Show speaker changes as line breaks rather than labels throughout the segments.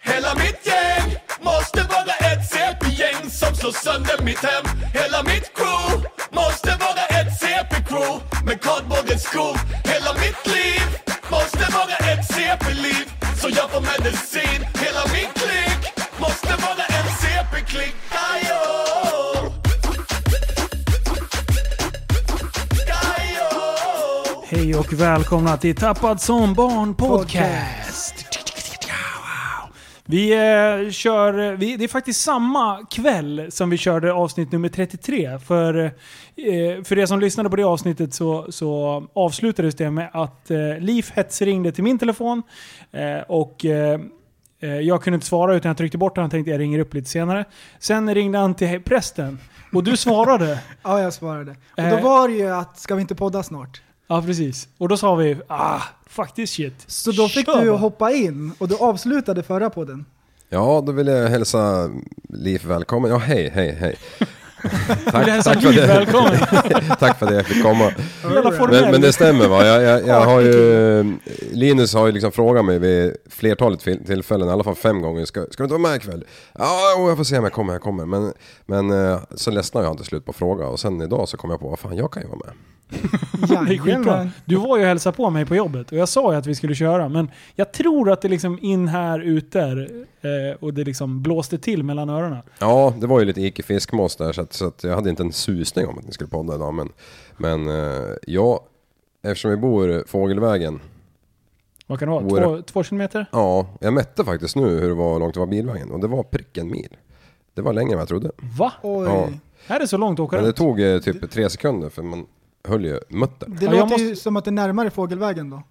Hela mitt gäng måste vara ett CP-gäng som slår sönder mitt hem Hela mitt crew måste vara ett CP-crew med kardborrens skor Hela mitt liv måste vara ett CP-liv så jag får medicin Hela min klick måste vara en CP-klick Ajo! Ajo!
Hej och välkomna till Tappad som barn podcast. Vi eh, kör, vi, det är faktiskt samma kväll som vi körde avsnitt nummer 33. För, eh, för er som lyssnade på det avsnittet så, så avslutades det med att eh, Liv hetsringde till min telefon eh, och eh, eh, jag kunde inte svara utan jag tryckte bort den och tänkte jag ringer upp lite senare. Sen ringde han till prästen och du svarade.
Ja, jag svarade. Och
Eh.
då var det ju att, ska vi inte podda snart?
ja precis. Och då sa vi ah, faktiskt shit.
Så då fick
Kör
du
bara.
hoppa in och du avslutade förra podden.
Ja, då vill jag hälsa Liv välkommen. Ja, hej, hej, hej.
Vill du
tack,
hälsa
tack, för
Liv
det,
välkommen?
tack för det jag fick komma.
Jävla formell.
Men, men det stämmer va? Jag, jag, jag har ju, Linus har ju liksom frågat mig vid flertalet fil- tillfällen, i alla fall fem gånger. Ska, ska du inte vara med ikväll? Ja, jo, jag får se om jag kommer, jag kommer. Men, men eh, så ledsnade jag till slut på att fråga och sen idag så kom jag på, vad fan, jag kan ju vara med.
Det är skitbra.
Jajamän.
Du var ju och hälsade på mig på jobbet och jag sa ju att vi skulle köra men jag tror att det liksom in här, ut där eh, och det liksom blåste till mellan öronen.
Ja, det var ju lite icke fiskmås där så, att, så att jag hade inte en susning om att ni skulle podda idag. Men, men eh, ja, eftersom vi bor Fågelvägen
Vad kan det vara?
Våra-
Två, två kilometer?
Ja, jag mätte faktiskt nu hur det var långt det var bilvägen och det var prick en mil. Det var längre än vad jag trodde.
Va?
Oj.
Ja.
Är det så långt att åka
Men det
runt?
tog eh, typ tre sekunder för man höll ju mutter.
Det
Ja, jag
låter
måste-
ju som att det är närmare fågelvägen då.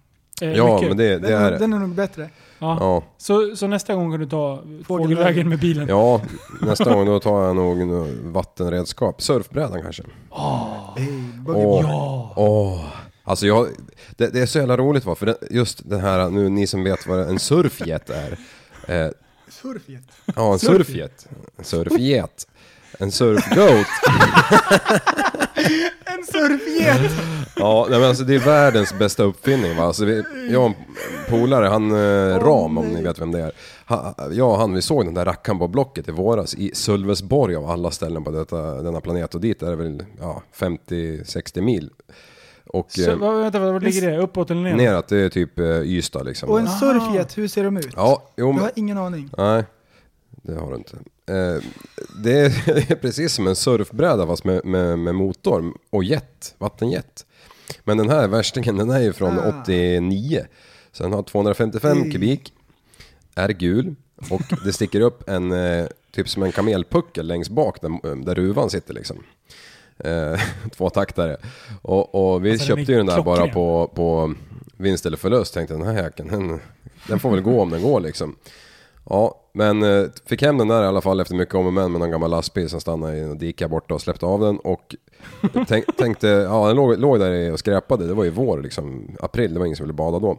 Eh,
Ja,
mycket.
men det,
Den,
det är det.
den är nog bättre.
Ja.
Ja,
Så, så nästa gång kan du ta fågelvägen med bilen?
ja, nästa gång då tar jag nog en eh, vattenredskap. Surfbrädan kanske. Åh, åh. Alltså jag, det, det är så jävla roligt va, för den, just den här, nu ni som vet vad en surfjet är. Eh,
Surfjet.
ja, en surfjet. En surfjet. En surfgoat.
En surfjet!
Ja, nej, men alltså det är världens bästa uppfinning va. Alltså, vi, jag och en polare, han eh, Ram om ni vet vem det är. Ha, jag och han, vi såg den där rackaren på Blocket i våras i Sölvesborg av alla ställen på detta, denna planet och dit är det väl ja, 50-60 mil. Och
Så,
eh,
vad- vänta, vad ligger det? Uppåt eller ner?
neråt, det är typ eh, Ystad liksom.
Och en
Ah.
surfjet, hur ser de ut?
Ja, jo,
Jag
men,
har ingen aning.
nej, det har du inte. Eh, det, är, det är precis som en surfbräda fast med, med, med motor och jet, vattenjet. Men den här värstingen den är ju från
Ah.
89. Så den har 255
Ej.
kubik, är gul och det sticker upp en eh, typ som en kamelpuckel längst bak där, där ruvan sitter liksom. Eh, tvåtaktare. Och, och vi
Alltså, den är
köpte ju den där bara
klockren.
på, på vinst eller förlust. Tänkte den här jäkeln, den, den får väl gå om den går liksom. Ja, men eh, fick hem den där i alla fall efter mycket om och men med någon gammal lastbil som stannade i en dike här borta och släppte av den och tänk, tänkte, ja den låg, låg där i och skräpade, det var ju vår liksom, april, det var ingen som ville bada då.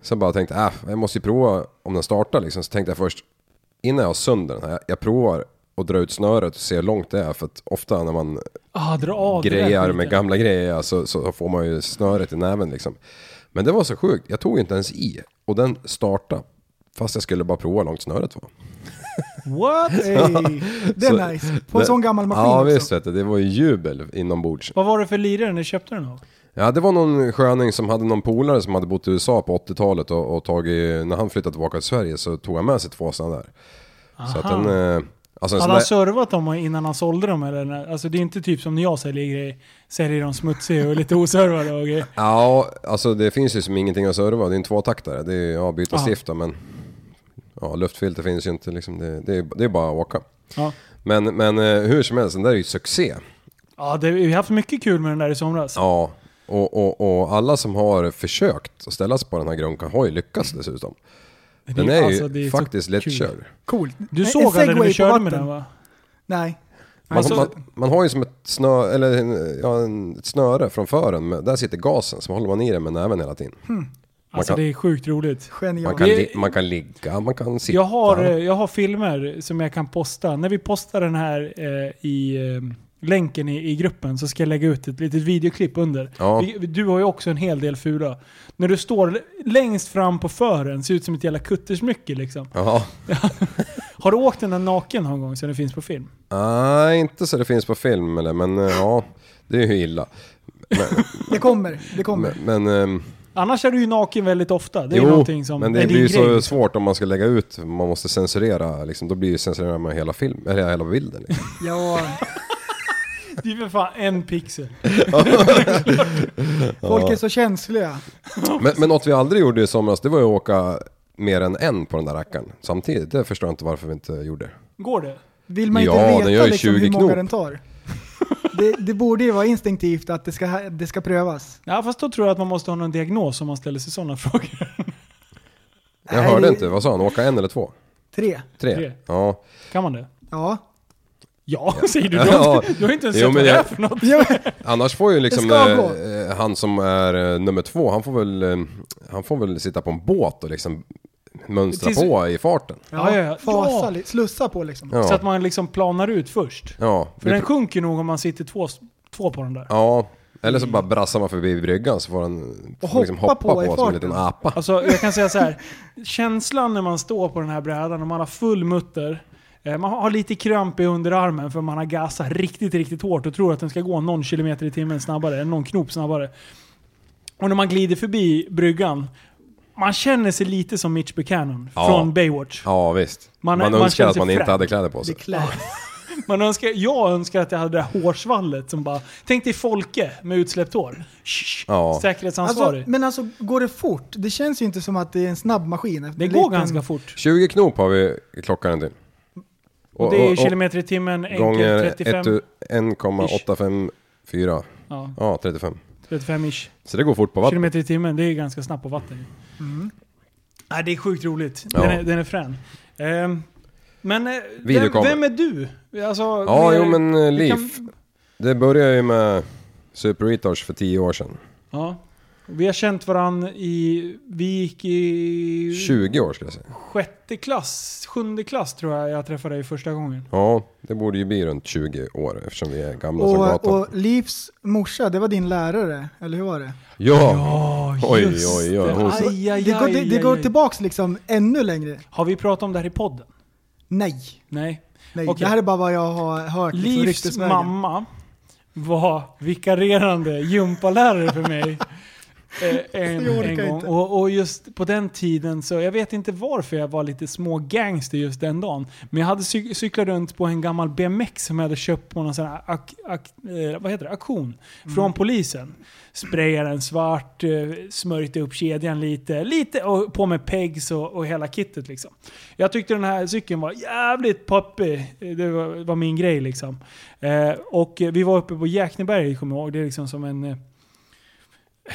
Sen bara tänkte, äh, jag måste ju prova om den startar liksom, så tänkte jag först, innan jag har sönder den här, jag provar och dra ut snöret och se hur långt det är för att ofta när man
Ah, dra av det där
grejar med
skiten.
gamla grejer så, så får man ju snöret i näven liksom. Men det var så sjukt, jag tog inte ens i och den startade. Fast jag skulle bara prova hur långt snöret var.
What?
Ey, det
Så-
är nice. På en
det-
sån gammal maskin
Ja
också.
visst vet du, det var ju jubel inombords.
Vad var det för lirare ni köpte den av?
Ja det var någon sköning som hade någon polare som hade bott i USA på 80-talet och, och tagit, när han flyttade tillbaka till Sverige så tog han med sig två sådana där. Så att den, eh, alltså en sån
Hade han
där,
servat dem innan han sålde dem eller? när- Alltså det är inte typ som när jag säljer grejer. Säljer dem smutsiga och lite oservade och grejer.
ja alltså det finns ju som ingenting att serva, det är en tvåtaktare, det är ju, ja byta
Aha.
stift då, men ja luftfilter finns ju inte liksom, det, det, är, det är bara att åka.
Ja.
Men, men eh, hur som helst, den där är ju succé.
Ja, det, vi har haft mycket kul med den där i somras.
Ja, och, och, och alla som har försökt att ställa sig på den här grunkan har ju lyckats dessutom.
Det-
Den är
alltså, det
ju
så
faktiskt
kul.
lättkörd.
Coolt.
Du
En- en
såg aldrig när
segway
vi
på
körde
vatten.
med den va?
Nej.
Man,
Alltså-
man, man har ju som ett, snö, eller, en- ja, en, ett snöre från fören, men där sitter gasen, så håller man i den med näven hela tiden.
Alltså
kan-
det är sjukt roligt.
Man
Genialt.
kan,
Det-
li, man kan ligga, man kan sitta.
Jag har, eh, jag har filmer som jag kan posta. När vi postar den här eh, i, eh, länken i, i gruppen så ska jag lägga ut ett litet videoklipp under.
Ja.
Vi- vi- Du har ju också en hel del fula. När du står l- längst fram på fören, ser ut som ett jävla kuttersmycke liksom.
Ja.
Har du åkt den där naken någon gång så det finns på film?
Nej, inte så det finns på film eller, men eh, ja. Det är ju illa.
Det kommer, det kommer.
Men, men ehm,
Annars är du ju naken väldigt ofta. Det är någonting som...
men det
är din
blir ju så
grej.
svårt om man ska lägga ut, man måste censurera liksom. Då blir ju censurera med hela film, eller hela bilden liksom.
Ja,
Det är för fan en pixel.
folk är så känsliga.
men, men något vi aldrig gjorde i somras, det var ju att åka mer än en på den där rackaren samtidigt. Det förstår jag inte varför vi inte gjorde.
Går det?
Vill man
Ja,
inte
den gör
veta
ju
liksom, hur
20
många
knop.
den tar? Det, det borde ju vara instinktivt att det ska, det ska prövas.
Ja, fast då tror jag att man måste ha någon diagnos om man ställer sig sådana frågor.
Jag
Nej,
hörde
det-
inte, vad sa han? Åka en eller två?
Tre.
Tre?
Tre.
Ja.
Kan man det?
Ja.
Ja, säger du. Du har
Ja.
inte, du har inte ens
Jo,
sett
men
vad det är
jag-
för något.
Annars får ju liksom
Det ska gå.
eh, eh, han som är eh, nummer två, han får väl, eh, han får väl sitta på en båt och liksom mönstra
Tills-
på i farten.
Ja, ja, ja.
Fasa,
Ja.
li- slussa på liksom.
Ja.
Så att man liksom planar ut först.
ja.
För
vi
den sjunker nog om man sitter två, två på den där.
Ja, eller så bara brassar man förbi bryggan så får den får
hoppa
liksom hoppa
på
på,
i
som en
farten.
liten apa.
Alltså jag kan säga så här. känslan när man står på den här brädan och man har full mutter. eh, Man har lite kramp i underarmen för man har gasat riktigt, riktigt hårt och tror att den ska gå någon kilometer i timmen snabbare, eller någon knop snabbare. Och när man glider förbi bryggan, man känner sig lite som Mitch Buchanan
Ja.
från Baywatch.
Ja visst.
Man
Man,
är- man
önskar
känner
att
sig
man inte
fräck.
hade kläder på sig.
Man önskar, jag önskar att jag hade det här hårsvallet som bara... Tänk dig Folke med utsläppt hår.
Ja.
Säkerhetsansvarig.
Alltså, men alltså, går det fort? Det känns ju inte som att det är en snabb maskin.
det går ganska fort.
20 knop har vi i klockan till.
Och, det är kilometer i timmen,
gånger
enkelt 35.
1 1,854.
ja,
Ja, 35.
35-ish.
Så det går fort på vatten.
Kilometer i timmen, det är ganska snabbt på vatten. Mm. Nej, det är sjukt roligt. Den,
Ja.
är, den är frän. Ehm, men eh, vem,
Videokamera.
vem är du? Alltså,
Ja,
vi-
jo men eh,
vi
Liv.
kan-
Det började ju med Super Retouch för 10 år sedan.
ja. Vi har känt varann i... Vi gick i...
20 år skulle jag säga.
sjätte klass, sjunde klass tror jag jag träffade dig första gången.
Ja, det borde ju bli runt 20 år eftersom vi är gamla som
Och,
gatan.
och Livs morsa, det var din lärare, eller hur var det?
Ja! Oj,
just
oj, oj. Hon-
Aj, aj, aj,
Det går, det, det
aj,
går
aj.
tillbaks liksom ännu längre.
Har vi pratat om det här i podden?
Nej.
Nej.
Nej,
Okej.
det här är bara vad jag har hört. liksom,
Livs
ryktesvägen.
mamma var vikarierande gympalärare för mig. eh, en,
Jag orkar
en gång.
inte.
Och, och just på den tiden så, jag vet inte varför jag var lite små gangster just den dagen. Men jag hade cy- cyklat runt på en gammal BMX som jag hade köpt på någon sån här ak, ak, eh, vad heter det? auktion
Mm.
från polisen. Sprayade den svart, eh, smörjde upp kedjan lite, lite och på med pegs och, och hela kittet liksom. Jag tyckte den här cykeln var jävligt poppig. Det var, var min grej liksom. Eh, och eh, vi var uppe på Jäkneberg, kommer jag ihåg. Det är liksom som en eh,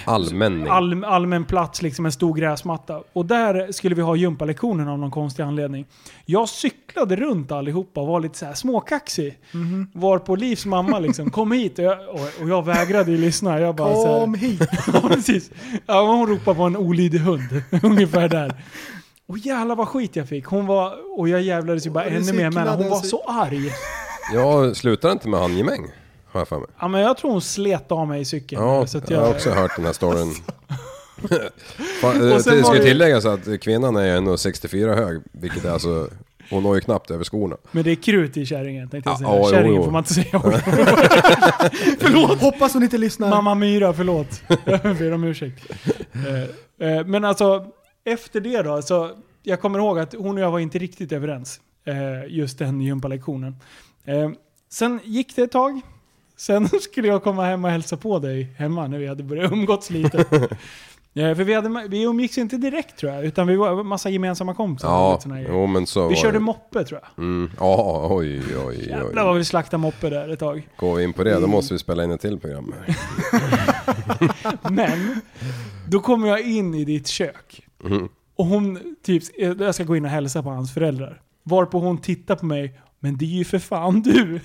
Allmänning.
all, allmän plats, liksom en stor gräsmatta. Och där skulle vi ha gympalektionen av någon konstig anledning. Jag cyklade runt allihopa och var lite så här småkaxig.
Mhm.
Var på Livs mamma liksom, kom hit. Och jag, och, och jag vägrade ju lyssna. Jag bara så här,
Kom hit!
Ja, precis. Ja, men hon ropade på en olydig hund. Ungefär där. Och jävlar vad skit jag fick. Hon var, och jag jävlades ju bara
Och du
ännu mer med henne. Hon
cyklade
var
och cy-
så arg.
Jag slutar inte med handgemäng, har jag för mig.
Ja, men jag tror hon slet av mig i cykeln.
Ja,
så att
jag har
jag,
också hört den här storyn. Fan, eh,
Och sen
det
var
ska
det-
tilläggas att kvinnan är ju ändå 64 hög, vilket är alltså... Hon når ju knappt över skorna.
men det är krut i kärringen tänkte jag
Ja,
säga.
ja, jo,
kärringen
jo.
får man inte säga. förlåt!
Hoppas hon inte lyssnar.
Mamma Myra, förlåt. Jag ber om ursäkt. Eh, eh, Men alltså, efter det då. Så jag kommer ihåg att hon och jag var inte riktigt överens. eh, Just den gympalektionen. Eh, Sen gick det ett tag. Sen skulle jag komma hem och hälsa på dig hemma när vi hade börjat umgåtts lite. Eh, För vi, hade, vi umgicks inte direkt tror jag, utan vi var massa gemensamma kompisar. och
Ja,
lite såna här grejer.
jo men så
vi
var
körde
det.
moppe tror jag.
Mm, ja, oj, oj, oj.
Jävlar vad vi Mm. slaktade moppe där ett tag.
Går vi in på det, då måste vi spela in ett till program.
Men, då kommer jag in i ditt kök.
Mm.
Och hon, typ, jag ska gå in och hälsa på hans föräldrar. Varpå hon tittar på mig, men det är ju för fan du.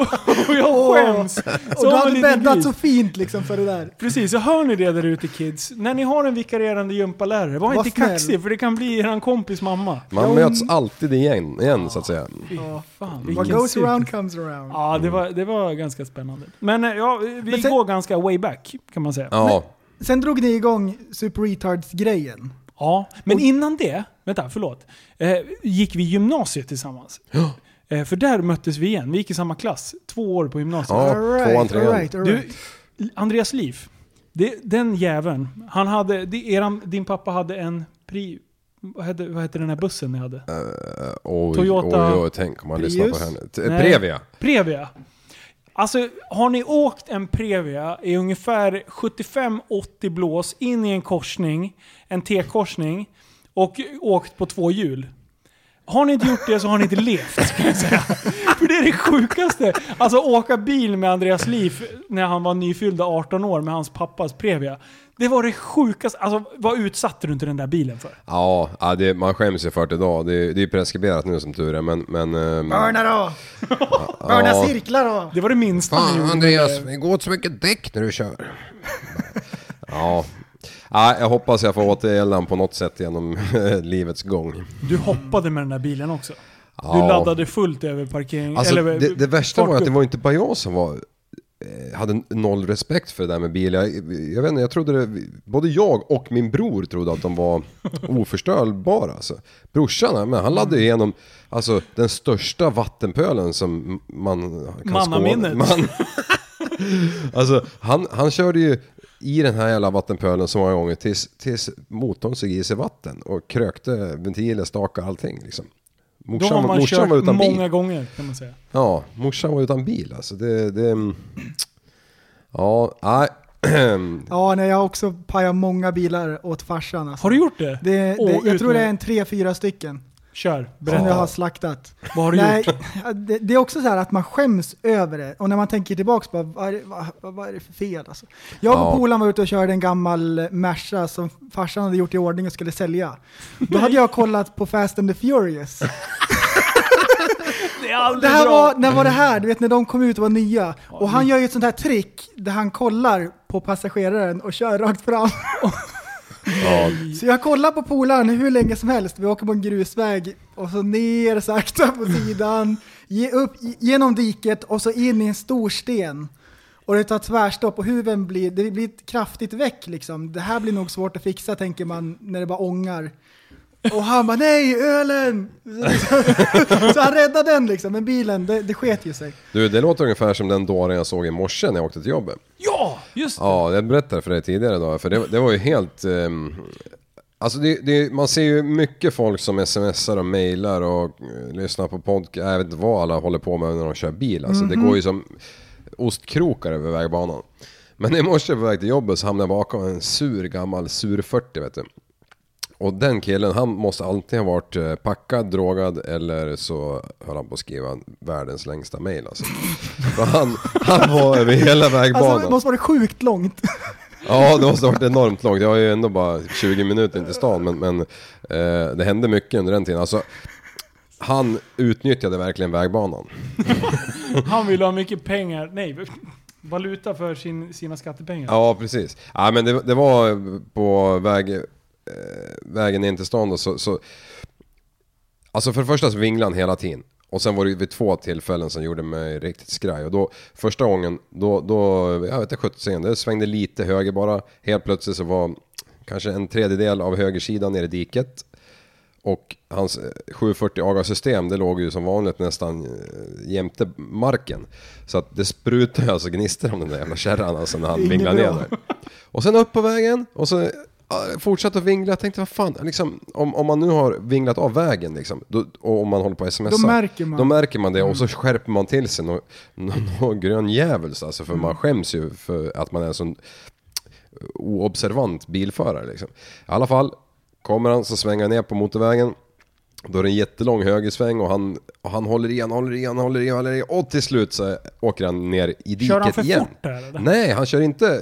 och, Och jag skäms!
Och
Som
du
en
hade
liten
bäddat
gris.
så fint liksom för det där.
Precis, jag hör ni det där ute kids. När ni har en vikarierande gympalärare, var,
Var
inte
snäll.
kaxig för det kan bli er kompis mamma.
Man möts alltid igen, igen så att säga.
Fy fan,
What
vilken
goes
cirkus.
around comes around.
Ja, det var, det var ganska spännande. Men eh, ja, vi
Men sen-
går ganska way back kan man säga. Ja.
Ja,
Sen drog ni igång Super Retards-grejen.
Men innan det, vänta, förlåt. Eh, gick vi gymnasiet tillsammans. Eh, för där möttes vi igen. Vi gick i samma klass, två år på gymnasiet.
Ja, tvåan, trean.
alright,
Du,
alright.
Andreas Liv, det, den jäveln. Han hade, det, eran, din pappa hade en pri... Vad hette, vad hette den här bussen ni hade?
oj,
Toyota-
oj, oj, tänk om man lyssnar på
Prius?
henne. T-
Nej.
Previa.
Previa. Alltså, har ni åkt en Previa i ungefär 75-80 blås in i en korsning, en T-korsning, och åkt på två hjul? Har ni inte gjort det så har ni inte levt, skulle jag säga. För det är det sjukaste. Alltså åka bil med Andreas Liv när han var nyfyllda 18 år med hans pappas Previa. Det var det sjukaste. Alltså, vad utsatte du inte den där bilen för?
Ja, ja det, man skäms ju för det idag. Det, är- det är ju preskriberat nu som tur är, men... men ehm,
Börna då! Börna
ja.
cirklar då!
Det var det minsta ni
Fan
gjorde.
Andreas, det går åt så mycket däck när du kör. ja. ja, jag hoppas jag får återgälda den på något sätt genom livets gång.
Du hoppade med den där bilen också. Du
Ja.
laddade fullt över parkering.
Alltså,
Mm, eller,
det, det värsta var att det
fartgupp.
var inte bara jag som var, eh, hade noll respekt för det där med bil. Jag, jag vet inte, jag trodde det, både jag och min bror trodde att de var oförstörbara. Alltså. Brorsan, han- men han
Mm.
laddade igenom alltså, den största vattenpölen som man kan
Mannaminnet.
skåda. Man, alltså, han, han körde ju i den här jävla vattenpölen så många gånger tills, tills motorn såg i sig vatten och krökte ventiler, stakar, allting. Liksom.
Då
Morsan,
har man
morsan var
kört
utan bil.
många gånger kan man säga.
Ja, morsan var utan bil alltså. Det, det, mm. ja, nej.
Ja, nej, jag har också pajat många bilar åt farsan. Alltså.
Har du gjort det?
Det, det,
Åh,
jag
ut
tror det
med-
är en tre, fyra stycken
Kör,
som
berätta.
jag har slaktat.
Vad har du
Nej,
gjort?
det, det är också så här att man skäms över det. Och när man tänker tillbaka, bara, vad, är det- vad, vad, vad är det för fel? Alltså. Jag och
Ja.
polaren var ute och körde en gammal Merca som farsan hade gjort i ordning och skulle sälja. Då hade jag kollat på Fast and the Furious.
Det är aldrig
Det här
bra.
var, när var det här? Du vet när de kom ut och var nya. Och han gör ju ett sånt här trick där han kollar på passageraren och kör rakt fram.
Ja,
Så jag kollar på polaren hur länge som helst. Vi åker på en grusväg och så ner sakta på sidan, ge upp i- genom diket och så in i en stor sten. Och det tar tvärstopp och huven blir, det blir ett kraftigt väck liksom. Det här blir nog svårt att fixa tänker man när det bara ångar. Och han bara nej, ölen! Så han räddade den liksom, men bilen, det, det sket ju sig.
du, det låter ungefär som den dåren jag såg i morse när jag åkte till jobbet.
Ja, just det.
Ja, jag berättade för dig tidigare idag, för det, det var ju helt... ehm, alltså det, det, man ser ju mycket folk som smsar och mejlar och eh, lyssnar på podcast. Jag vet inte vad alla håller på med när de kör bil. Alltså det
Mhm.
går ju som ostkrokar över vägbanan. Men i morse på väg till jobbet så hamnade jag bakom en sur gammal sur 40 vet du. Och den killen, han måste alltid ha varit eh, packad, drogad eller så höll han på att skriva världens längsta mejl alltså. För han, han var över hela vägbanan.
Alltså det måste varit sjukt långt.
Ja, det måste ha varit enormt långt. Jag har ju ändå bara 20 minuter in till stan, men, men eh, det hände mycket under den tiden. Alltså, han utnyttjade verkligen vägbanan.
Han ville ha mycket pengar. Nej, valuta för sin, sina skattepengar.
Ja, precis. Ja, men det, det var på väg, eh, vägen in till stan då, så, så... Alltså för det första så vinglade han hela tiden. Och sen var det ju vid två tillfällen som gjorde mig riktigt skraj. Och då, första gången, då, då jag vet inte sjuttsingen, det svängde lite höger bara. Helt plötsligt så var kanske en tredjedel av högersidan nere i diket. Och hans eh, 740 AGA-system det låg ju som vanligt nästan eh, jämte marken. Så att det sprutade ju alltså gnistor om den där jävla kärran alltså när han
Inget
vinglade ner
bra.
där. Och sen upp på vägen och så eh, fortsatte att vingla. Jag tänkte vad fan, liksom, om, om man nu har vinglat av vägen liksom, då, och om man håller på att smsa.
Då märker man.
Då märker man det och så
Mm.
skärper man till sig någon, någon, någon grön djävuls alltså. För
Mm.
man skäms ju för att man är en sån oobservant bilförare. Liksom. I alla fall, kommer han så svänger han ner på motorvägen. Då är det en jättelång högersväng och han, och han håller igen, håller igen, håller igen, håller igen. Och till slut så åker han ner i diket igen.
Kör han för fort där, eller?
Nej, han kör inte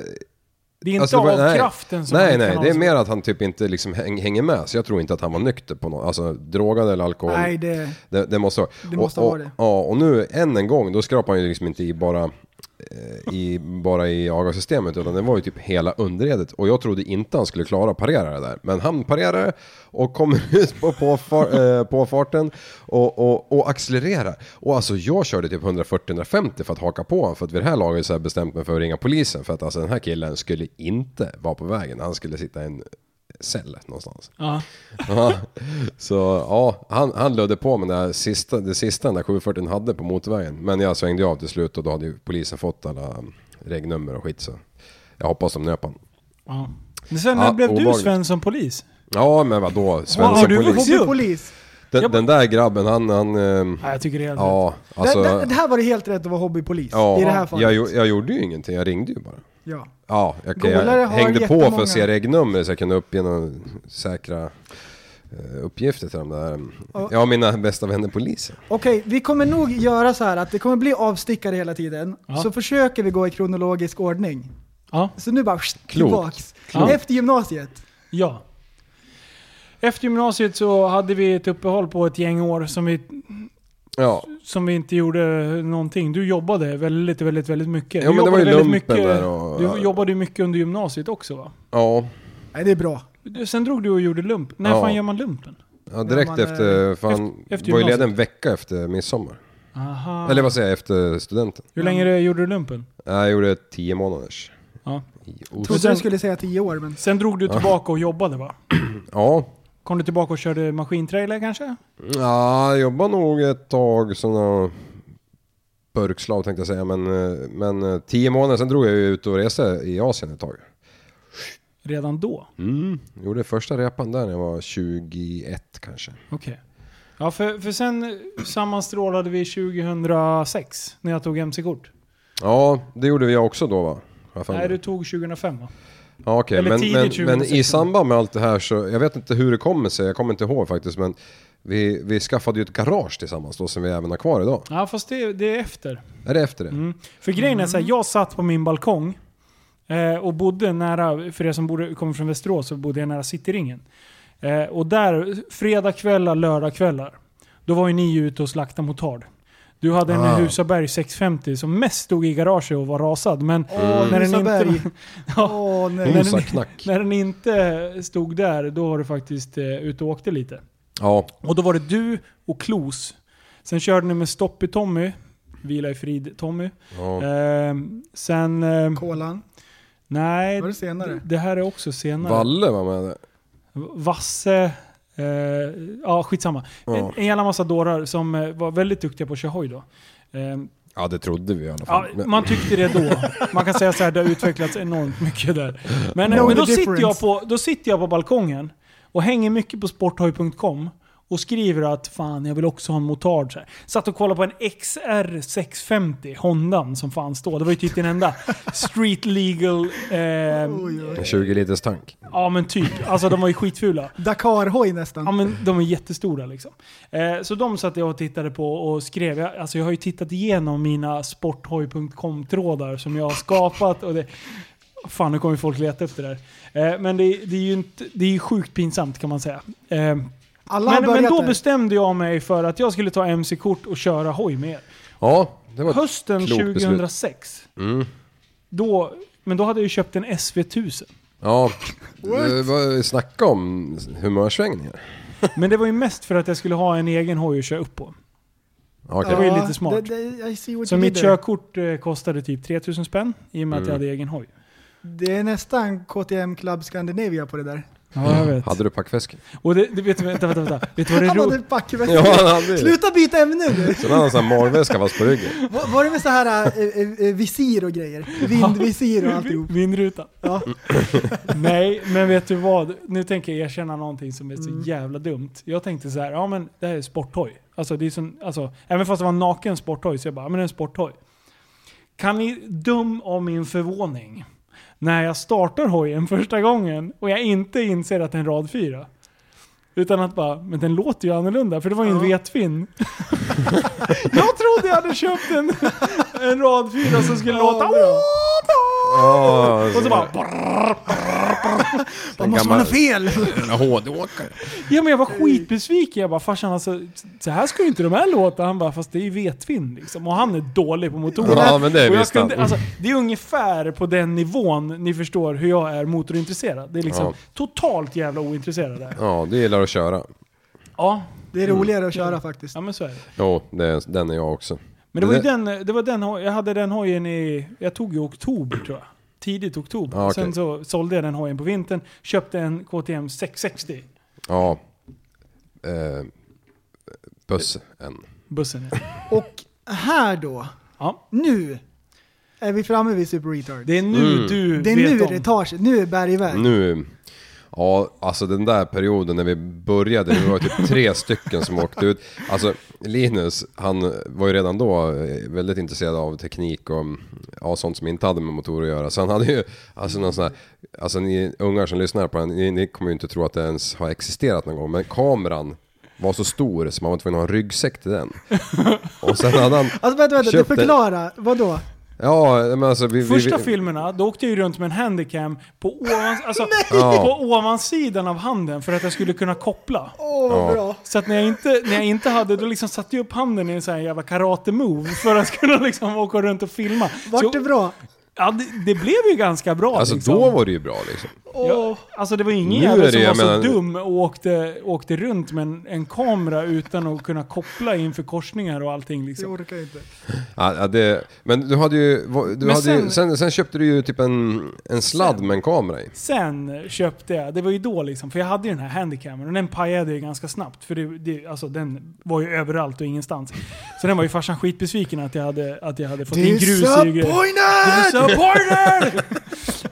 Det är inte
Alltså, det
av
var- nej.
kraften som
Nej,
han
nej.
kan
Det är
avsluta.
mer att han typ inte liksom häng, hänger med. Så jag tror inte att han var nykter på något. Alltså drogad eller alkohol.
Nej, det...
Det, det måste vara.
Det måste
och,
vara
och,
det.
Ja, och nu än en gång, då skrapar han ju liksom inte i bara, eh, i, bara i aga-systemet utan det var ju typ hela underredet. Och jag trodde inte han skulle klara att parera det där. Men han parerar och kommer ut på, på, far, eh, på farten och, och, och accelererar. Och alltså jag körde typ 140-150 för att haka på honom. För att vid det här laget så har jag bestämt mig för att ringa polisen. För att alltså den här killen skulle inte vara på vägen. Han skulle sitta i en cell någonstans.
Ja.
Ja, så ja, han, han lödde på med det, här sista, det sista den där 740 hade på motorvägen. Men jag svängde ju av till slut och då hade ju polisen fått alla regnummer och skit så. Jag hoppas de nöp han.
Ja. Men sen när
Ja,
blev du
obehagligt.
Sven som polis?
Ja men vadå,
har
svensk
du
polis.
vuxit-
Hobby polis.
Den, den där grabben han, han ehm,
Nej, jag tycker det är helt rätt.
ja alltså.
det, det, det här var det helt rätt att vara hobbypolis
Ja,
i det här fallet.
jag, gjo- jag gjorde ju ingenting, jag ringde ju bara.
Ja.
Ja, jag, jag
Golare har
hängde på för
jättemånga.
att se regnummer så jag kunde uppge några säkra eh, uppgifter till de där. Ja, mina bästa vänner poliser.
Okej, vi kommer nog göra så här att det kommer bli avstickare hela tiden.
Ja.
Så försöker vi gå i kronologisk ordning.
Ja.
Så nu bara tillbaks.
Klokt.
Efter gymnasiet.
Ja. Efter gymnasiet så hade vi ett uppehåll på ett gäng år som vi,
Ja,
som vi inte gjorde någonting. Du jobbade väldigt, väldigt, väldigt mycket.
Ja,
du
men det var
jobbade
ju
väldigt
lumpen där och-
Du jobbade ju mycket under gymnasiet också va?
ja.
Nej, det är bra.
Du- Sen drog du och gjorde lump. När
Ja.
fan gör man lumpen?
Ja, direkt
man,
efter, för han
eh, efter- efter
var ju
gymnasiet.
ledig en vecka efter midsommar.
Aha.
Eller vad säger jag, efter studenten.
Hur länge gjorde du lumpen?
Nej, Jag gjorde tio månaders.
Ja.
i
Trodde
Os-
sen-
du skulle säga tio år, men...
Sen drog du tillbaka och jobbade va?
Ja.
Kom du tillbaka och körde maskintrailer kanske?
ja, jag jobbade nog ett tag sådana burkslav tänkte jag säga. Men, eh, men eh, tio månader, sen drog jag ju ut och reste i Asien ett tag.
Redan då?
Mm. Gjorde första repan där när jag var 21 kanske.
Okej. Ja, för, för sen sammanstrålade vi 2006 när jag tog MC-kort.
Ja, det gjorde jag också då va? Har jag för mig.
Nej, du tog 2005 va?
Ja, okej.
Eller
Men,
tidigt
men,
2016.
men i samband med allt det här så, jag vet inte hur det kommer sig, jag kommer inte ihåg faktiskt, men vi, vi skaffade ju ett garage tillsammans då som vi även har kvar idag.
Ja, fast det, det är efter.
Är det efter det?
För grejen är så här, jag satt på min balkong eh, och bodde nära, för er som bodde, kommer från Västerås, så bodde jag nära Cityringen. Eh, och där, fredagkvällar, lördagkvällar, då var ju ni ute och slaktade motard. Du hade en
Ah.
Husaberg 650 som mest stod i garaget och var rasad, men
Åh,
när, den
Husaberg.
inte, ja, Mm.
Åh, nej.
Men-
Osa knack.
när den inte stod där, då var du faktiskt eh, ute och åkte lite.
Ja,
Och då var det du och Klos. Sen körde ni med Stoppy-Tommy. Vila i frid Tommy.
ja.
Ehm, sen... Eh,
Kolan.
nej,
Var det senare?
det här är också senare.
Valle var med där.
Vasse... Eh, ja, skitsamma.
Ja.
En, en jävla massa dårar som eh, var väldigt duktiga på att köra hoj då. Ehm,
Ja, det trodde vi i alla
ja,
fall. Men-
man tyckte det då. Man kan säga så här, det har utvecklats enormt mycket där. Men, eh,
Know
men då,
the
sitter jag
difference.
på, då sitter jag på balkongen och hänger mycket på sporthoj.com och skriver att fan, jag vill också ha en motard. Så här. Satt och kollade på en XR 650, Hondan, som fanns då. Det var ju typ den enda street legal... Eh,
En 20 liters tank.
ja men typ. Alltså de var ju skitfula.
Dakar-hoj
Ja,
nästan.
men de är jättestora liksom. Eh, så de satt jag och tittade på och skrev. Jag, alltså jag har ju tittat igenom mina sporthoj.com-trådar som jag har skapat. Och det, fan, nu kommer ju folk leta efter det här. Eh, men det, det är ju inte, det är ju sjukt pinsamt kan man säga. Eh,
Alla har
men, men
börjat
då
där.
bestämde jag mig för att jag skulle ta MC-kort och köra hoj med er.
Ja, det var ett
Hösten
klokt beslut. Mm.
2006. Då, men då hade jag ju köpt en SV1000.
Ja, det var- snacka om humörsvängningar.
Men det var ju mest för att jag skulle ha en egen hoj att köra upp på.
Ja, Okej.
det var ju lite smart.
Det, det, I see what
Så
you did
mitt
there.
körkort eh, kostade typ 3000 spänn i och med att jag hade egen hoj.
Det är nästan KTM Club Scandinavia på det där.
Ja, jag vet.
Hade du packväska?
Mm. Och det, det, vet, du- vänta, vänta, vänta. Vet du vad det är
Han hade
roligt?
ett packväska.
Ja, han hade det.
Sluta byta ämne nu!
Sen hade han en sån här magväska fast på ryggen.
Var, var det med så här eh, eh, eh, visir och grejer? Vindvisir och alltihop.
Vindruta.
Ja.
Nej, men vet du vad? Nu tänker jag erkänna någonting som är så jävla dumt. Jag tänkte så här, ja men det här är sporthoj. Alltså, det är som, alltså, även fast det var en naken sporthoj så jag bara, ja, men det är en sporthoj. Kan ni dum av min förvåning när jag startar hojen första gången och jag inte inser att det är en rad 4? Utan att bara, men den låter ju annorlunda för det var ju en vetfinn. jag trodde jag hade köpt en, en rad 4 som skulle låta...
bra.
Oh,
Och så bara... brrr.
Man måste
gammal-
man ha fel?
HD-åkare.
Ja men jag var
Eh.
skitbesviken. Jag bara farsan alltså, så här ska ju inte de här låta. Han bara fast det är ju vetvin liksom. Och han är dålig på motorer.
Ja, men det är
Och jag
visst han.
kunde, alltså, Det är ungefär på den nivån ni förstår hur jag är motorintresserad. Det är liksom
Ja.
totalt jävla ointresserad där.
Ja, du gillar att köra.
Ja,
Det
Mm.
är roligare att köra faktiskt.
ja men så är det.
Jo, det, den är jag också.
Men det var ju
Det-
den, det var den, ho- jag hade den hojen i, jag tog i oktober tror jag. Tidigt oktober.
Ja, okej.
Sen så sålde jag den hojen på vintern, köpte en KTM 660.
Ja. Eh, bussen.
Bussen ja.
Och här då,
ja.
nu är vi framme vid Super Retard.
Det är nu
Mm.
du
Det är
vet
nu
om.
det tar sig, nu är berg iväg.
Nu, ja alltså den där perioden när vi började, vi var typ tre stycken som åkte ut. Alltså Linus, han var ju redan då eh, väldigt intresserad av teknik och ja, sånt som inte hade med motorer att göra. Så han hade ju, alltså någon sån här, alltså ni ungar som lyssnar på den, ni, ni kommer ju inte tro att det ens har existerat någon gång, men kameran var så stor så man var tvungen att ha en ryggsäck till den. Och sen hade han
Alltså vänta, vänta,
köpt en-
förklara. Vadå?
Ja, men alltså vi... vi-
Första
vi,
filmerna, då åkte jag ju runt med en handicam på, ovans, alltså,
Ja.
på ovansidan av handen för att jag skulle kunna koppla.
Åh, vad
Ja.
bra.
Så att när jag inte, när jag inte hade, då liksom satte jag upp handen i en sån här jävla karate-move för att kunna liksom åka runt och filma. så,
Vart det bra?
Ja, det, det blev ju ganska bra
Alltså
liksom.
då var det ju bra liksom.
Ja, alltså det var ingen
Nu
jävel
är det,
som var
jag
så
menar-
dum och åkte, åkte runt med en, en kamera utan att kunna koppla inför korsningar och allting
Jag
liksom.
orkar inte.
Ja, ja, det, men du hade ju... vad- Du
Men
hade sen, ju
sen-
sen, sen köpte du ju typ en, en sladd med en kamera i.
Sen köpte jag, det var ju då liksom, för jag hade ju den här handycamen och den pajade ju ganska snabbt. För det, det, alltså, den var ju överallt och ingenstans. Så den var ju farsan skitbesviken att jag hade, att jag hade fått in grus i grejer.
Disappointed!
Disappointed!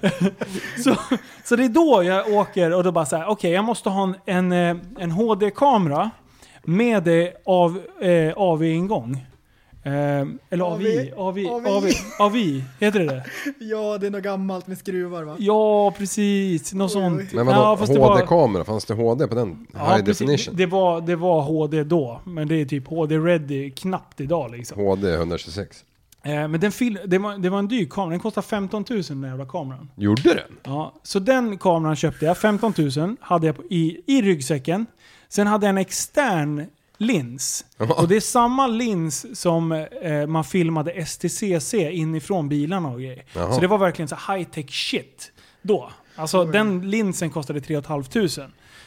så, så det är då jag åker och då bara såhär, okej jag måste ha en, en, eh, en HD-kamera med eh, av, eh, AV-ingång. Eh, eller AVI, AVI,
AV.
AVI, AVI, heter det det?
Ja, det är något gammalt med skruvar va?
Ja, precis. Något sånt.
Men vadå,
ja, fast det var-
HD-kamera? Fanns det HD på den?
Ja,
High
precis.
definition?
Det var, det var HD då, men det är typ HD-ready knappt idag liksom.
HD 126.
Eh, men den fil- det, var, det var en dyr kamera, den kostade 15 000 den jävla kameran.
Gjorde den?
Ja, så den kameran köpte jag, 15 000 hade jag på, i, i ryggsäcken. Sen hade jag en extern lins. Och det är samma lins som eh, man filmade STCC inifrån bilarna och grejer.
Jaha.
Så det var verkligen så high tech shit då. Alltså den linsen kostade 3 500.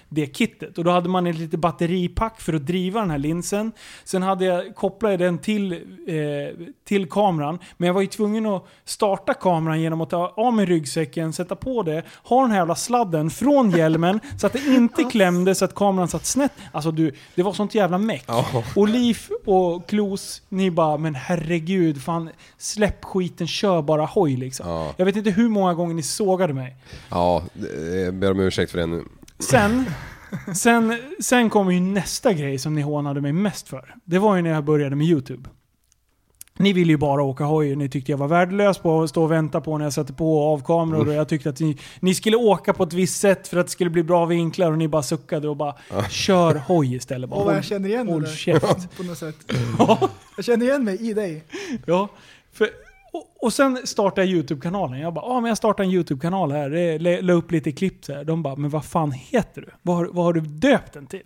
Det kittet. Och då hade man ett litet batteripack för att driva den här linsen. Sen hade jag, kopplade jag den till, eh, till kameran. Men jag var ju tvungen att starta kameran genom att ta av mig ryggsäcken, sätta på det, ha den här jävla sladden från hjälmen så att det inte klämde så att kameran satt snett. Alltså du, det var sånt jävla meck.
Ja.
Och Liv och Klos, ni bara men herregud, fan släpp skiten, kör bara hoj liksom.
Ja.
Jag vet inte hur många gånger ni sågade mig.
Ja, det- jag ber om ursäkt för det nu.
Sen, sen, sen kommer ju nästa grej som ni hånade mig mest för. Det var ju när jag började med YouTube. Ni ville ju bara åka hoj, ni tyckte jag var värdelös på att stå och vänta på när jag satte på och av kameror och jag tyckte att ni, ni skulle åka på ett visst sätt för att det skulle bli bra vinklar och ni bara suckade och bara kör hoj istället. Bara,
Åh, vad
håll-
jag känner igen det
håll
där.
käft.
På något sätt. Jag känner igen mig i dig.
Ja, för, och, och sen startade jag YouTube-kanalen. Jag bara, ah, men jag startar en YouTube-kanal här. Eh, la- La upp lite klipp så här. De bara, men vad fan heter du? Vad har, vad har du döpt den till?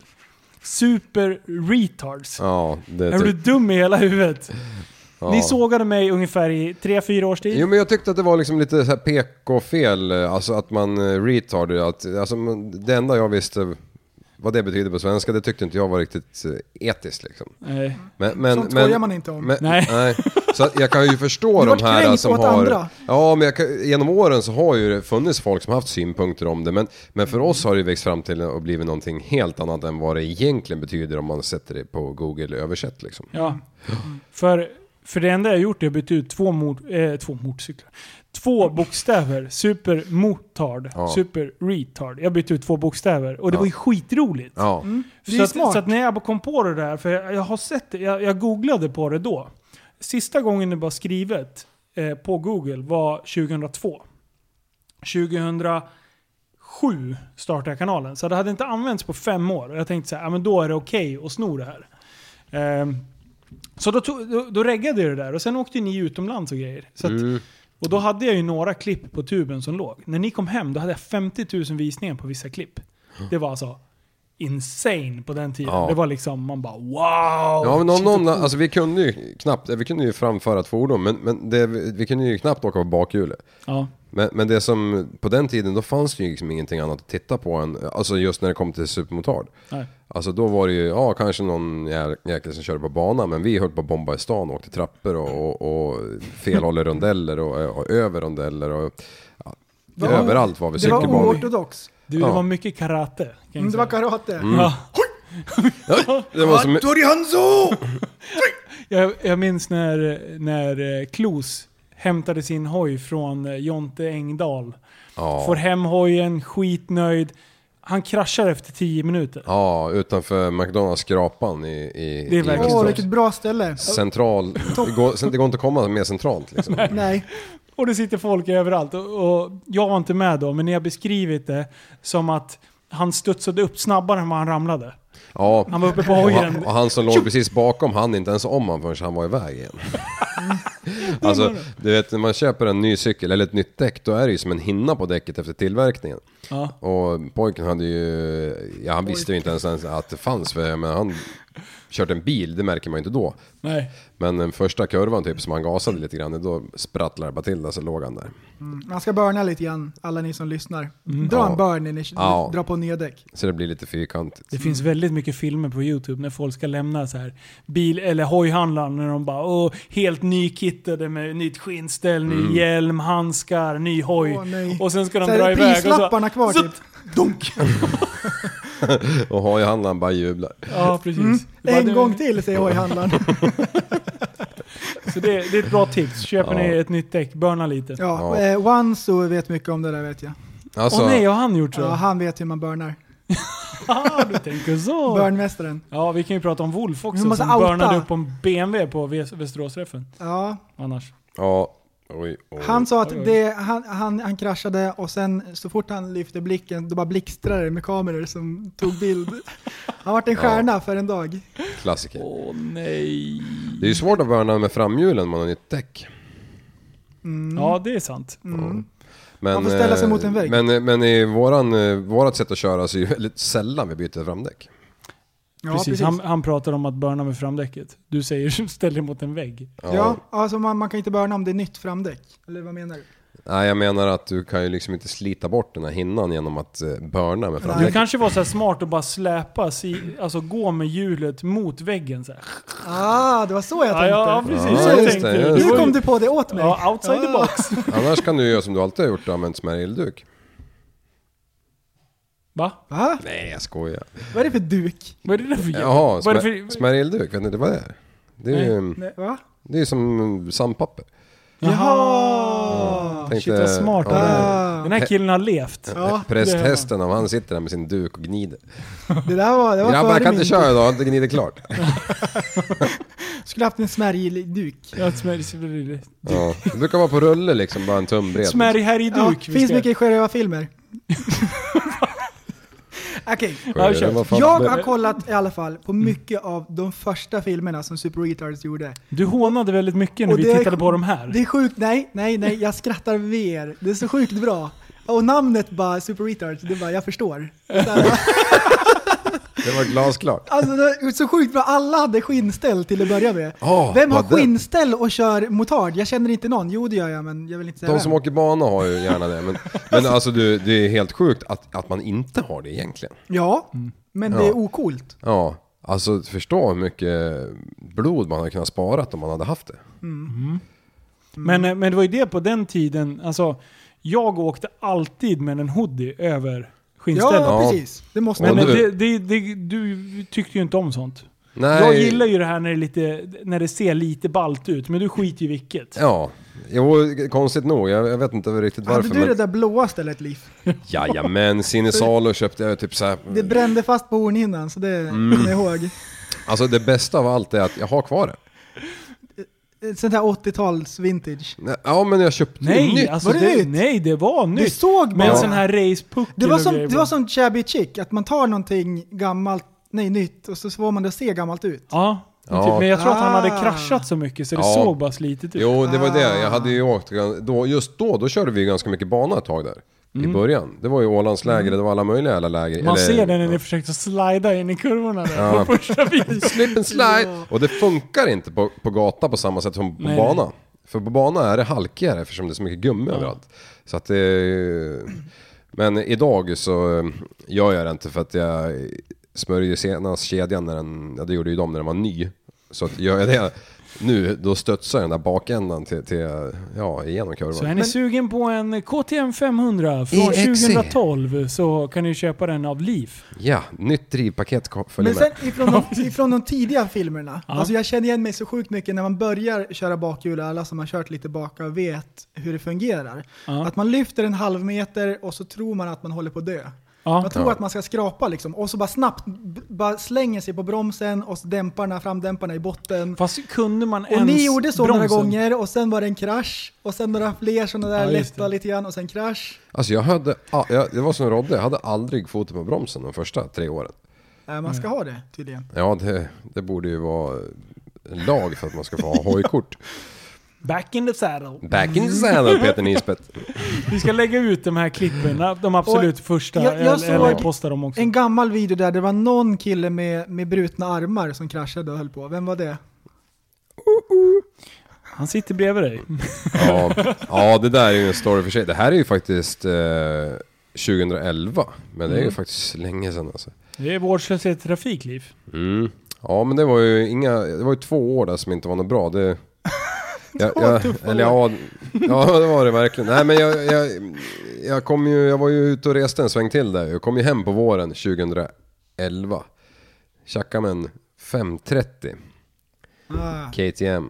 Super Retards.
Ja, det
är du
tyck-
dum i hela huvudet?
ja.
Ni sågade mig ungefär i 3-4 års tid.
Jo men jag tyckte att det var liksom lite så här PK-fel, alltså att man eh, retarded, att, alltså man- det enda jag visste vad det betyder på svenska, det tyckte inte jag var riktigt eh, etiskt liksom.
Nej.
Men, men,
Sånt
men,
skojar man inte om.
Men,
Nej.
nej. Så att jag kan ju förstå
Du vart
de här
kränkt
som
åt
har...
andra.
Ja, men jag kan, genom åren så har ju det funnits folk som haft synpunkter om det. Men, men för oss har det ju växt fram till och blivit någonting helt annat än vad det egentligen betyder om man sätter det på Google översätt liksom.
Ja. För, för det enda jag gjort är att byta ut två, mor, eh, två motorcyklar. Två bokstäver. Super motard.
Ja.
Super retard. Jag bytte ut två bokstäver och det
Ja.
var ju skitroligt.
Ja.
Det är ju
Så att,
smart.
så att när jag kom på det där, för jag, jag har sett det, jag, jag googlade på det då. Sista gången det var skrivet eh, på Google var 2002. 2007 startade jag kanalen, så det hade inte använts på fem år. Och jag tänkte så här, ja, men då är det okej att sno det här.
Mm.
Ehm, så då, tog, då, då reggade jag det där och sen åkte ni utomlands och grejer. Så att, Och då hade jag ju några klipp på tuben som låg. När ni kom hem, då hade jag 50 000 visningar på vissa klipp. Det var alltså insane på den tiden.
Ja.
Det var liksom, man bara wow!
Ja men om någon, alltså vi kunde ju knappt, vi kunde ju framföra ett fordon men, men det, vi kunde ju knappt åka på bakhjulet.
Ja.
Men, men det som, på den tiden då fanns det ju liksom ingenting annat att titta på än, alltså just när det kom till supermotard.
Nej.
Alltså då var det ju, ja kanske någon jä- jäkel som körde på banan men vi höll på att bomba i stan och åkte trappor och, och, och felhåller rondeller och, och över rondeller och ja,
Det var-
överallt var vi
Det var
cykelbanor.
oortodox.
Du, det
Ja. Mm.
var mycket karate. Kan jag
Mm, Det
säga.
var karate.
Ja.
Ja, Det var som,
Torihanzo!
Jag, jag minns när, när eh, Klos hämtade sin hoj från eh, Jonte Engdahl. Får
ja,
hem hojen, skitnöjd. Han kraschar efter 10 minuter.
ja, utanför McDonalds skrapan i, i,
Det är
i
verkligen
Västerås.
så.
Åh, vilket bra ställe.
central, det går, det går inte att komma mer centralt liksom.
Nej.
Och det sitter folk överallt. Och, och jag var inte med då, men ni har beskrivit det som att han studsade upp snabbare än vad han ramlade.
Ja.
Han var uppe på
Och han,
hojen.
och han som låg precis bakom han inte ens om han förrän han var iväg igen.
Mm.
Alltså, du vet när man köper en ny cykel eller ett nytt däck då är det ju som en hinna på däcket efter tillverkningen.
Ja.
Och pojken hade ju, ja han visste ju inte ens att det fanns för jag menar, han körde en bil, det märker man ju inte då.
Nej.
Men den första kurvan typ som han gasade lite grann, då sprattlade det bara till där så låg han där.
Man ska burna lite grann, alla ni som lyssnar.
Mm.
Dra
Ja.
en burn när ni
Ja.
drar på nya däck.
Så det blir lite fyrkantigt.
Det finns väldigt mycket filmer på Youtube när folk ska lämna så här bil eller hojhandlaren när de bara Åh, helt nykittade med nytt skinnställ, ny hjälm, handskar, ny hoj.
Åh, nej.
och sen ska de
Så här,
dra iväg och så...
prislapparna kvar
Zup!
typ.
Dunk!
Och hojhandlaren bara jublar.
Ja, precis. Mm. Det var
En
det-
gång till säger hojhandlaren.
Så det, det är ett bra tips. Köper ni ett nytt däck, burna lite. Åh
Ja,
Ja.
eh, Wanzo vet mycket om det där vet jag.
Alltså,
nej, har han gjort så?
Ja, han vet hur man burnar.
Ah, du tänker så.
Burnmästaren.
Ja, vi kan ju prata om Wolf också
Vi måste
som
outa.
burnade upp en BMW på Väs- Västeråsträffen.
Ja,
Annars.
ja. Oj, oj.
han sa
Oj,
att
oj.
det, han, han, han kraschade och sen så fort han lyfte blicken då bara blixtrade det med kameror som tog bild. Han vart en stjärna för en dag.
Klassiker.
Åh nej.
Det är ju svårt att värna med framhjulen om man har nytt däck.
Mm.
Ja, det är sant.
Men,
Man får ställa sig
eh,
mot en vägg.
Men, men i våran, eh, vårat sätt att köra så är det ju väldigt sällan vi byter framdäck.
Ja,
precis. Han, han pratar om att burna med framdäcket. Du säger ställ dig mot en vägg.
Ja, alltså man, man kan inte burna om det är nytt framdäck. Eller vad menar du?
Nej, jag menar att du kan ju liksom inte slita bort den här hinnan genom att eh, börna med
Du
framdäck.
kanske var så här smart och bara släpa, si, alltså gå med hjulet mot väggen så här.
Ah, det var så jag
Ja,
tänkte.
ja, precis.
Ja,
så
just
tänkte
det,
du.
just
Det
Nu
var
kom
ju-
du på det åt mig.
Ja, outside the
Ja.
box.
Annars kan du ju göra som du alltid har gjort och använt smärjelduk.
Va?
Va?
Nej, jag skojar.
Vad är det för duk?
Vad är det där för jävla...
Jaha,
vad är det
smär,
för-
smärjelduk, vet ni inte vad det är? Det är ju
Nej, va?
det är som sandpapper.
Jaha!
Tänkte-
Shit vad smart
ja,
han är.
Ah.
Den här killen har levt.
Ja,
Prästhästen, han sitter där med sin duk och gnider.
det där var, det var
Grabbar, jag
före min
kan inte köra idag, jag har inte gnidit klart.
Skulle haft en smärjduk.
Ja, smärj-
Ja. Det brukar vara på rulle liksom, bara en tum bred.
Smärj här i duk.
Ja,
vi
finns
ska-
mycket Sjörövarfilmer. Okej,
Ja, kör.
Vad fan-
jag har kollat i alla fall på mycket av de första filmerna som Super Retards gjorde.
Du hånade väldigt mycket när
Och
vi
det är-
tittade på de här.
Det är sjukt, nej, nej, nej, jag skrattar VR. Det är så sjukt bra. Och namnet bara Super Retards, det är bara, jag förstår.
Det var glasklart.
Alltså det är så sjukt bra, alla hade skinnställ till att börja med.
Ja,
Vem har
Ah, vad det-
skinnställ och kör motard? Jag känner inte någon, jo det gör jag men jag vill inte säga
De
vem.
som åker bana har ju gärna det, men, men alltså du, det är helt sjukt att, att man inte har det egentligen.
Ja, men det
Ja.
är okult.
Ja, alltså förstå hur mycket blod man hade kunnat spara om man hade haft det.
Men,
Mm.
eh, men det var ju det på den tiden, alltså jag åkte alltid med en hoodie över
Ja,
skinnstället.
Ja.
precis. Det måste
Men
man.
Ja,
eh,
nu-
det, det, det, du tyckte ju inte om sånt.
Nej,
Jag gillar ju det här när det, är lite, när det ser lite balt ut, men du skiter ju i vilket.
Ja, jo, konstigt nog. Jag, jag vet inte riktigt varför.
Hade du det
men,
där blåa stället Liv?
jajamän, Sinisalo köpte jag typ så här.
Det brände fast på hornhinnan så det
Mm.
kommer jag ihåg.
Alltså det bästa av allt är att jag har kvar det.
Ett Sånt här 80-tals vintage.
Nej, Ja, men jag köpte ju
Nej,
nytt.
alltså
Var det
det,
nytt?
nej, det var nytt.
Du såg
med en
bara.
sån här racepuckel
Det var,
och
som,
grejer
det
på.
var som Chabby Chick, att man tar någonting gammalt, nej nytt och så får man det att se gammalt ut.
Ja,
Ja.
Typ, men jag tror att han hade
Ah.
kraschat så mycket så det
Ja.
såg bara slitet ut.
Jo, det var det. Jag hade ju åkt, gan- då, just då, då körde vi ju ganska mycket bana ett tag där. I början. Det var ju Ålandsläger, det var alla möjliga alla läger.
Mm. Man
eller-
ser det när ni försökte slida in i kurvorna där
Ja.
på första bilen.
Slip and slide! Och det funkar inte på, på gata på samma sätt som på
Nej.
bana. För på bana är det halkigare eftersom det är så mycket gummi överallt. Så att det... Men idag så eh, gör jag det inte för att jag smörjer ju senast kedjan när den... Ja, det gjorde ju de när den var ny. Så att gör jag det nu, då stötsar jag den där bakändan till... till ja, igenom kurvan.
Så är ni sugen på en KTM 500 från
EXE.
2012 så kan ni köpa den av Leaf.
Ja, nytt drivpaket ko- följer
Men
med.
sen ifrån de, ifrån de tidiga filmerna,
Ja.
alltså jag känner igen mig så sjukt mycket när man börjar köra bakhjul och alla som har kört lite baka vet hur det fungerar.
Ja.
Att man lyfter en halv meter och så tror man att man håller på att dö.
Ja.
Man tror
Ja.
att man ska skrapa liksom och så bara snabbt b- bara slänger sig på bromsen och så dämparna, framdämparna i botten.
Fast kunde man ens
Och ni gjorde så några
bromsen?
gånger och sen var det en krasch och sen några fler sådana där
Ja, just
lätta
det.
lite grann och sen krasch.
Alltså jag hade... ah, Jag, det var som Rodde, jag hade aldrig foten på bromsen de första tre åren.
Eh, Man ska ha det tydligen.
Ja, det, det borde ju vara en lag för att man ska få ha hojkort.
Back in the saddle.
Back in the saddle Peter Nisbet.
Vi ska lägga ut de här klippen, de absolut första.
jag- jag
eller, eller
såg
posta dem också.
En gammal video där det var någon kille med, med brutna armar som kraschade och höll på. Vem var det?
Han sitter bredvid dig.
Ja, ja, det där är ju en story för sig. Det här är ju faktiskt eh, 2011. Men det är ju faktiskt länge sedan alltså.
Det är vårdslöshet i trafik, Leaf.
Mm. Ja, men det var ju inga... Det var ju två år där som inte var något bra. Det... Jag,
var
jag,
tuffa
eller ja, ja, det var det verkligen. Nej, men jag, jag, jag, kom ju, jag var ju ute och reste en sväng till där. Jag kom ju hem på våren 2011. Tjackade med en 530.
Ah.
KTM.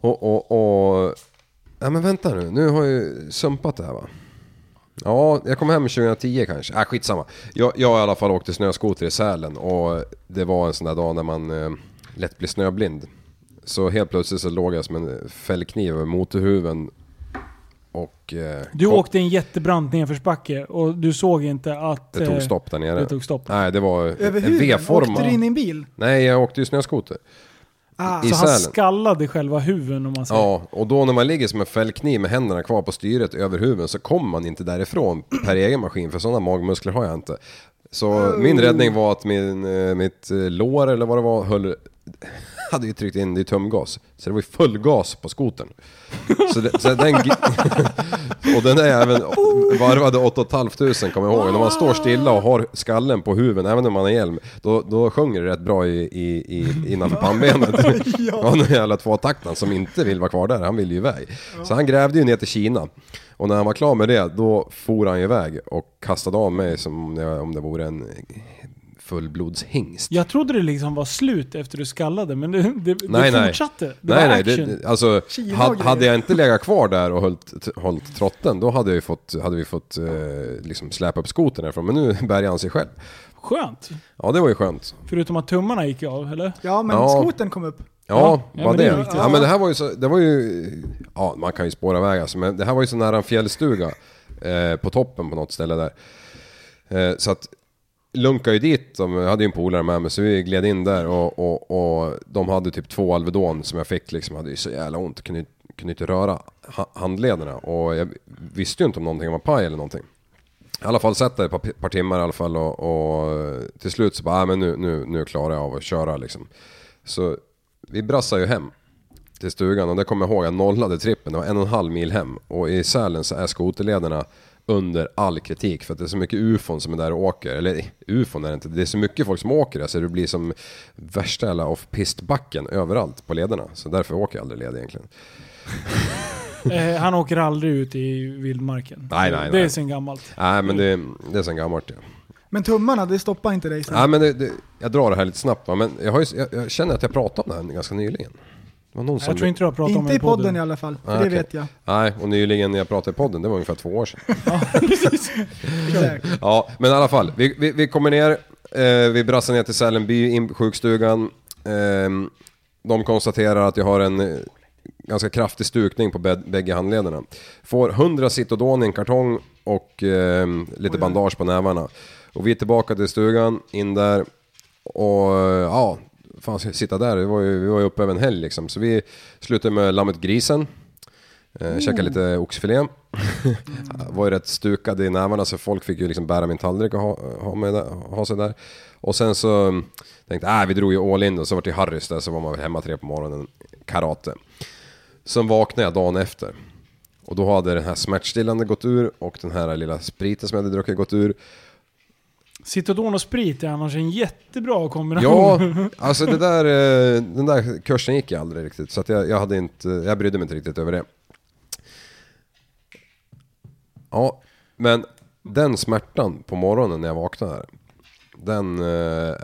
Och, och, och... Ja men vänta nu, nu har jag ju sumpat det här va? Ja, jag kom hem 2010 kanske. Äh, skitsamma. Jag, jag i alla fall åkte snöskoter i Sälen och det var en sån där dag när man eh, lätt blir snöblind. Så helt plötsligt så låg jag som en fällkniv över motorhuven och... Eh,
Du
kom-
åkte en jättebrant nedförsbacke och du såg inte att...
Det
eh,
tog stopp där nere.
det tog stopp.
Nej, det var
Över
en
huvudet? Åkte du in
V-form.
i en bil?
Nej, jag åkte ju snöskoter.
Ah.
I
Så han
Sälen.
skallade själva huven om man säger.
Ja, och då när man ligger som en fällkniv med händerna kvar på styret över huven så kommer man inte därifrån per egen maskin för sådana magmuskler har jag inte. Så
Oh.
min räddning var att min, eh, mitt eh, lår eller vad det var höll, hade ju tryckt in det i tömgas. Så det var ju full gas på skotern. Så, det, så den, gi- och den där även varvade 8500 kommer jag ihåg. När man står stilla och har skallen på huven, även om man har hjälm, då, då sjunger det rätt bra i, i, i, innanför pannbenet. Ja, den jävla tvåtaktaren som inte vill vara kvar där, han vill ju iväg. Så han grävde ju ner till Kina. Och när han var klar med det, då for han ju iväg och kastade av mig som om det- om det vore en fullblodshingst.
Jag trodde det liksom var slut efter du skallade, men det, det,
Nej,
det
nej.
fortsatte. Det var
nej, nej,
action.
det, det- alltså,
Kina och
had, hade
grejer.
jag inte legat kvar där och hållit, t- hållit trotten, då hade, jag ju fått, hade vi fått eh, liksom släpa upp skotern härifrån. Men nu bär han sig själv.
Skönt.
Ja, det var ju skönt.
Förutom att tummarna gick av, eller?
Ja, men
Ja.
skotern kom upp.
Ja,
Ja,
vad
men det
det.
är viktigt.
ja, men det här var ju så, det var ju, ja man kan ju spåra vägar alltså, men det här var ju så nära en fjällstuga eh, på toppen på något ställe där. Eh, så att lunkade ju dit, de, jag hade ju en polare med mig så vi gled in där och, och, och de hade typ två Alvedon som jag fick liksom, hade ju så jävla ont, kunde, kunde inte röra ha- handlederna och jag visste ju inte om någonting var paj eller någonting. I alla fall satt där ett par, par timmar i alla fall och, och till slut så bara, "Ah, men nu, nu, nu klarar jag av att köra liksom. Så vi brassade ju hem till stugan och där kommer jag ihåg jag nollade trippen. Det var en och en halv mil hem och i Sälen så är skoterlederna under all kritik för att det är så mycket ufon som är där och åker. Eller ufon är det inte, det är så mycket folk som åker där så det blir som värsta jävla off-pistbacken överallt på lederna. Så därför åker jag aldrig led egentligen.
Eh, han åker aldrig ut i vildmarken.
Nej, nej,
Det är
nej.
sen gammalt.
Nej men det, det är sen gammalt ja.
Men tummarna, det stoppar inte dig sen.
Nej men det, det, jag drar det här lite snabbt va, men jag, har ju, jag, jag känner att jag pratade om det här ganska nyligen. Det var någon som
Jag tror inte du har pratat om
inte
det
i podden i alla fall, för
Ah,
det
okej.
vet jag.
Nej, och nyligen när jag pratade i podden, det var ungefär två år sedan.
Exakt.
Ja, men i alla fall. Vi, vi, vi kommer ner, eh, vi brassar ner till Sälenby, in på sjukstugan. Ehm, de konstaterar att jag har en eh, ganska kraftig stukning på bäd- bägge handlederna. Får 100 Citodon i en kartong och ehm, lite bandage på nävarna. Och vi är tillbaka till stugan, in där och eh, ja, fan ska jag sitta där? Det var ju, vi var ju uppe över en helg liksom. Så vi slutade med lammet grisen. Eh, Käkade lite oxfilé. Jag var ju rätt stukad i nävarna så folk fick ju liksom bära min tallrik och ha, ha, med, ha sig där. Och sen så mm, tänkte jag, äh, vi drog ju all in och så vart det Harrys där så var man väl hemma tre på morgonen, karate. Sen vaknade jag dagen efter. Och då hade den här smärtstillande gått ur och den här lilla spriten som jag hade druckit gått ur.
Citodon och sprit är annars en jättebra kombination.
Ja, alltså det där, eh, den där kursen gick jag aldrig riktigt så att jag, jag, hade inte, jag brydde mig inte riktigt över det. Ja, men den smärtan på morgonen när jag vaknade, den eh,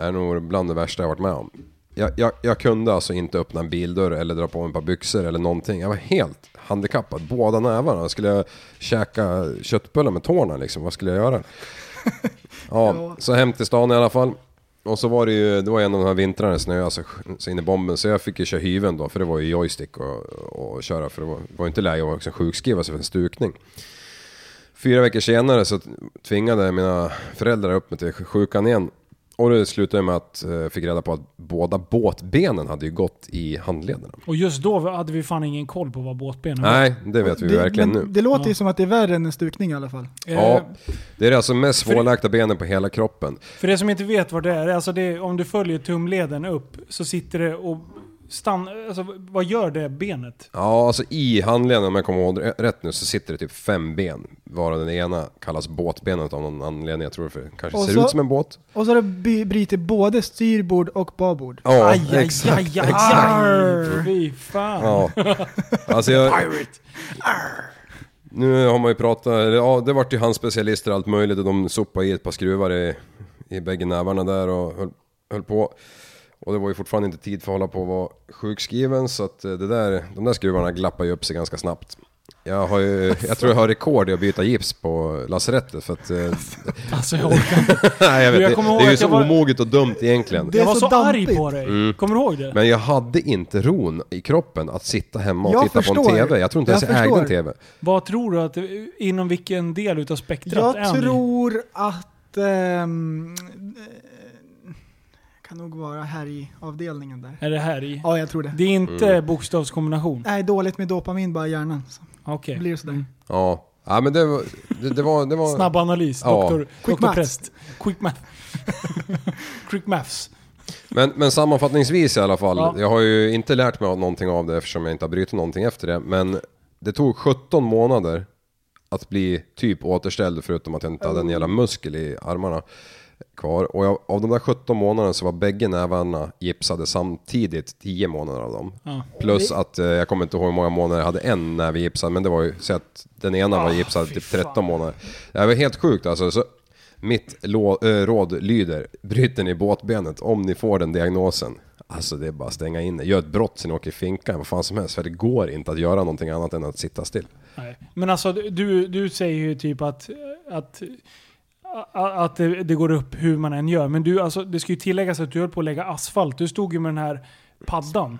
är nog bland det värsta jag varit med om. Jag, jag, jag kunde alltså inte öppna en bildörr eller dra på mig ett par byxor eller någonting. Jag var helt handikappad, båda nävarna. Skulle jag käka köttbullar med tårna liksom, vad skulle jag göra? Ja, så hem till stan i alla fall. Och så var det ju, det var en av de här vintrarna det snöade så, så in i bomben. Så jag fick ju köra hyven då, för det var ju joystick och, och köra. För det var, det var ju inte läge att också sjukskriva sig för en stukning. Fyra veckor senare så tvingade mina föräldrar upp mig till sjukan igen. Och det slutade med att eh, jag fick reda på att båda båtbenen hade ju gått i handlederna.
Och just då hade vi fan ingen koll på vad båtbenen var.
Nej, det vet vi ju
det,
verkligen
men
nu.
Det låter ju som att det är värre än en stukning i alla fall.
Eh,
Ja, det är alltså mest svårläkta benen på hela kroppen.
För det som inte vet vad det är, alltså det, om du följer tumleden upp så sitter det och stannar... Alltså, vad gör det benet?
Ja, alltså i handleden om jag kommer ihåg rätt nu så sitter det typ fem ben. Varav den ena kallas båtbenet av någon anledning. Jag tror för det kanske
Och
ser
så-
ut som en båt.
Och så har det by- brutit både styrbord och babord.
Ja,
aj, aj,
exakt.
aj, aj, aj. Fy fan.
Ja. Alltså jag, nu har man ju pratat, eller ja det vart ju hans specialister allt möjligt och de sopade i ett par skruvar i, i bägge nävarna där och höll, höll på. Och det var ju fortfarande inte tid för att hålla på och vara sjukskriven så att eh, det där, de där skruvarna glappade ju upp sig ganska snabbt. Jag, har ju, jag tror jag har rekord i att byta gips på lasarettet för att... eh,
Alltså jag orkar inte.
Nej jag vet,
Du, jag
det,
kommer ihåg
det är ju
att jag
så
var-
omoget och dumt egentligen.
Det är
Jag var så,
så
arg
dampigt.
på dig.
Mm.
Kommer du ihåg det?
Men jag hade inte ron i kroppen att sitta hemma och
Jag
titta på
förstår.
en TV. Jag tror inte
Jag
ens jag ägde en
förstår.
TV.
Vad tror du att... Inom vilken del utav spektrat är
Jag
ni?
tror att... ehm, eh, kan nog vara här i avdelningen där.
Är det här i?
Ja, jag tror det.
Det är inte
Mm.
bokstavskombination?
Nej, dåligt med dopamin bara i hjärnan. Så
Okej.
blir det sådär.
Ja, ja men det var... Det, det var, det var
Snabb analys,
Ja.
doktor,
Quick
doktor
maths.
Präst. Quick math. Quick maths.
Men, men sammanfattningsvis i alla fall.
Ja.
Jag har ju inte lärt mig av någonting av det eftersom jag inte har brutit någonting efter det. Men det tog 17 månader att bli typ återställd förutom att jag inte hade en jävla muskel i armarna kvar. Och jag, av de där 17 månaderna så var bägge nävarna gipsade samtidigt 10 månader av dem.
Ja.
Plus att eh, jag kommer inte ihåg hur många månader jag hade en näve gipsad men det var ju så att den ena var gipsad
Ah, fy
typ
fan.
13 månader. Det här var helt sjukt alltså. Så mitt lå- eh, råd lyder, bryter ni båtbenet om ni får den diagnosen. Alltså det är bara att stänga in det. Gör ett brott sen ni åker i finkan, vad fan som helst. För det går inte att göra någonting annat än att sitta still.
Nej. Men alltså du, du säger ju typ att, att, att det, det går upp hur man än gör. Men du, alltså, det ska ju tilläggas att du höll på att lägga asfalt. Du stod ju med den här paddan.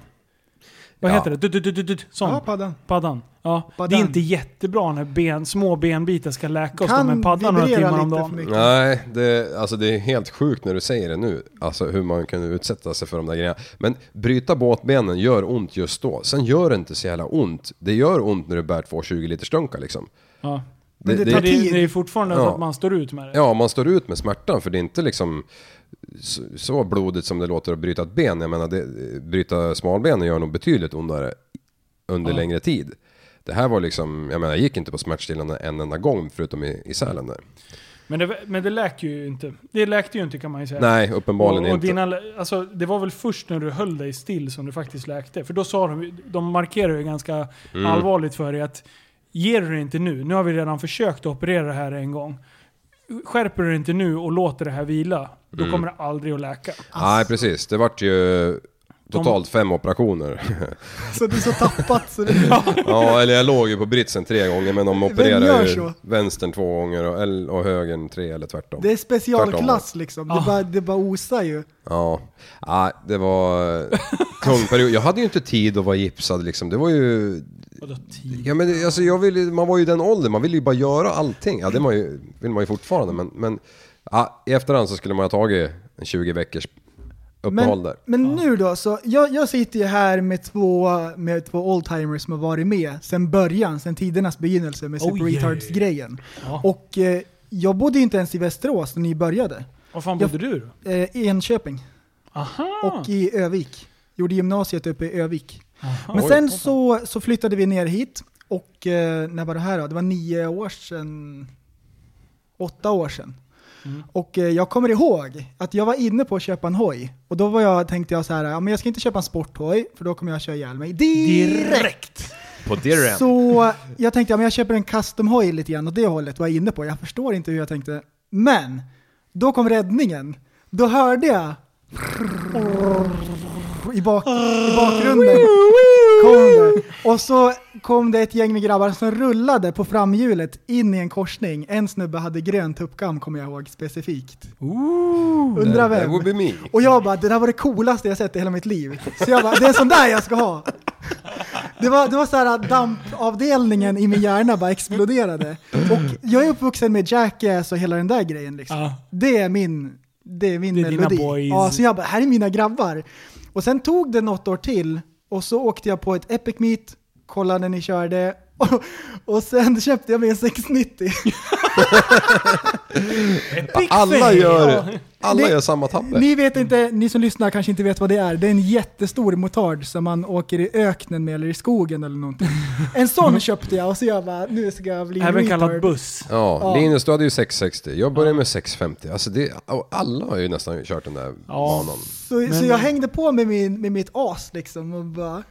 Vad
Ja.
heter det? Du, du, du, du, du, sån.
Ja, paddan.
paddan. Ja.
Paddan.
Det är inte jättebra när ben, små benbitar ska läka oss då
Kan
med paddan några
vibrera
timmar om
lite
dagen.
för mycket.
Nej, det, alltså det är helt sjukt när du säger det nu. Alltså hur man kunde utsätta sig för de där grejerna. Men bryta båtbenen gör ont just då. Sen gör det inte så jävla ont. Det gör ont när du bär två 20 liters dunkar liksom.
Ja.
Men det
Det,
tar
det,
tid.
det är fortfarande så
Ja.
att man står ut med det.
Ja, man står ut med smärtan för det är inte liksom så, så blodigt som det låter att bryta ett ben. Jag menar, det, bryta smalbenen gör nog betydligt ondare under längre tid. Det här var liksom, jag menar jag gick inte på smärtstillande en enda gång förutom i, i Sälen där.
Men det, men det läkte ju inte. Det läkte ju inte kan man ju säga.
Nej, uppenbarligen
och, och
inte.
dina, alltså, det var väl först när du höll dig still som du faktiskt läkte? För då sa de, de markerade ju ganska
Mm.
allvarligt för dig att ger du det inte nu, nu har vi redan försökt att operera det här en gång. Skärper du det inte nu och låter det här vila, då
Mm.
kommer det aldrig att läka.
Nej, precis. Det vart ju totalt fem operationer.
Så det är så tappat så det...
ja, eller jag låg ju på britsen tre gånger men de
gör
opererar ju
så?
vänstern två gånger och, L- och högern tre eller tvärtom.
Det är specialklass
Tvärtom.
liksom. Det bara, det bara osar ju.
Ja, ah, det var eh, tung period. Jag hade ju inte tid att vara gipsad liksom. Det var ju...
Vadå tid?
Ja, men, det- alltså, jag ville, man var ju i den åldern, man ville ju bara göra allting. Ja, det man ju, vill man ju fortfarande men... men ah, I efterhand så skulle man ha tagit en 20 veckors uppehåll
Men,
där.
men nu då, så jag, jag sitter ju här med två, med två oldtimers som har varit med sedan början, sedan tidernas begynnelse med
Oh,
Super
yeah.
Retards-grejen.
Ja.
Och eh, jag bodde ju inte ens i Västerås när ni började.
Var fan bodde du då?
Eh, I Enköping
Aha!
och i Övik. Gjorde gymnasiet uppe i Övik.
Aha.
Men
Oj.
sen så, så flyttade vi ner hit och eh, när var det här då? Det var nio år sedan. Åtta år sedan.
Mm.
Och eh, jag kommer ihåg att jag var inne på att köpa en hoj. Och då var jag, tänkte jag så här, ja, men jag ska inte köpa en sporthoj för då kommer jag köra ihjäl mig direkt.
Direkt!
På dirren.
Så jag tänkte, ja, men jag köper en custom-hoj lite grann och det hållet var jag inne på. Jag förstår inte hur jag tänkte. Men, då kom räddningen. Då hörde jag i, bak, i bakgrunden. Kom det. Och så kom det ett gäng med grabbar som rullade på framhjulet in i en korsning. En snubbe hade grön tuppkam kommer jag ihåg specifikt. Undrar
That would
vem.
be me.
Och jag bara, det där var det coolaste jag sett i hela mitt liv. Så jag bara, det är en sån där jag ska ha. Det var, det var så här att dampavdelningen i min hjärna bara exploderade. Och jag är uppvuxen med Jackass och hela den där grejen liksom.
Ja.
Det är min, det är min
Det är dina
melodi.
boys.
Ja, så jag bara, här är mina grabbar. Och sen tog det något år till och så åkte jag på ett Epic Meet, kollade när ni körde och, och sen köpte jag mig en 690.
Alla gör, alla
Ni-
gör samma tabbe.
Ni vet inte, ni som lyssnar kanske inte vet vad det är. Det är en jättestor motard som man åker i öknen med eller i skogen eller någonting. En sån köpte jag och så jag bara, nu ska jag bli
Även kallad
retard.
buss.
Ja,
Ja.
Linus du hade ju 660, jag började med 650. Alltså det, och alla har ju nästan kört den där
Ja.
banan.
Så, så jag hängde på med, min, med mitt as liksom och bara,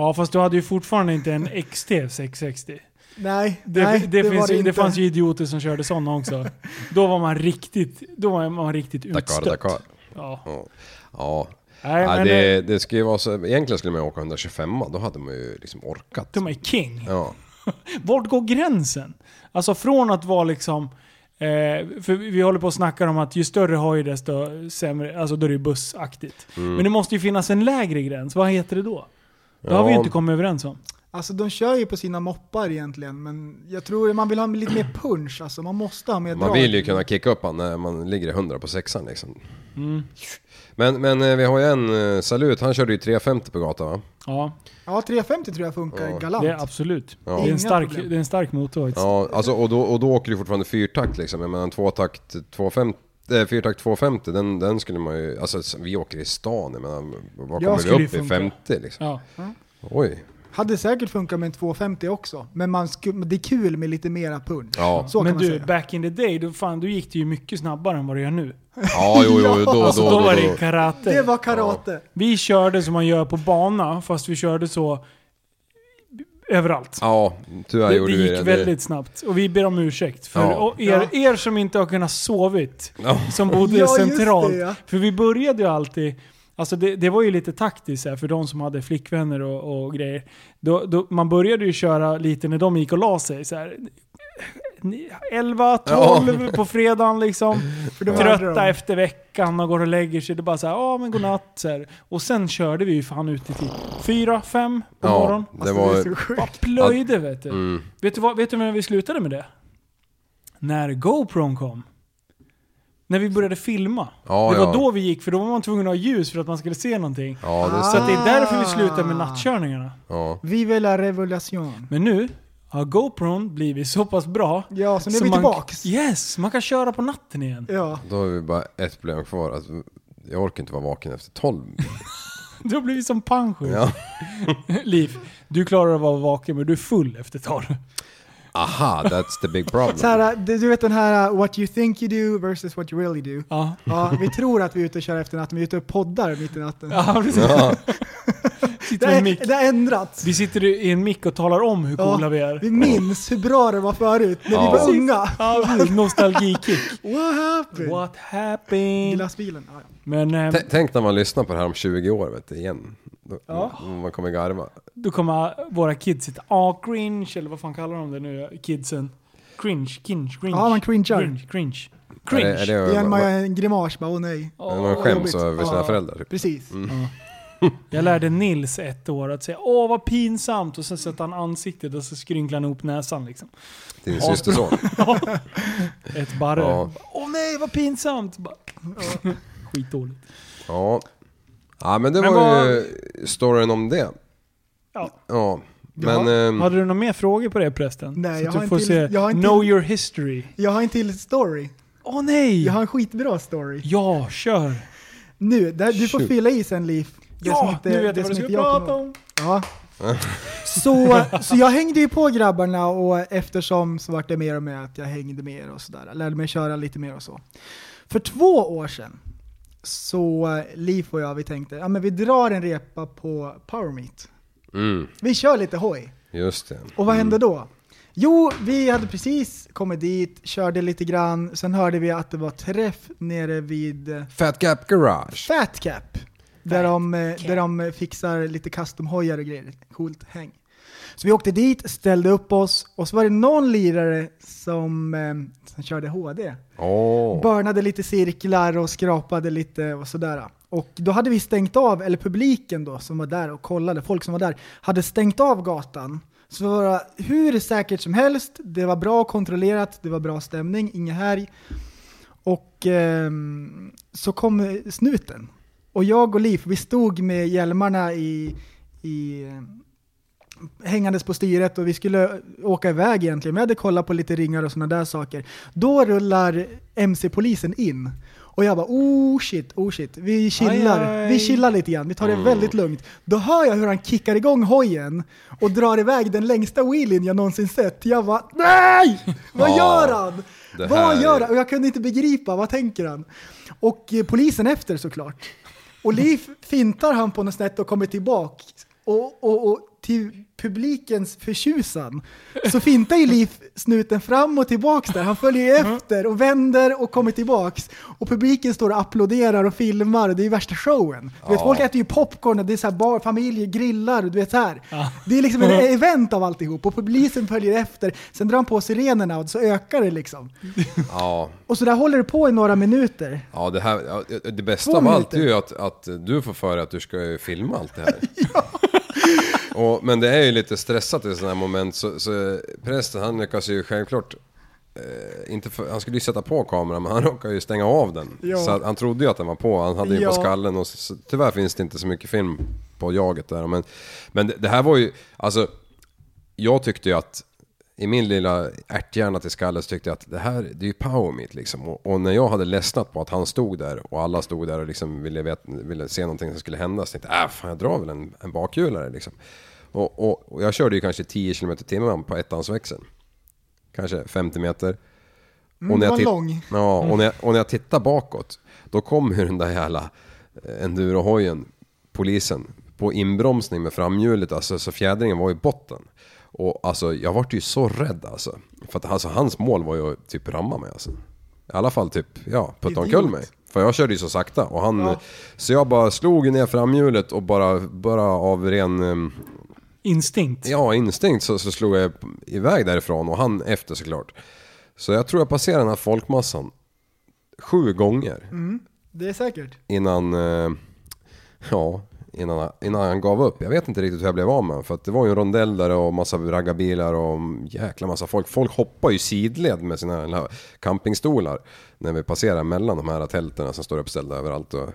Ja, fast du hade ju fortfarande inte en XT 660.
nej,
Det,
nej,
det,
var
finns ju,
inte.
det fanns ju idioter som körde sådana också. Då var man riktigt, då var man riktigt
Dakar,
utstött.
Dakar.
Ja.
Ja. ja.
Nej,
ja
men
det, det ska ju vara så, egentligen skulle man ju åka 125 då hade man ju liksom orkat.
de är king.
Ja.
Vart går gränsen? Alltså från att vara liksom... Eh, för vi håller på att snacka om att ju större hoj desto sämre, alltså då är det ju bussaktigt.
Mm.
Men det måste ju finnas en lägre gräns, vad heter det då? Det har vi ju
Ja.
inte kommit överens om.
Alltså de kör ju på sina moppar egentligen, men jag tror man vill ha lite mer punch alltså. Man måste ha mer
Man
drag.
vill ju kunna kicka upp han när man ligger i 100 på sexan liksom.
Mm.
Men, men eh, vi har ju en, eh, Salut, han körde ju 350 på gatan va?
Ja,
Ja, 350 tror jag funkar galant.
det är absolut.
Ja.
Det, är en
Inga
stark,
problem.
det är en stark motor.
Ja, alltså, och, då, och då åker du fortfarande fyrtakt liksom. Jag menar en tvåtakt 250, äh, fyrtakt 250 den, den skulle man ju, alltså vi åker i stan, jag menar, vad kommer vi
skulle ju
upp i?
funka.
50 liksom?
Ja.
Oj.
Hade säkert funkat med en 250 också, men man sku- det är kul med lite mera punch.
Ja.
Så
Men
kan man
du,
säga.
back in the day, då, fan, då gick det ju mycket snabbare än vad det gör nu.
Ja, jo, jo, då, då,
Alltså
då,
då var
då,
det karate.
Det var karate.
Vi körde som man gör på bana, fast vi körde så överallt.
Ja, tyvärr
Det,
gjorde
det
vi
gick väldigt snabbt och vi ber om ursäkt för
Ja.
och er, er som inte har kunnat sovit,
Ja.
som bodde
Ja, just
centralt.
det, ja.
För vi började ju alltid, alltså det, det var ju lite taktiskt här, för de som hade flickvänner och, och grejer. Då, då, man började ju köra lite när de gick och la sig. Så här, ni- 11, 12 på fredagen liksom.
För då hade
Trötta
de-
efter veckan och går och lägger sig. Det är bara såhär, ja men godnatt. Så här. Och sen körde vi ju fan ut till typ 4, 5 på
Ja,
morgonen.
det
Alltså, det är
var...
så sjukt.
Bara plöjde vet du.
Mm.
Vet du, vad, vet du när vi slutade med det? När GoPron kom. När vi började filma.
Ja,
det var
ja.
då vi gick, för då var man tvungen att ha ljus för att man skulle se någonting.
Ja, det
Så att det är därför vi
Ah.
slutade med nattkörningarna.
Ja.
Vive la revolution.
Men nu har GoPron blivit så pass bra.
Ja, så nu är
så
vi
man-
tillbaks.
Yes, man kan köra på natten igen.
Ja.
Då har vi bara ett problem kvar. Att jag orkar inte vara vaken efter 12.
Du har blivit som Pancho.
Ja.
Liv, du klarar att vara vaken men du är full efter torr.
Aha, that's the big problem.
Så här, du du vet den här uh, what you think you do versus what you really do.
Ja.
Ja, vi tror att vi är ute och kör efter natten, men vi är ute och poddar mitt i natten.
Ja, precis.
Ja,
Sitter
Det,
med en
är,
mick.
det har ändrats.
Vi sitter i en mick och talar om hur
Ja,
coola vi är.
Vi minns hur bra det var förut, när
Ja.
vi var unga.
Ja, precis. nostalgikick.
What happened?
What happened?
Glassbilen. Ja, ja.
Men eh,
T- Tänk när man lyssnar på det här om 20 år vet du, igen. Då, Man kommer garva.
då kommer våra kids sitta ah cringe, eller vad fan kallar de det nu, kidsen? Cringe, cringe, cringe.
Ja, man cringear.
Cringe, cringe.
Är
cringe.
det, är det,
Det är en,
man, man,
en grimas, bara åh nej.
man skäms
jobbigt.
över sina
Ja.
föräldrar. Typ.
Precis.
Jag lärde Nils ett år att säga åh vad pinsamt och sen sätter han ansiktet och så skrynklar han ihop näsan liksom.
Din
Ja.
systerson.
Ett barre.
Ja.
Åh nej vad pinsamt! Bara, Skitdåligt.
Ja. Ja men det
Men
var
vad-
ju storyn om det.
Ja.
Ja. Men... ehm,
Hade du några mer frågor på det prästen?
Nej,
så
jag
att
har
du
en
får
till-
se
jag har en
Know
till-
your history.
Jag har en till story.
Åh nej!
Jag har en skitbra story.
Ja, kör!
Nu, där, du får
Shoot.
fylla i sen Liv. Det som
Ja,
inte-
nu vet
det
jag vad du ska
som inte jag kommer
prata
ihåg.
om.
Ja. Så, så jag hängde ju på grabbarna och eftersom så vart det mer och mer att jag hängde med er och sådär. Lärde mig köra lite mer och så. För två år sedan så Liv och jag vi tänkte, ja men vi drar en repa på Power Meet.
mm,
Vi kör lite hoj.
just det.
Och vad hände då? Jo, vi hade precis kommit dit, körde lite grann, sen hörde vi att det var träff nere vid eh,
Fat Gap Garage.
Fat Cap. Där de, eh, där de eh, fixar lite custom-hojar och grejer. Coolt häng. Så vi åkte dit, ställde upp oss och så var det någon lirare som, eh, som körde HD.
Åh.
Burnade lite cirklar och skrapade lite och sådär. Och då hade vi stängt av, eller publiken då som var där och kollade, folk som var där, hade stängt av gatan. Så det var hur säkert som helst, det var bra kontrollerat, det var bra stämning, inga härj. Och ehm, så kom eh, snuten. Och jag och Liv, vi stod med hjälmarna i, i, eh, hängandes på styret och vi skulle åka iväg egentligen. Vi hade kollat på lite ringar och sådana där saker. Då rullar MC-polisen in. Och jag bara oh shit, oh shit. Vi chillar,
Aj, aj.
vi chillar lite grann. Vi tar det
Mm.
väldigt lugnt. Då hör jag hur han kickar igång hojen och drar iväg den längsta wheelien jag någonsin sett. Jag bara nej! Vad
Ja.
gör han?
Det
Vad
här
gör
är-
han? Och jag kunde inte begripa, vad tänker han? Och eh, polisen efter såklart. Och Liv fintar han på något sätt och kommer tillbaka. Och, och, och till publikens förtjusan så fintar ju Liv snuten fram och tillbaks där. Han följer ju efter och vänder och kommer tillbaks. Och publiken står och applåderar och filmar och det är ju värsta showen. Du vet,
Ja.
folk äter ju popcorn och det är så här bar, familjer grillar och du vet så här. Det är liksom ett event av alltihop och publiken följer efter. Sen drar han på sirenerna och så ökar det liksom.
Ja.
Och så där håller det på i några minuter.
Ja, det, här, ja, det bästa
Två
av allt är
minuter.
ju att, att du får för dig att du ska ju filma allt det här. Och, men det är ju lite stressat i sådana här moment så, så prästen han lyckas ju självklart eh, inte för, han skulle ju sätta på kameran men han råkade ju stänga av den.
Ja.
Så att han trodde ju att den var på, han hade ju
Ja.
på skallen och så, så, tyvärr finns det inte så mycket film på jaget där. Men, men det, det här var ju, alltså jag tyckte ju att i min lilla ärthjärna till skallen så tyckte jag att det här, det är ju power meet liksom. Och, och när jag hade ledsnat på att han stod där och alla stod där och liksom ville, vet, ville se någonting som skulle hända så tänkte jag, äh, fan jag drar väl en, en bakhjulare liksom. Och, och, och jag körde ju kanske 10 km timmen på ettans-växeln. Kanske 50 meter. och
Mm, det var
tit-
lång. Mm.
Ja, och när, jag, och när jag tittar bakåt, då kommer ju den där jävla eh, endurohojen, polisen, på inbromsning med framhjulet, alltså, så fjädringen var i botten. Och alltså, jag vart ju så rädd alltså. För att alltså, hans mål var ju att typ ramma mig alltså. I alla fall typ, ja, putta omkull
Idiot.
mig. För jag körde ju så sakta och han...
Ja.
Så jag bara slog ner framhjulet och bara, bara av ren... ehm,
Instinkt.
Ja, instinkt så, så slog jag iväg därifrån och han efter såklart. Så jag tror jag passerade den här folkmassan sju gånger
Det är säkert.
innan, eh, ja, innan, innan han gav upp. Jag vet inte riktigt hur jag blev av med För att det var ju en rondell där och massa raggarbilar och jäkla massa folk. Folk hoppar ju sidled med sina jävla campingstolar när vi passerar mellan de här tälterna som står uppställda överallt. Och,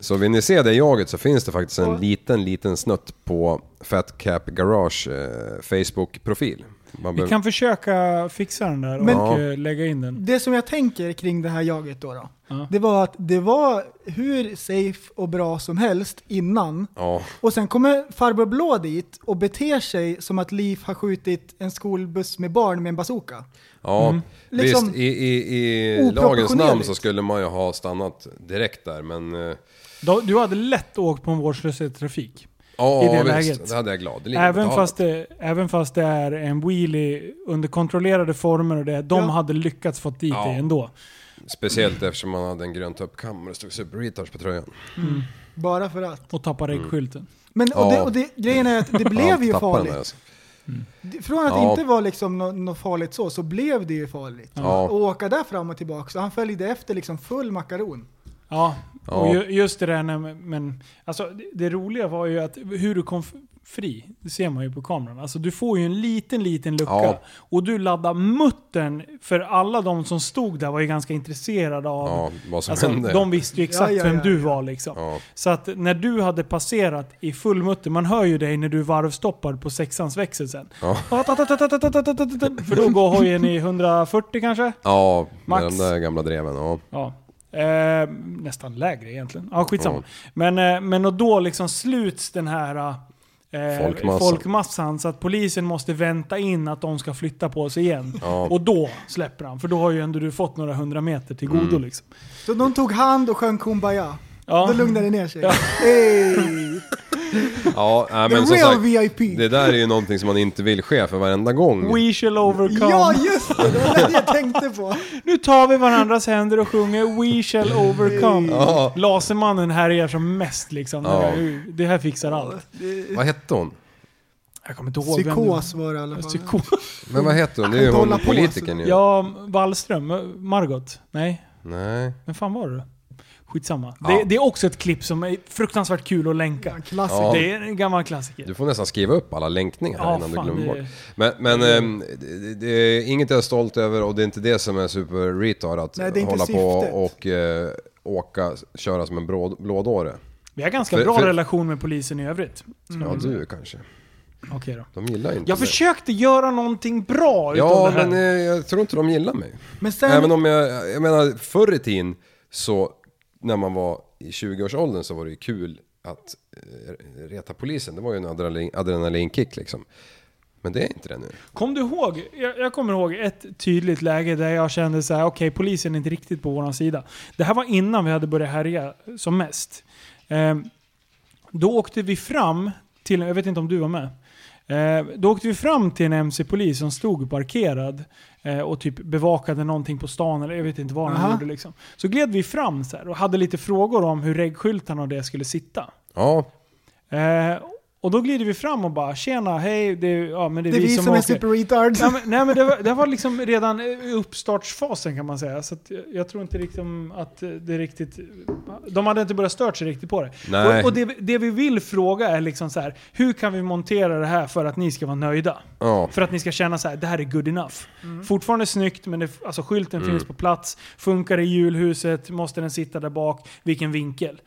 så vill ni se det jaget så finns det faktiskt en liten, liten snutt på Fat Cap Garage eh, Facebook-profil. Man
Vi
behöver-
kan försöka fixa den där
Men-
och
Ja.
eh, lägga in den.
Det som jag tänker kring det här jaget då, då
Ja.
det var att det var hur safe och bra som helst innan.
Ja,
Och sen kommer farbror blå dit och beter sig som att Liv har skjutit en skolbuss med barn med en bazooka.
Ja,
Mm.
Liksom
visst. I, i, i
oproportionerligt.
lagens namn så skulle man ju ha stannat direkt där, men... eh,
Då- Du hade lätt åkt på en vårdslöshet i trafik.
Ja,
I det
visst.
läget.
Det hade jag gladeligen
Även
betalat.
fast, det, även fast det är en wheelie under kontrollerade former och det, de
Ja.
hade lyckats fått dit
Ja.
det ändå.
Speciellt eftersom man hade en grön tuppkam och det stod Super Retards på tröjan.
Bara för att.
Och tappa
Mm.
reggskylten.
Men och
Ja.
det, och det, grejen är att det blev
Allt
ju
tappade den där,
farligt.
alltså.
Det- Från att det
Ja.
inte var liksom något nå farligt så, så blev det ju farligt.
Ja.
Och åka där fram och tillbaka. Så han följde efter liksom full makaron.
Ja,
Ja.
och ju, just det där när, men, alltså, det, det roliga var ju att hur du kom f- fri, det ser man ju på kameran. Alltså du får ju en liten, liten lucka.
Ja.
Och du laddar muttern, för alla de som stod där var ju ganska intresserade av...
Ja, vad som
alltså,
hände.
de visste ju exakt
Ja, ja,
vem
ja,
du
ja.
var liksom.
Ja.
Så att när du hade passerat i full mutter, man hör ju dig när du varvstoppar på sexans växel sen.
Ja.
För då går hojen i 140 kanske?
Ja, med
Max.
den där gamla dreven. Ja.
Ja. Eh, nästan lägre egentligen. Ja, skitsamma. Men, eh, men och då liksom sluts den här eh,
Folkmassan.
folkmassan så att polisen måste vänta in att de ska flytta på sig igen.
Ja.
Och då släpper han, för då har ju ändå du fått några hundra meter till godo
Mm.
liksom.
Så de tog hand och sjöng Kumbaya.
Ja.
Då lugnade det ner sig. Hey,
Ja, nej,
the
men som
real
sagt,
VIP!
det där är ju någonting som man inte vill ske för varenda gång.
We shall overcome.
Ja, just det! Det var det jag tänkte på.
Nu tar vi varandras händer och sjunger We shall overcome.
Mm. Ja.
Lasermannen härjar som mest liksom.
Ja.
Det- Det här fixar allt.
Vad hette hon?
Jag kommer inte ihåg vem det var.
Psykos var det i alla fall.
Psykos.
Men vad heter hon? Det är ju
Inte hålla
hon
på,
politikern ju.
Ja, Wallström. Margot? Nej.
Nej.
Men fan var det? Skitsamma.
Ja.
Det, det är också ett klipp som är fruktansvärt kul att
Ja,
länka.
Klassiker.
Ja.
Det är en gammal klassiker.
Du får nästan skriva upp alla länkningar här
Ja,
innan
fan,
du glömmer
det-
bort. Men, men ehm, det, det är inget jag är stolt över och det är inte det som är super retard att
Nej, det är inte
hålla på
syftet.
och eh, åka, köra som en bråd, blådåre.
Vi har ganska
För-
bra
för-
relation med polisen i övrigt.
Ja, du kanske.
Okej då.
De gillar inte
Jag
mig.
försökte göra någonting bra
Ja,
utav det här.
men eh, jag tror inte de gillar mig.
Men sen-
Även om jag, jag menar förr i tiden så när man var i 20-årsåldern så var det ju kul att eh, reta polisen. Det var ju en adrenalin, adrenalinkick liksom. Men det är inte det nu.
Kom du ihåg? Jag, jag kommer ihåg ett tydligt läge där jag kände så här: okej polisen är inte riktigt på våran sida. Det här var innan vi hade börjat härja som mest. Ehm, då åkte vi fram till, jag vet inte om du var med. Ehm, då åkte vi fram till en MC-polis som stod parkerad eh, och typ bevakade någonting på stan eller jag vet inte vad han
Aha.
gjorde liksom. Så gled vi fram så här och hade lite frågor om hur regskyltarna och det skulle sitta.
Ja,
Ehm, och då glider vi fram och bara tjena, hej, det, är- ja, men det är
Det är vi som är
åker.
super retard.
Nej men, nej, men det, var, det var liksom redan i uppstartsfasen kan man säga. Så att jag, jag tror inte riktigt om att det riktigt... De hade inte börjat stört sig riktigt på det.
Nej.
Och, och det, det vi vill fråga är liksom så här, hur kan vi montera det här för att ni ska vara nöjda?
ja.
För att ni ska känna så här, det här är good enough.
Mm.
Fortfarande snyggt, men det, alltså, skylten finns på plats. Funkar i julhuset? Måste den sitta där bak? Vilken vinkel?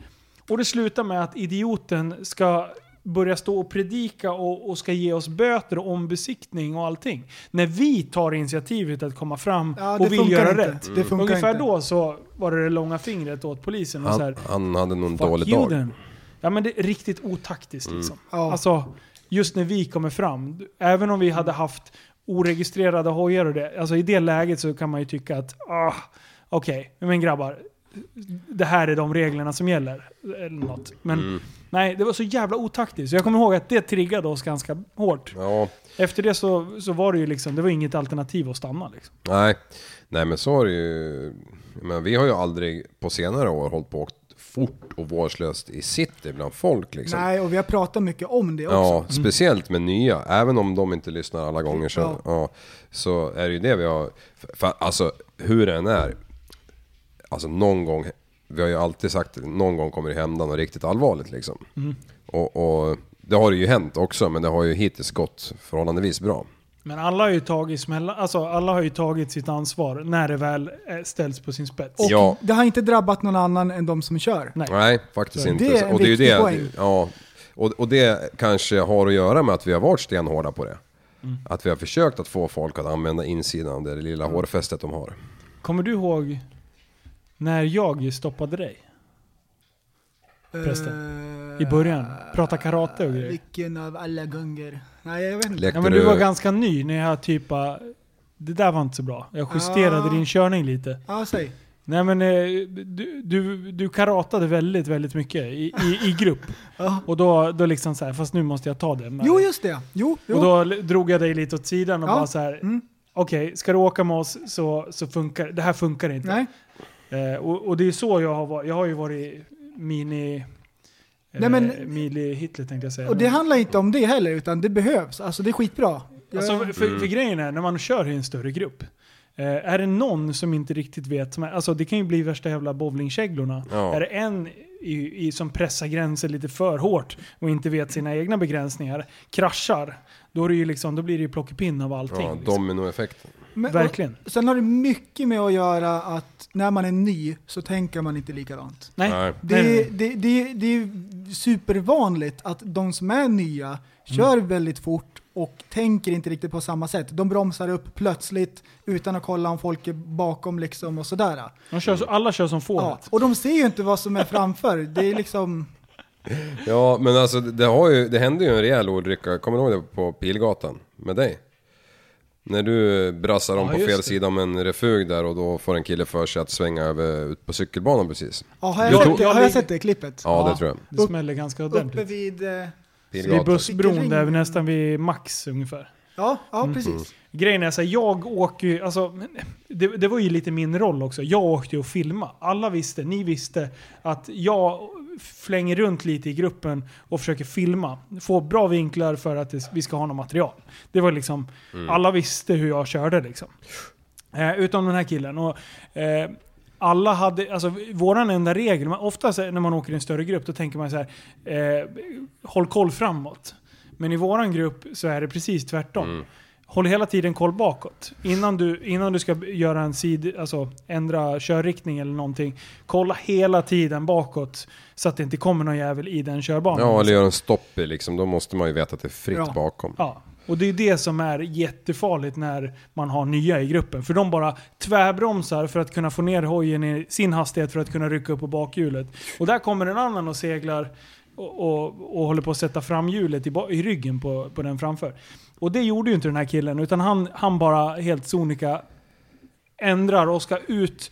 Och det slutar med att idioten ska börja stå och predika och, och ska ge oss böter och ombesiktning och allting. När vi tar initiativet att komma fram
Ja, det
och vill
funkar
göra
inte.
rätt.
Det funkar
Ungefär
inte.
då så var det det långa fingret åt polisen. Och så här,
Han, han hade nog en
Fuck
dålig
you
dag. Mm.
then. Ja men det är riktigt otaktiskt liksom.
Ja.
Alltså, just när vi kommer fram. d- Även om vi hade haft oregistrerade hojar och det. Alltså i det läget så kan man ju tycka att, ah, okej, men grabbar. Det här är de reglerna som gäller. Eller något. Men
Mm.
nej, det var så jävla otaktiskt. Så Jag kommer ihåg att det triggade oss ganska hårt.
Ja,
Efter det så, så var det ju liksom, det var inget alternativ att stanna liksom.
nej. Nej men så är det ju. Men vi har ju aldrig på senare år hållit på och åkt fort och vårdslöst i city bland folk liksom.
Nej, och vi har pratat mycket om det också.
Ja,
Mm.
speciellt med nya. Även om de inte lyssnar alla gånger så, ja.
Ja.
så är det ju det vi har... För, för, alltså hur den är. Alltså någon gång, vi har ju alltid sagt någon gång kommer det hända något riktigt allvarligt liksom.
Mm.
Och, och det har det ju hänt också men det har ju hittills gått förhållandevis bra.
Men alla har ju tagit smälla, alltså alla har ju tagit sitt ansvar när det väl eh, ställs på sin spets.
Och
Ja.
det har inte drabbat någon annan än de som kör.
Nej.
Nej, faktiskt
Så
inte.
det är en
och det är ju
viktig
det.
poäng.
Ja. Och, och det kanske har att göra med att vi har varit stenhårda på det. Att vi har försökt att få folk att använda insidan av det lilla hårfästet de har.
Kommer du ihåg när jag stoppade dig? Förresten. I början. Prata karate och
Eh,
grejer.
Vilken av alla gånger? Nej, jag vet inte.
Lekte
Ja, men du var
du-
ganska ny när jag typ bara, det där var inte så bra. Jag justerade
Ah.
din körning lite.
Ja, säg.
Nej men eh, du, du, du karatade väldigt, väldigt mycket i, i, i grupp.
Ja.
Och då, då liksom så här, fast nu måste jag ta det. med
Jo,
dig.
just det. Jo, jo. Mm,
Och då l- drog jag dig lite åt sidan och
Ja.
bara så här. okej, ska du åka med oss så, så funkar det här funkar inte.
Nej.
Eh, och, och det är så jag har varit. Jag har ju varit mini...
Nej, men-
eh, mili Hitler tänkte jag säga.
Och det
Men-
handlar inte om det heller, utan det behövs. Alltså det är skitbra. Jag-
Mm.
alltså, för, för grejen är, när man kör i en större grupp, Eh, är det någon som inte riktigt vet, som är- alltså det kan ju bli värsta jävla bowlingkäglorna.
Ja.
Är det en i, i, som pressar gränser lite för hårt och inte vet sina egna begränsningar, kraschar, då, är det ju liksom, då blir det ju plockepinn av allting.
Ja,
liksom.
dominoeffekten.
Men,
Verkligen.
Och, sen har det mycket med att göra att när man är ny så tänker man inte likadant.
Nej.
Nej.
Det,
Nej, nej,
Det, det, det är supervanligt att de som är nya kör väldigt fort och tänker inte riktigt på samma sätt. De bromsar upp plötsligt utan att kolla om folk är bakom liksom och sådär.
De kör så, alla kör som
Ja,
fåret.
och de ser ju inte vad som är framför. Det är liksom...
Ja, men alltså det, det har ju, det hände ju en rejäl olycka. Kommer du ihåg det på Pilgatan med dig? När du brassar om
Ja,
på
just
fel
det.
sida om en refug där och då får en kille för sig att svänga över ut på cykelbanan precis.
Ja, har jag,
Du
sett,
tog-
det, har
jag
jag
lig-
sett det klippet?
Ja, det tror jag.
Det smäller ganska ordentligt.
Uppe vid... eh,
Vid
Pilgatan.
bussbron, där är vi
Ring.
nästan vid max ungefär.
Ja, ja precis.
Grejen är så här, jag åker ju, alltså, men det, det var ju lite min roll också. Jag åkte ju och filmade. Alla visste, ni visste att jag flänger runt lite i gruppen och försöker filma. Få bra vinklar för att det, vi ska ha något material. Det var liksom, alla visste hur jag körde liksom. Eh, utom den här killen. Och, eh, alla hade, alltså våran enda regel, man, ofta så här, när man åker i en större grupp då tänker man så här, eh, håll koll framåt. Men i våran grupp så är det precis tvärtom.
Mm.
Håll hela tiden koll bakåt. Innan du, innan du ska göra en sid, alltså ändra körriktning eller någonting, kolla hela tiden bakåt så att det inte kommer någon jävel i den körbanan.
Ja, eller gör en stopp i liksom. Då måste man ju veta att det är fritt
Ja.
bakom.
Ja, och det är det som är jättefarligt när man har nya i gruppen. För de bara tvärbromsar för att kunna få ner hojen i sin hastighet för att kunna rycka upp på bakhjulet. Och där kommer en annan och seglar och, och, och håller på att sätta fram hjulet i, ba- i ryggen på, på den framför. Och det gjorde ju inte den här killen, utan han, han bara helt sonika ändrar och ska ut.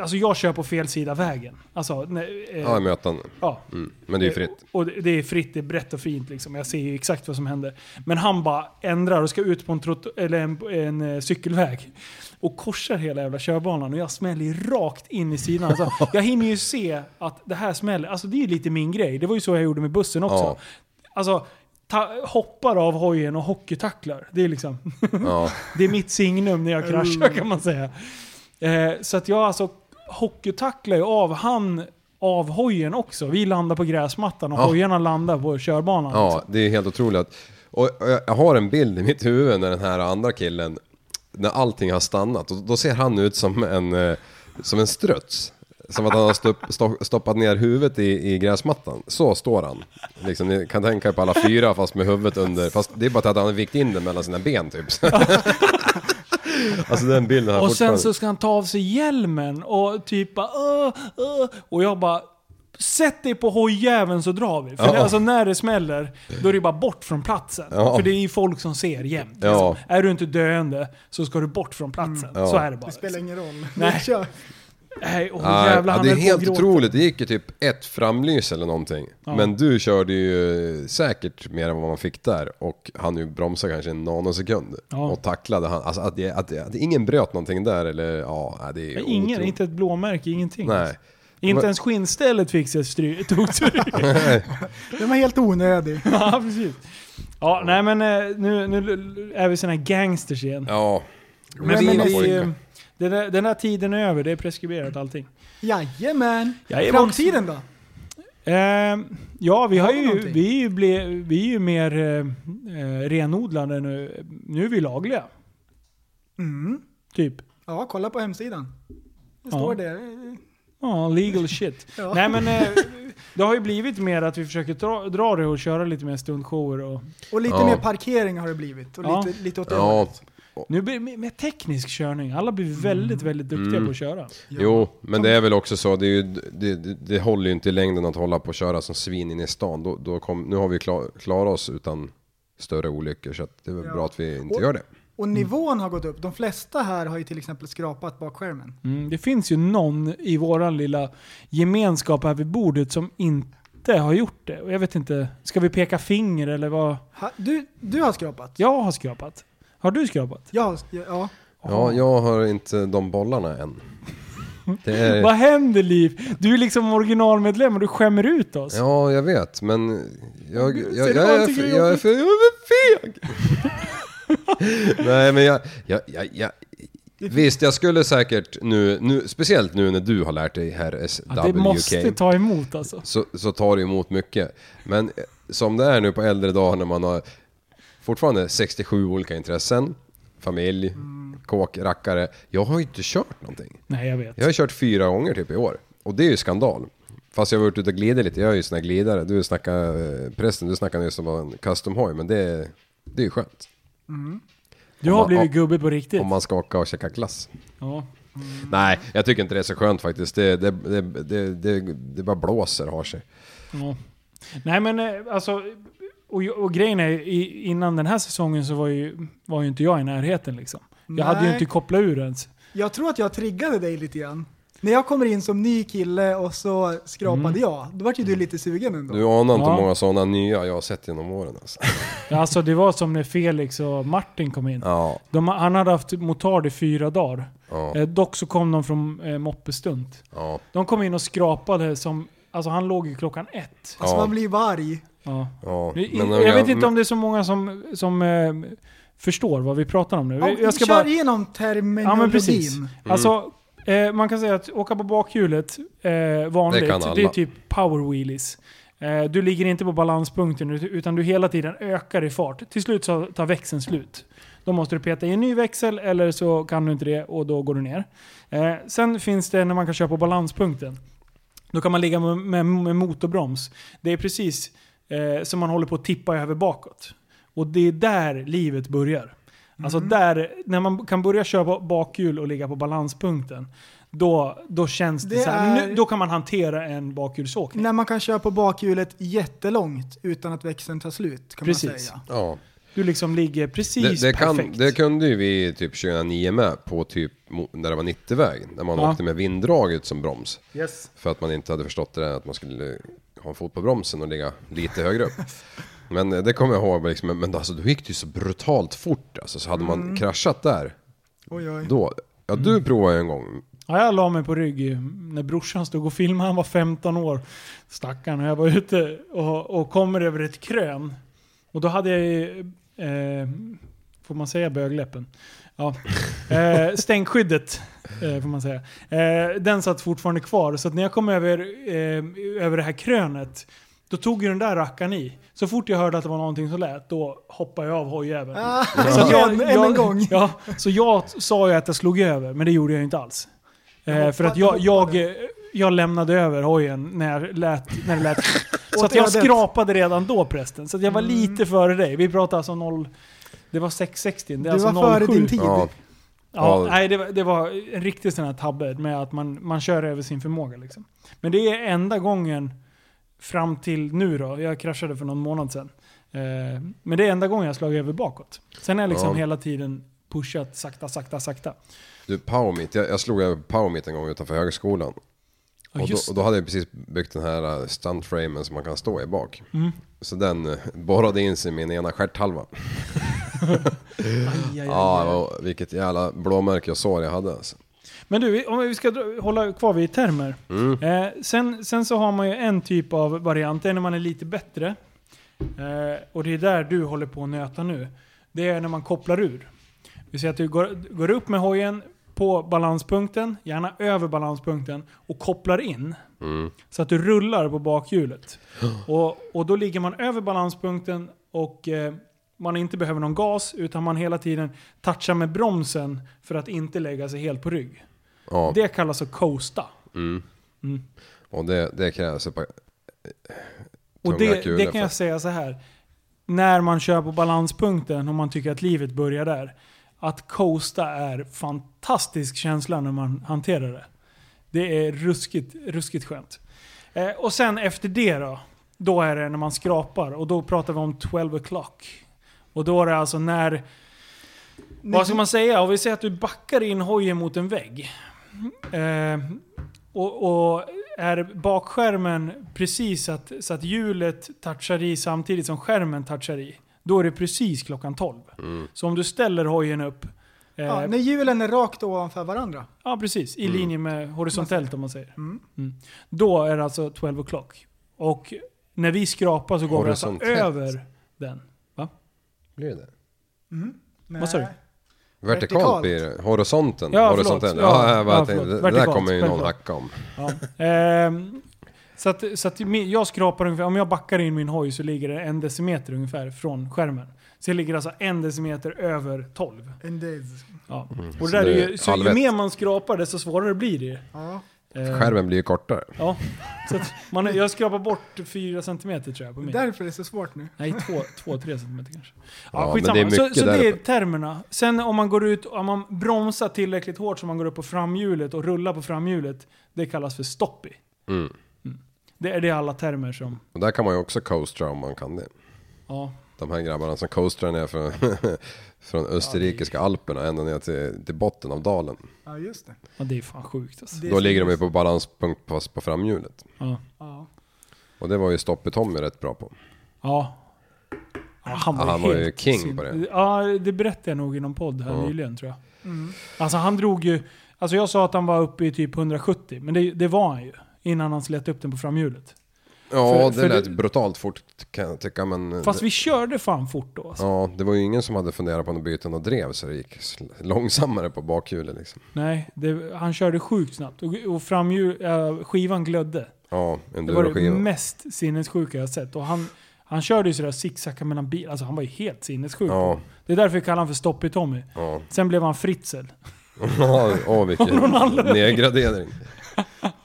Alltså jag kör på fel sida vägen. Alltså, nej, eh,
Ja, i mötande.
ja.
Mm. Men det är ju fritt.
Och det det är fritt, det är brett och fint liksom. Jag ser ju exakt vad som händer. Men han bara ändrar och ska ut på en, trotto- eller en, en eh, cykelväg. Och korsar hela jävla körbanan och jag smäller ju rakt in i sidan. Alltså, jag hinner ju se att det här smäller. Alltså det är ju lite min grej. Det var ju så jag gjorde med bussen också.
Ja.
Alltså, ta, hoppar av hojen och hockeytacklar. Det är liksom...
Ja.
Det är mitt signum när jag
Mm.
kraschar kan man säga. Eh, så att jag alltså hockeytacklar ju av han av hojen också. Vi landar på gräsmattan och
Ja.
hojarna landar på körbanan.
Ja, det är helt otroligt. att- Och jag jag har en bild i mitt huvud när den här andra killen, när allting har stannat, och då ser han ut som en, eh, som en struts. Som att han har stopp, stopp- stoppat ner huvudet i, i gräsmattan. Så står han. Liksom, ni kan tänka er på alla fyra fast med huvudet under. Fast det är bara att han har vikt in det mellan sina ben typ. alltså den bilden har jag
Och sen
fortfarande.
så ska han ta av sig hjälmen och typ bara, "Åh, åh." Och jag bara Sätt dig på hojjäveln så drar vi. För
Ja.
det, alltså när det smäller, då är det bara bort från platsen.
Ja.
För det är ju folk som ser jämt.
Ja. Mm.
Liksom. Är du inte döende så ska du bort från platsen. Så är det bara.
Det spelar ingen roll.
Nej.
Kör.
Nej, åh,
Nej,
jävlar,
ja,
han
det är
höll på att
helt
gråta.
otroligt. Det gick ju typ ett framlys eller någonting. Men du körde ju säkert mer än vad man fick där. Och han ju bromsade kanske en nanosekund.
Ja.
Och tacklade han. Alltså att, det, att, det, att ingen bröt någonting där eller ja, nej, det är ju
Men Ingen,
otroligt.
inte ett blåmärke, ingenting. Alltså.
Nej.
Inte
Men-
ens skinnstället fick sig stry, tog stryk.
Den var helt onödig.
ja, precis. Ja, nej men eh, nu, nu är vi såna här gangsters igen.
Ja.
men
Fina
vi, vi,
pojkar.
eh, den, där, den där tiden är över, det är preskriberat allting.
Jajamän.
Jag är
Framtiden då?
Ehm, ja, vi, har
vi
ju,
någonting?
vi, är ju ble, vi är ju mer eh, eh, renodlade nu. Nu är vi lagliga.
Mm.
Typ.
Ja, kolla på hemsidan. Det
Ja.
står det.
Ja, legal shit.
Ja.
Nej men eh, det har ju blivit mer att vi försöker dra, dra det och köra lite mer stundshower och
Och lite
Ja.
mer parkering har det blivit. Och
Ja.
lite, lite åt det
Ja,
hållet.
Nu blir det mer- mer teknisk körning. Alla blir
Mm.
väldigt, väldigt duktiga på att köra.
jo, men det är väl också så. Det, är ju, det, det, det håller ju inte i längden att hålla på och köra som svin in i stan. Då, då kom, nu har vi klar, klarat oss utan större olyckor. Så att det är väl
Ja.
bra att vi inte
Och-
gör det.
Och
Mm.
nivån har gått upp. De flesta här har ju till exempel skrapat bakskärmen.
Mm, det finns ju någon i våran lilla gemenskap här vid bordet som inte har gjort det. Och jag vet inte, ska vi peka finger eller vad?
Ha, du, du har skrapat?
Jag har skrapat. Har du skrapat?
Jag har, ja.
Ja, jag har inte de bollarna än. Det är...
Vad händer Liv? Du är liksom originalmedlem och du skämmer ut oss.
Ja, jag vet, men jag, jag, jag,
Ser du vad
jag,
han
är,
tycker
för,
är
jag är för jag är för feg! Nej, men jag, jag, jag, jag, Visst, jag skulle säkert nu, nu, speciellt nu när du har lärt dig här
Att det måste
SWK,
ta emot alltså.
så, så tar det emot mycket. Men eh, som det är nu på äldre dagar när man har fortfarande 67 olika intressen, familj,
Mm.
kåk, rackare. Jag har ju inte kört någonting.
Nej, jag vet.
Jag har kört fyra gånger typ i år. Och det är ju skandal. Fast jag har varit ute och glidit lite. Jag är ju sån här glidare. Du snackar, eh, prästen, du snackar nyss om vad en custom hoj. Men det, det är ju skönt.
Du
om
har
man-
blivit
om-
gubbe på riktigt.
Om man ska åka och käka glass.
Ja.
Nej, jag tycker inte det är så skönt faktiskt. Det, det, det, det, det, det bara blåser och har sig.
Ja. Nej men eh, alltså, och, och grejen är i, innan den här säsongen så var ju, var ju inte jag i närheten liksom. Jag hade ju
Nej.
inte kopplat ur ens.
Jag tror att jag triggade dig lite grann. När jag kommer in som ny kille och så skrapade
Mm.
jag, då vart ju du lite sugen ändå.
Du anar inte
Ja.
hur många sådana nya jag har sett genom åren alltså.
Ja, Alltså det var som när Felix och Martin kom in.
Ja,
De, han hade haft motard i fyra dagar.
ja,
Eh, dock så kom de från eh, moppestunt.
ja.
De kom in och skrapade som, alltså han låg ju klockan ett.
Alltså
Ja.
man blir ju arg.
Ja.
ja.
Det-
Men eh,
jag vet inte om det är så många som, som eh, förstår vad vi pratar om nu.
Ja,
jag
kör igenom terminologin.
Ja men precis.
Mm.
Alltså, eh, man kan säga att åka på bakhjulet, eh, vanligt,
Det
det,
kan alla.
är typ power wheelies. Eh, du ligger inte på balanspunkten ut- utan du hela tiden ökar i fart. Till slut så tar växeln slut. Då måste du peta i en ny växel eller så kan du inte det och då går du ner. Eh, sen finns det när man kan köra på balanspunkten. Då kan man ligga med, med, med motorbroms. Det är precis eh, som man håller på att tippa över bakåt. Och det är där livet börjar. Alltså där, när man kan börja köra på bakhjul och ligga på balanspunkten. Då, då känns det,
Det
så här,
är-
nu, Då kan man hantera en bakhjulsåkning.
När man kan köra på bakhjulet jättelångt utan att växeln tar slut kan man
Precis.
säga.
Ja.
Du liksom ligger precis
Det, det, kan,
perfekt.
det kunde ju vi typ 2009 med på typ mo- när det var 90-väg. När man
Ja.
åkte med vinddraget som broms.
Yes.
För att man inte hade förstått det där att man skulle ha en fot på bromsen och ligga lite högre upp. Men eh, det kommer jag ihåg, liksom, men- men alltså då gick det ju så brutalt fort alltså, så hade
Mm.
man kraschat där
Oj, oj.
då. Ja du provade ju en gång.
Ja, jag la mig på rygg när brorsan stod och filmade. Han var 15 år. Stackarn. Och jag var ute och, och kommer över ett krön. Och då hade jag ju, eh, får man säga bögläppen? Ja. Eh, stänkskyddet, eh, får man säga. Eh, den satt fortfarande kvar. Så att när jag kom över, eh, över det här krönet, då tog ju den där rackaren i. Så fort jag hörde att det var någonting som lät, då hoppade jag av hojjäveln.
Ah,
Så att
igen, än en gång.
Ja, så jag t- sa ju att jag slog över, men det gjorde jag inte alls. Eh,
hoppade-
för att jag,
jag
jag,
hoppade.
eh, jag lämnade över hojen när, jag lät, när det lät... så att
Åt
jag
ödet. Mm.
skrapade redan då prästen. Så att jag var lite före dig. Vi pratar alltså 0... Det var 660, det är
Du
alltså
var före
07.
din tid.
Ja,
Ja,
Ja.
nej, det, var, det var en riktig sån här tabbe med att man, man kör över sin förmåga. Liksom. Men det är enda gången fram till nu då. Jag kraschade för någon månad sedan. Eh, men det är enda gången jag slagit över bakåt. Sen är jag liksom
Ja.
hela tiden pushat sakta, sakta, sakta.
du Powermeet. Jag, jag slog över på Powermeet en gång utanför högskolan.
Ja,
och, då,
just
och då hade jag precis byggt den här eh, stuntframen som man kan stå i bak.
Mm.
Så den eh, borrade in sig i min ena stjärthalva.
Aj, aj, aj.
Ja, det var- vilket jävla blåmärke och sår jag hade alltså.
Men du, vi- om vi ska dra- hålla kvar vid termer. Eh, sen, sen så har man ju en typ av variant, det är när man är lite bättre. Eh, och det är där du håller på att nöta nu. Det är när man kopplar ur. Vi säger att du går, går upp med hojen på balanspunkten, gärna över balanspunkten, och kopplar in. Så att du rullar på bakhjulet. Och, och då ligger man över balanspunkten och eh, man inte behöver någon gas utan man hela tiden touchar med bromsen för att inte lägga sig helt på rygg.
Ja,
Det kallas att coasta.
och det, det krävs ett par...
Och
Tunga
det,
kulor
det kan jag
för-
säga så här. När man kör på balanspunkten och man tycker att livet börjar där. Att coasta är fantastisk känsla när man hanterar det. Det är ruskigt, ruskigt skönt. Eh, och sen efter det då. Då är det när man skrapar och då pratar vi om 12 o'clock. Och då är det alltså när... Vad ska man säga? Om vi säger att du backar in hojen mot en vägg. Eh, och, och är bakskärmen precis att, så att hjulet touchar i samtidigt som skärmen touchar i. Då är det precis klockan 12. Så om du ställer hojen upp. Eh,
Ja,
ja,
när hjulen är rakt ovanför varandra.
precis. I linje med horisontellt om man säger. Mm. Då är det alltså 12 o'clock. Och när vi skrapar så går vi alltså
Horisontellt.
över den.
Blir det?
Nej.
Vad sa du?
Vertikalt blir det. Horisonten.
Ja,
horisonten.
förlåt. Ja,
Ja, jag bara
ja,
tänkte,
förlåt.
det där
Vertikalt,
kommer ju någon
självklart.
hacka om.
Ja. Ehm, så att, så att min- jag skrapar ungefär, om jag backar in min hoj så ligger det en decimeter ungefär från skärmen. Så jag ligger alltså en decimeter över 12.
En days.
Ja. Och det
Mm. så
där
det
är
är
ju, så ju
halvett.
mer man skrapar desto svårare blir det ju.
Ja.
Ehm,
Skärmen blir ju kortare.
Ja. Så att man, jag skrapar bort 4 centimeter tror jag på
Det är
min.
därför det är så svårt nu.
Nej, 2-3 centimeter kanske.
Ja,
Ja,
men
skitsamma.
det är mycket
så, så det är
därför.
termerna. Sen om man går ut, om man bromsar tillräckligt hårt så man går upp på framhjulet och rullar på framhjulet, det kallas för stoppy.
Mm.
Det är det är alla termer som...
Och där kan man ju också coastra om man kan det.
Ja,
De här grabbarna som coastrar ner från, från österrikiska alperna ända ner till, till botten av dalen.
Ja, just det.
ja det är fan sjukt alltså.
Det är
Då
så-
ligger de ju på balanspunkt fast på framhjulet.
Ja.
Ja.
Och det var ju Stoppe-Tommy rätt bra på.
ja. Ja, han var,
Ja, han var ju
helt
king på det.
Ja, det berättade jag nog i någon podd här
Ja.
nyligen tror jag. Alltså han drog ju... Alltså jag sa att han var uppe i typ 170, men det, det var han ju. Innan han slet upp den på framhjulet.
Ja,
För-
det
för
lät
det-
brutalt fort kan jag tycka men...
Fast vi körde fan fort då alltså.
Ja, det var ju ingen som hade funderat på något byten och drev så det gick sl- långsammare på bakhjulet liksom.
Nej, det, han körde sjukt snabbt. Och, och framhjul, äh, skivan glödde. Det
Ja,
var det
enduroskiva.
mest sinnessjuka jag sett. Och han, han körde ju sådär zigzacka mellan bilar. Alltså han var ju helt sinnessjuk.
Ja,
Det är därför vi kallar honom för Stoppy-Tommy.
ja.
Sen blev han Fritzl.
Ja, Åh vilken nedgradering.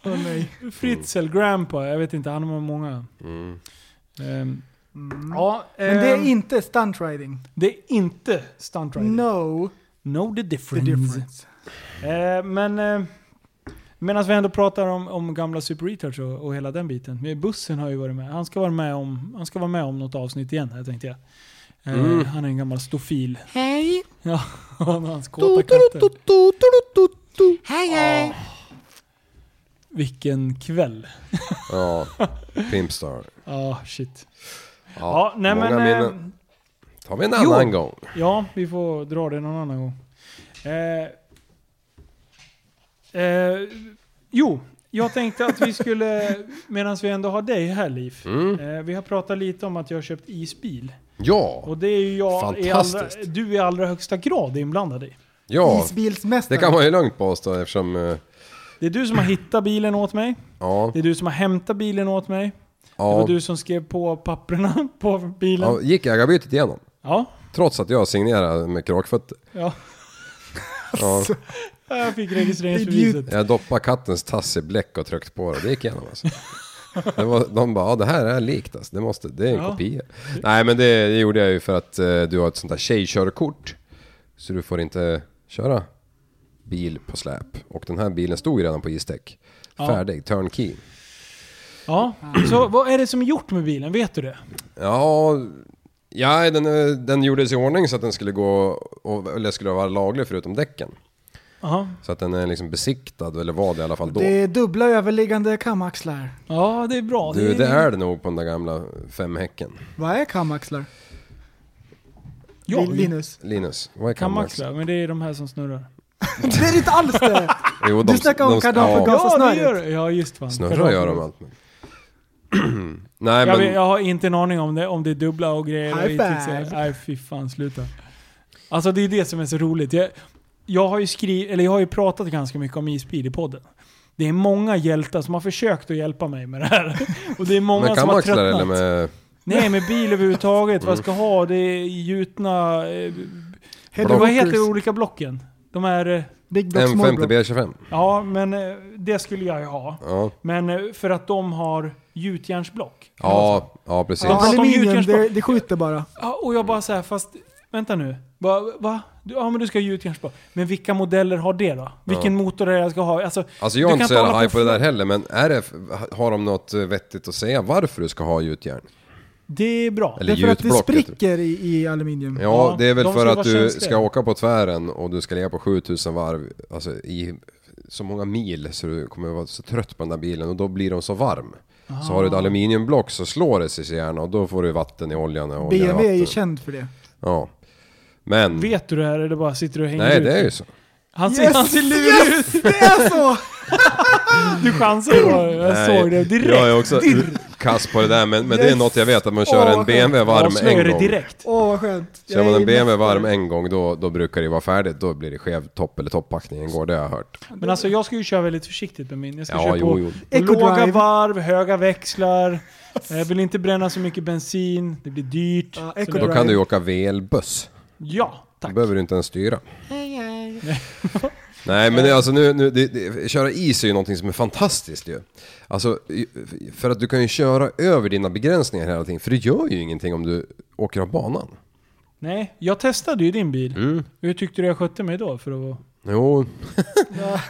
Åh, nej.
Fritzl Grandpa, jag vet inte, han har många.
Mm.
Ehm,
Mm.
ja,
Men det är
ehm,
inte stunt riding.
det är inte stunt riding.
No
Know the
the
difference.
difference.
Eh, men eh, medan vi ändå pratar om, om gamla Super Retards och, och hela den biten. Men Bussen har ju varit med. Han ska vara med om, han ska vara med om något avsnitt igen här tänkte jag. Eh,
Mm.
Han är en gammal stofil.
Hej!
Ja, och hans kåta katter. Ah.
Hej hej!
Vilken kväll.
Ja, Pimpstar.
Ja, shit.
Ja,
Ja, nej
många
men... eh,
minnen. Tar vi en annan gång.
Ja, vi får dra det någon annan gång. Eh, eh, jo, jag tänkte att vi skulle, medan vi ändå har dig här Liv.
Mm.
Eh, vi har pratat lite om att jag har köpt isbil.
Ja,
Och det är ju jag i allra,
Fantastiskt.
du i allra högsta grad inblandad i.
ja. Det
Isbilsmästare.
kan man ju lugnt påstå eftersom... eh,
Det är du som har hittat bilen åt mig.
Ja,
Det är du som har hämtat bilen åt mig. Det
ja.
var du som skrev på papperna på bilen.
ja
Ja.
gick ägarbytet igenom.
ja.
Trots att jag signerade med kråkfötter. Ja,
Jag fick registreringsbeviset.
jag doppade kattens tass i bläck och tryckte på det. Det gick igenom alltså. Det var, de bara, ja det här är likt alltså. Det, måste, det är en
Ja.
kopia. Nej men det, det gjorde jag ju för att eh, du har ett sånt där tjejkörkort. Så du får inte köra bil på släp. Och den här bilen stod ju redan på isdäck.
Ja.
Färdig, turnkey.
Ja. Så vad är det som är gjort med bilen? Vet du det?
Ja, ja den, eh, den gjordes i ordning så att den skulle gå, och, eller skulle vara laglig förutom däcken.
Aha.
Så att den är liksom besiktad, eller var det i alla fall då.
Det är dubbla överliggande kamaxlar.
Ja, det är bra.
Du, det är det nog på den där gamla femhäcken.
Vad är kamaxlar?
Ja,
Lin- Linus?
Linus, vad är kammax?
Kammaxlar, men det är de här som snurrar.
det är inte alls det!
Jo,
Du snackar om
ja,
kadavergas.
ja,
Gasa snöret.
gör det. Ja, just fan.
Snurrar gör de allt. men- Nej
Jag,
men,
vet, jag har inte en aning om det, om det är dubbla och grejer. och
High
inte
five.
säga- Nej fy fan, sluta. Alltså det är det som är så roligt. Jag, jag, har ju skri, eller jag har ju pratat ganska mycket om isbil i podden. Det är många hjältar som har försökt att hjälpa mig med det här. Och det är många
med
som har
kammaxlar
tröttnat.
eller med... Mm.
Nej, med bil överhuvudtaget. Vad jag ska ha? Det är gjutna... Eh,
Headlockers.
vad heter de olika blocken? De här... Eh,
Big block, small block.
M50B25.
ja, men eh, det skulle jag ju ha.
Ja.
Men eh, för att de har gjutjärnsblock. Kan det vara så?
Ja, ja precis.
pratar
Ja,
om
aluminium,
gjutjärnsblock.
det, det skjuter bara.
Ja, och jag bara så här, fast vänta nu. Va? va? Du, ja men du ska ha gjutjärnsblock. Men vilka modeller har det då? Vilken motor är det jag ska ha? Alltså,
Alltså jag är
du
inte
kan
så
hålla
jävla haj på det
och-
där heller men är det, har de något eh, vettigt att säga varför du ska ha gjutjärn?
Det är bra.
Eller
Därför att det
gjutblocket?
spricker i, i aluminium.
Ja,
Ja,
det är väl
de
för
ska
att
vara
du
känsliga.
ska åka på tvären och du ska ligga på 7000 varv, alltså i så många mil så du kommer vara så trött på den där bilen och då blir de så varm. Så har du ett
Ah.
aluminiumblock så slår det sig i hjärnan och då får du vatten i oljan och olja i
BMW är ju
vatten.
känd för det.
Ja. Men,
Vet du det här eller bara sitter du och hänger
nej
ut?
det är ju så.
Han ser,
Yes!
han Alltså, ser lurig
Yes!
ut!
Det är så!
Du chansar på Jag
Nej,
såg det direkt.
Jag är också ur- kass på det där men, men det är något jag vet att man kör en BMW varm
Avslöjar
en
det
gång.
direkt.
Åh vad skönt.
Kör man
Jag är
en BMW
nästan-
varm en gång då, då brukar det vara färdigt. Då blir det skev topp eller toppackningen går, det har jag hört.
Men alltså jag ska ju köra väldigt försiktigt med min. Jag ska
Ja,
köra
jo,
på
jo.
på låga
Eco-drive.
varv, höga växlar. Jag vill inte bränna så mycket bensin, det blir dyrt.
Ja,
Så
eco-drive.
Då
det-
kan du ju åka VL-buss.
Ja,
Då
tack.
behöver du inte ens styra.
Hej, hej.
Nej men det, alltså nu, nu det, det, köra is är ju någonting som är fantastiskt ju. Alltså, i- för att du kan ju köra över dina begränsningar hela tiden. För det gör ju ingenting om du åker av banan.
Nej, jag testade ju din bil.
Mm.
Hur tyckte du jag skötte mig då? För att... vara-
Jo,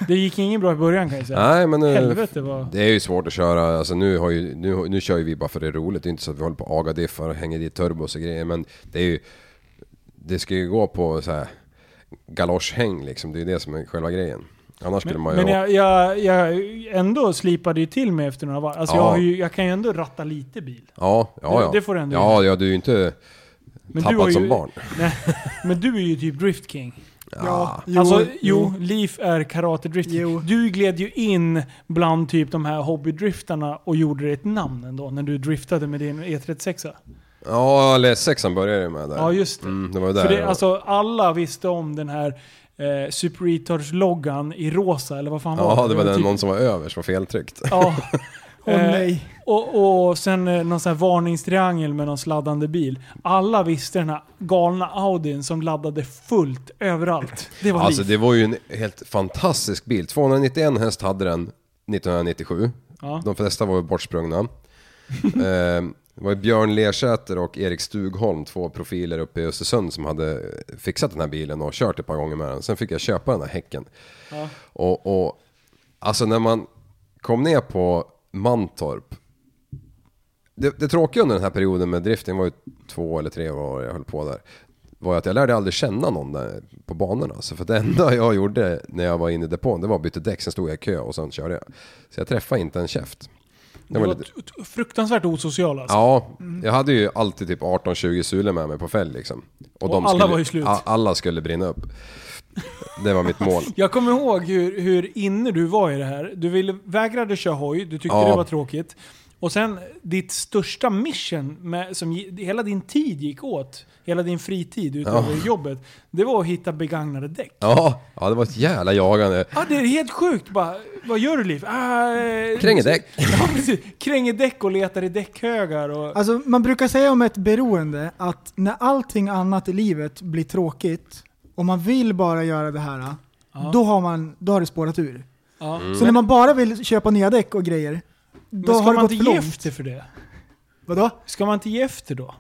Det gick inget bra i början kan jag säga.
nej men nu,
Helvete vad...
det är ju svårt att köra. Alltså, nu, har ju, nu, nu kör ju vi bara för det är roligt. Det är inte så att vi håller på och aga diffar och hänger dit turbos och grejer. Men det är ju, det ska ju gå på så här galoschhäng liksom. Det är ju det som är själva grejen. Annars skulle man ju...
Men jag, jag, jag ändå slipade ju till mig efter några varv. Alltså
Ja.
jag, har ju, jag kan ju ändå ratta lite bil.
ja, ja,
det-
ja.
det får du ändå
Ja, ja, du är ju inte
Men du har
tappad
ju,
som barn.
Nej, men du är ju typ Drift King.
Ja,
Jo, alltså jo, Leaf är karate drift.
Jo.
Du gled ju in bland typ de här hobbydriftarna och gjorde dig ett namn ändå när du driftade med din E36.
Ja, eller sexan började det med där.
Ja just det.
Mm, det var ju där.
För det,
ja.
alltså, alla visste om den här eh, Super Retards-loggan i rosa eller vad fan var
ja, det var den
typ-
någon som var över som var feltryckt.
Ja.
Åh
Eh,
nej.
Och, och sen eh, någon sån här varningstriangel med någon sladdande bil. Alla visste den här galna Audin som laddade fullt överallt. Det var
Alltså
alltså,
det var ju en helt fantastisk bil. 291 häst hade den 1997.
Ja.
De flesta var ju bortsprungna. Ehm, det var ju Björn Lersäter och Erik Stugholm, två profiler uppe i Östersund som hade fixat den här bilen och kört ett par gånger med den. Sen fick jag köpa den här häcken. Och, och alltså när man kom ner på Mantorp det, det tråkiga under den här perioden med drifting var ju två eller tre år jag höll på där. Var ju att jag lärde aldrig känna någon där på banorna. Så för det enda jag gjorde när jag var inne i depån det var att byta däck, sen stod jag i kö och sen körde jag. Så jag träffade inte en käft. Det
Det
var
var
lite,
t- fruktansvärt osocial alltså.
ja, jag hade ju alltid typ 18-20 sulor med mig på fälg liksom.
Och alla
skulle,
var ju slut.
a- Alla skulle brinna upp. Det var mitt mål.
Jag kommer ihåg hur, hur inne du var i det här. Du ville, vägrade köra hoj, du tyckte
Ja.
det var tråkigt. Och sen ditt största mission, med, som ge- hela din tid gick åt, hela din fritid utöver jobbet, det var att hitta begagnade däck.
Ja, ja, det var ett jävla jagande.
Ja, det är helt sjukt bara. Vad gör du Liv? Ah, eh,
Krängedäck.
Ja, precis. Kränger däck och letar i däckhögar och...
Alltså man brukar säga om ett beroende att när allting annat i livet blir tråkigt och man vill bara göra det här, då har, man, då har det spårat ur.
Ja.
Så
Mm.
när man bara vill köpa nya däck och grejer, då
Men ska
har det
man
gått
inte
för
ge
långt.
efter för det?
Vadå?
Ska man inte ge efter då?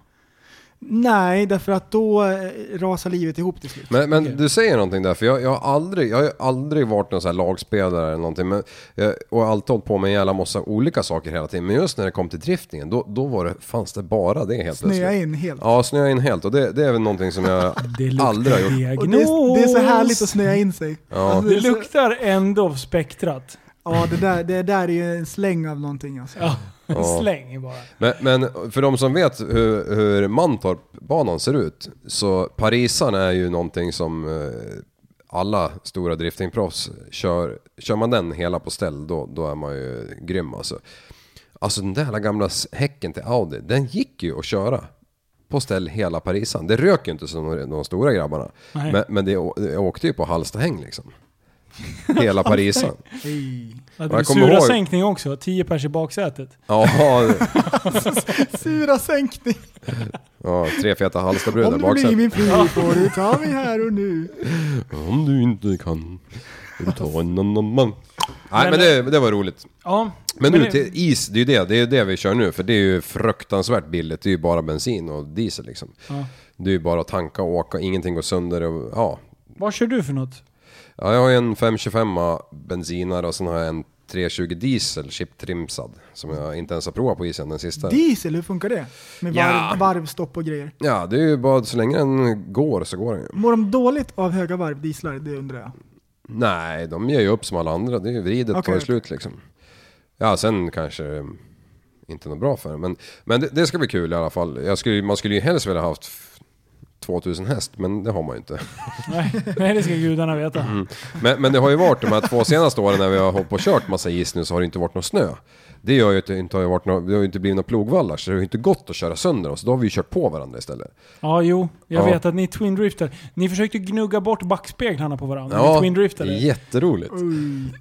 Nej, därför att då eh, rasar livet ihop till slut.
Men, men du säger någonting där, för jag, jag, har aldrig, jag har ju aldrig varit någon sån här lagspelare eller någonting. Men jag, och jag har alltid hållit på med en jävla massa olika saker hela tiden. Men just när det kom till driftingen, då, då var det, fanns det bara det helt
Snöa
plötsligt.
in helt.
Ja, snöa in helt. Och det, det är väl någonting som jag aldrig har gjort.
Och det, är, det är så härligt att snöa in sig. Alltså,
Ja.
Det
så-
luktar ändå av spektrat.
Ja, det där, det där är ju en släng av någonting alltså.
Ja. Släng bara.
Men, men för de som vet hur, hur Mantorpbanan ser ut, så Parisan är ju någonting som eh, alla stora driftingproffs kör. Kör man den hela på ställ, då, då är man ju grym alltså. Alltså den där jävla gamla s- häcken till Audi, den gick ju att köra på ställ hela Parisan. Det rök ju inte som de, de stora grabbarna.
Nej.
Men, men det, å- det åkte ju på Hallstahäng liksom. Hela Parisan.
Ja, det
Jag
är
kommer
sura
ihåg-
sänkning också, 10 pers i baksätet.
Ja,
Sura sänkning.
ja tre feta Hallstabrudar
Om du
baksätet.
blir min fru får du ta mig här och nu.
Om du inte kan, får du ta en annan man. Nej men det, det var roligt.
Ja.
Men nu
det-
till is, det är ju det, det är ju det vi kör nu för det är ju fruktansvärt billigt. Det är ju bara bensin och diesel liksom.
Ja.
Det är ju bara att tanka och åka, ingenting går sönder och ja.
Vad kör du för något?
ja jag har ju en 525 bensinare och sen har jag en 320 diesel chiptrimsad som jag inte ens har provat på isen den sista.
Diesel, hur funkar det? Med varv,
Ja.
varvstopp och grejer.
Ja det är ju bara så länge den går så går den ju.
Mår de dåligt av höga varv, dieslar? Det undrar jag.
Nej, de ger ju upp som alla andra. Det är ju vridet
Okej,
på det
okej.
slut liksom. Ja, sen kanske eh, inte något bra för det. Men, men det, det ska bli kul i alla fall. Jag skulle, man skulle ju helst vilja haft f- 2000 häst, men det har man ju inte.
Nej, nej, det ska gudarna veta.
Mm. Men, men det har ju varit de här två senaste åren när vi har hållit på och kört massa is nu så har det inte varit någon snö. Det gör ju att det inte har, varit någon, det har ju inte blivit några plogvallar så det har ju inte gått att köra sönder oss. Då har vi ju kört på varandra istället.
Ja, jo. Jag
Ja.
vet att ni twindriftar. Ni försökte gnugga bort backspeglarna på varandra. ni twindriftade.
jätteroligt.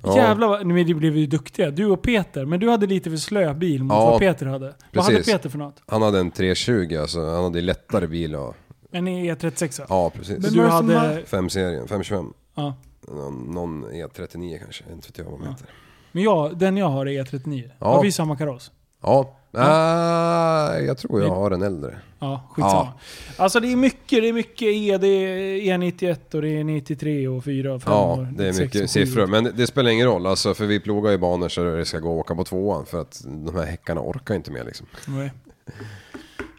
Ja.
Jävlar vad... Men det blev ju duktiga. Du och Peter. Men du hade lite för slö bil mot
Ja,
vad Peter hade. Vad hade
precis.
Peter för något?
Han hade en 320, alltså han hade lättare bil och...
En E36?
Ja, precis.
Men-
du
vad som
hade...
har-
5-serien, 525.
Ja.
Någon, någon E39 kanske, inte vet jag vad de heter.
Men jag, den jag har är E39.
Ja.
Har vi samma kaross?
Ja, Ah, jag tror jag har en äldre.
Ja, skitsamma. Alltså det är mycket, det är mycket E. Det är E91 och det är 93 och 4 och 5 och
Ja, det är
96 och
mycket
7.
siffror. Men det spelar ingen roll, alltså, för vi plogar ju banor så det ska gå att åka på tvåan för att de här häckarna orkar inte mer liksom.
Nej.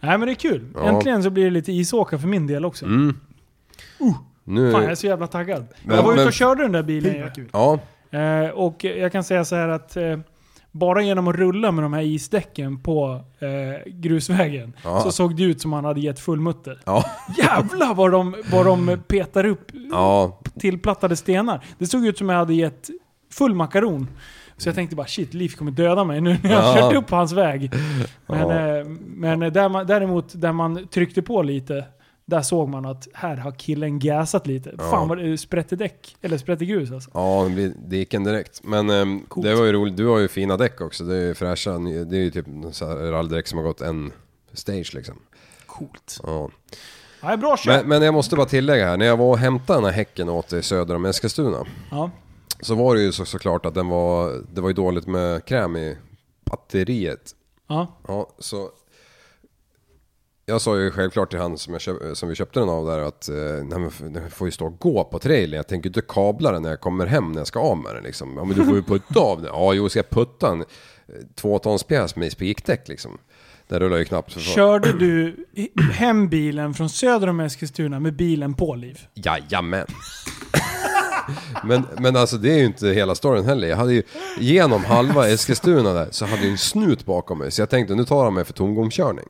Nej men det är kul.
Ja.
Äntligen så blir det lite isåka för min del också.
Uh, Nu,
Mm. Fan jag är så jävla taggad.
Men-
jag var ute
men-
och körde den där bilen
Fy,
ju.
vad kul.
ja,
Eh, och jag kan säga så här att eh, bara genom att rulla med de här isdäcken på eh, grusvägen
Ja.
så såg det ut som han hade gett full mutter.
ja,
Jävlar vad de, vad de petar upp
ja,
tillplattade stenar. Det såg ut som jag hade gett full makaron. Så jag tänkte bara shit, Liv kommer döda mig nu när jag har
Ja.
kört upp på hans väg. Men,
Ja.
eh, men där man, däremot där man tryckte på lite, där såg man att här har killen gasat lite. Fan vad det sprätte däck, eller sprätte grus alltså.
ja, det blir diken direkt. Men ehm,
Coolt.
det var ju roligt, du har ju fina däck också. Det är ju fräscha, ny- det är ju typ så här ralldäck som har gått en stage liksom.
Coolt.
Ja.
Ja, det är bra kört.
Men, men jag måste bara tillägga här, när jag var och hämtade den här häcken åt dig söder om Eskilstuna.
Ja.
Så var det ju så, såklart att den var, det var ju dåligt med kräm i batteriet.
Ja.
Ja, så jag sa ju självklart till han som, jag köp, som vi köpte den av där att eh, nej, men f- den får ju stå och gå på trailern. Jag tänker inte kabla den när jag kommer hem när jag ska av med den liksom. Ja men du får ju putta av den. Ja jo ska jag putta en eh, tvåtonspjäs med spikdäck liksom. Den rullar ju knappt. För
Körde du i- hem bilen från söder om Eskilstuna med bilen på Liv?
Jajamän. men, men alltså det är ju inte hela storyn heller. Jag hade ju genom halva Eskilstuna där så hade jag en snut bakom mig. Så jag tänkte nu tar han mig för tomgångskörning.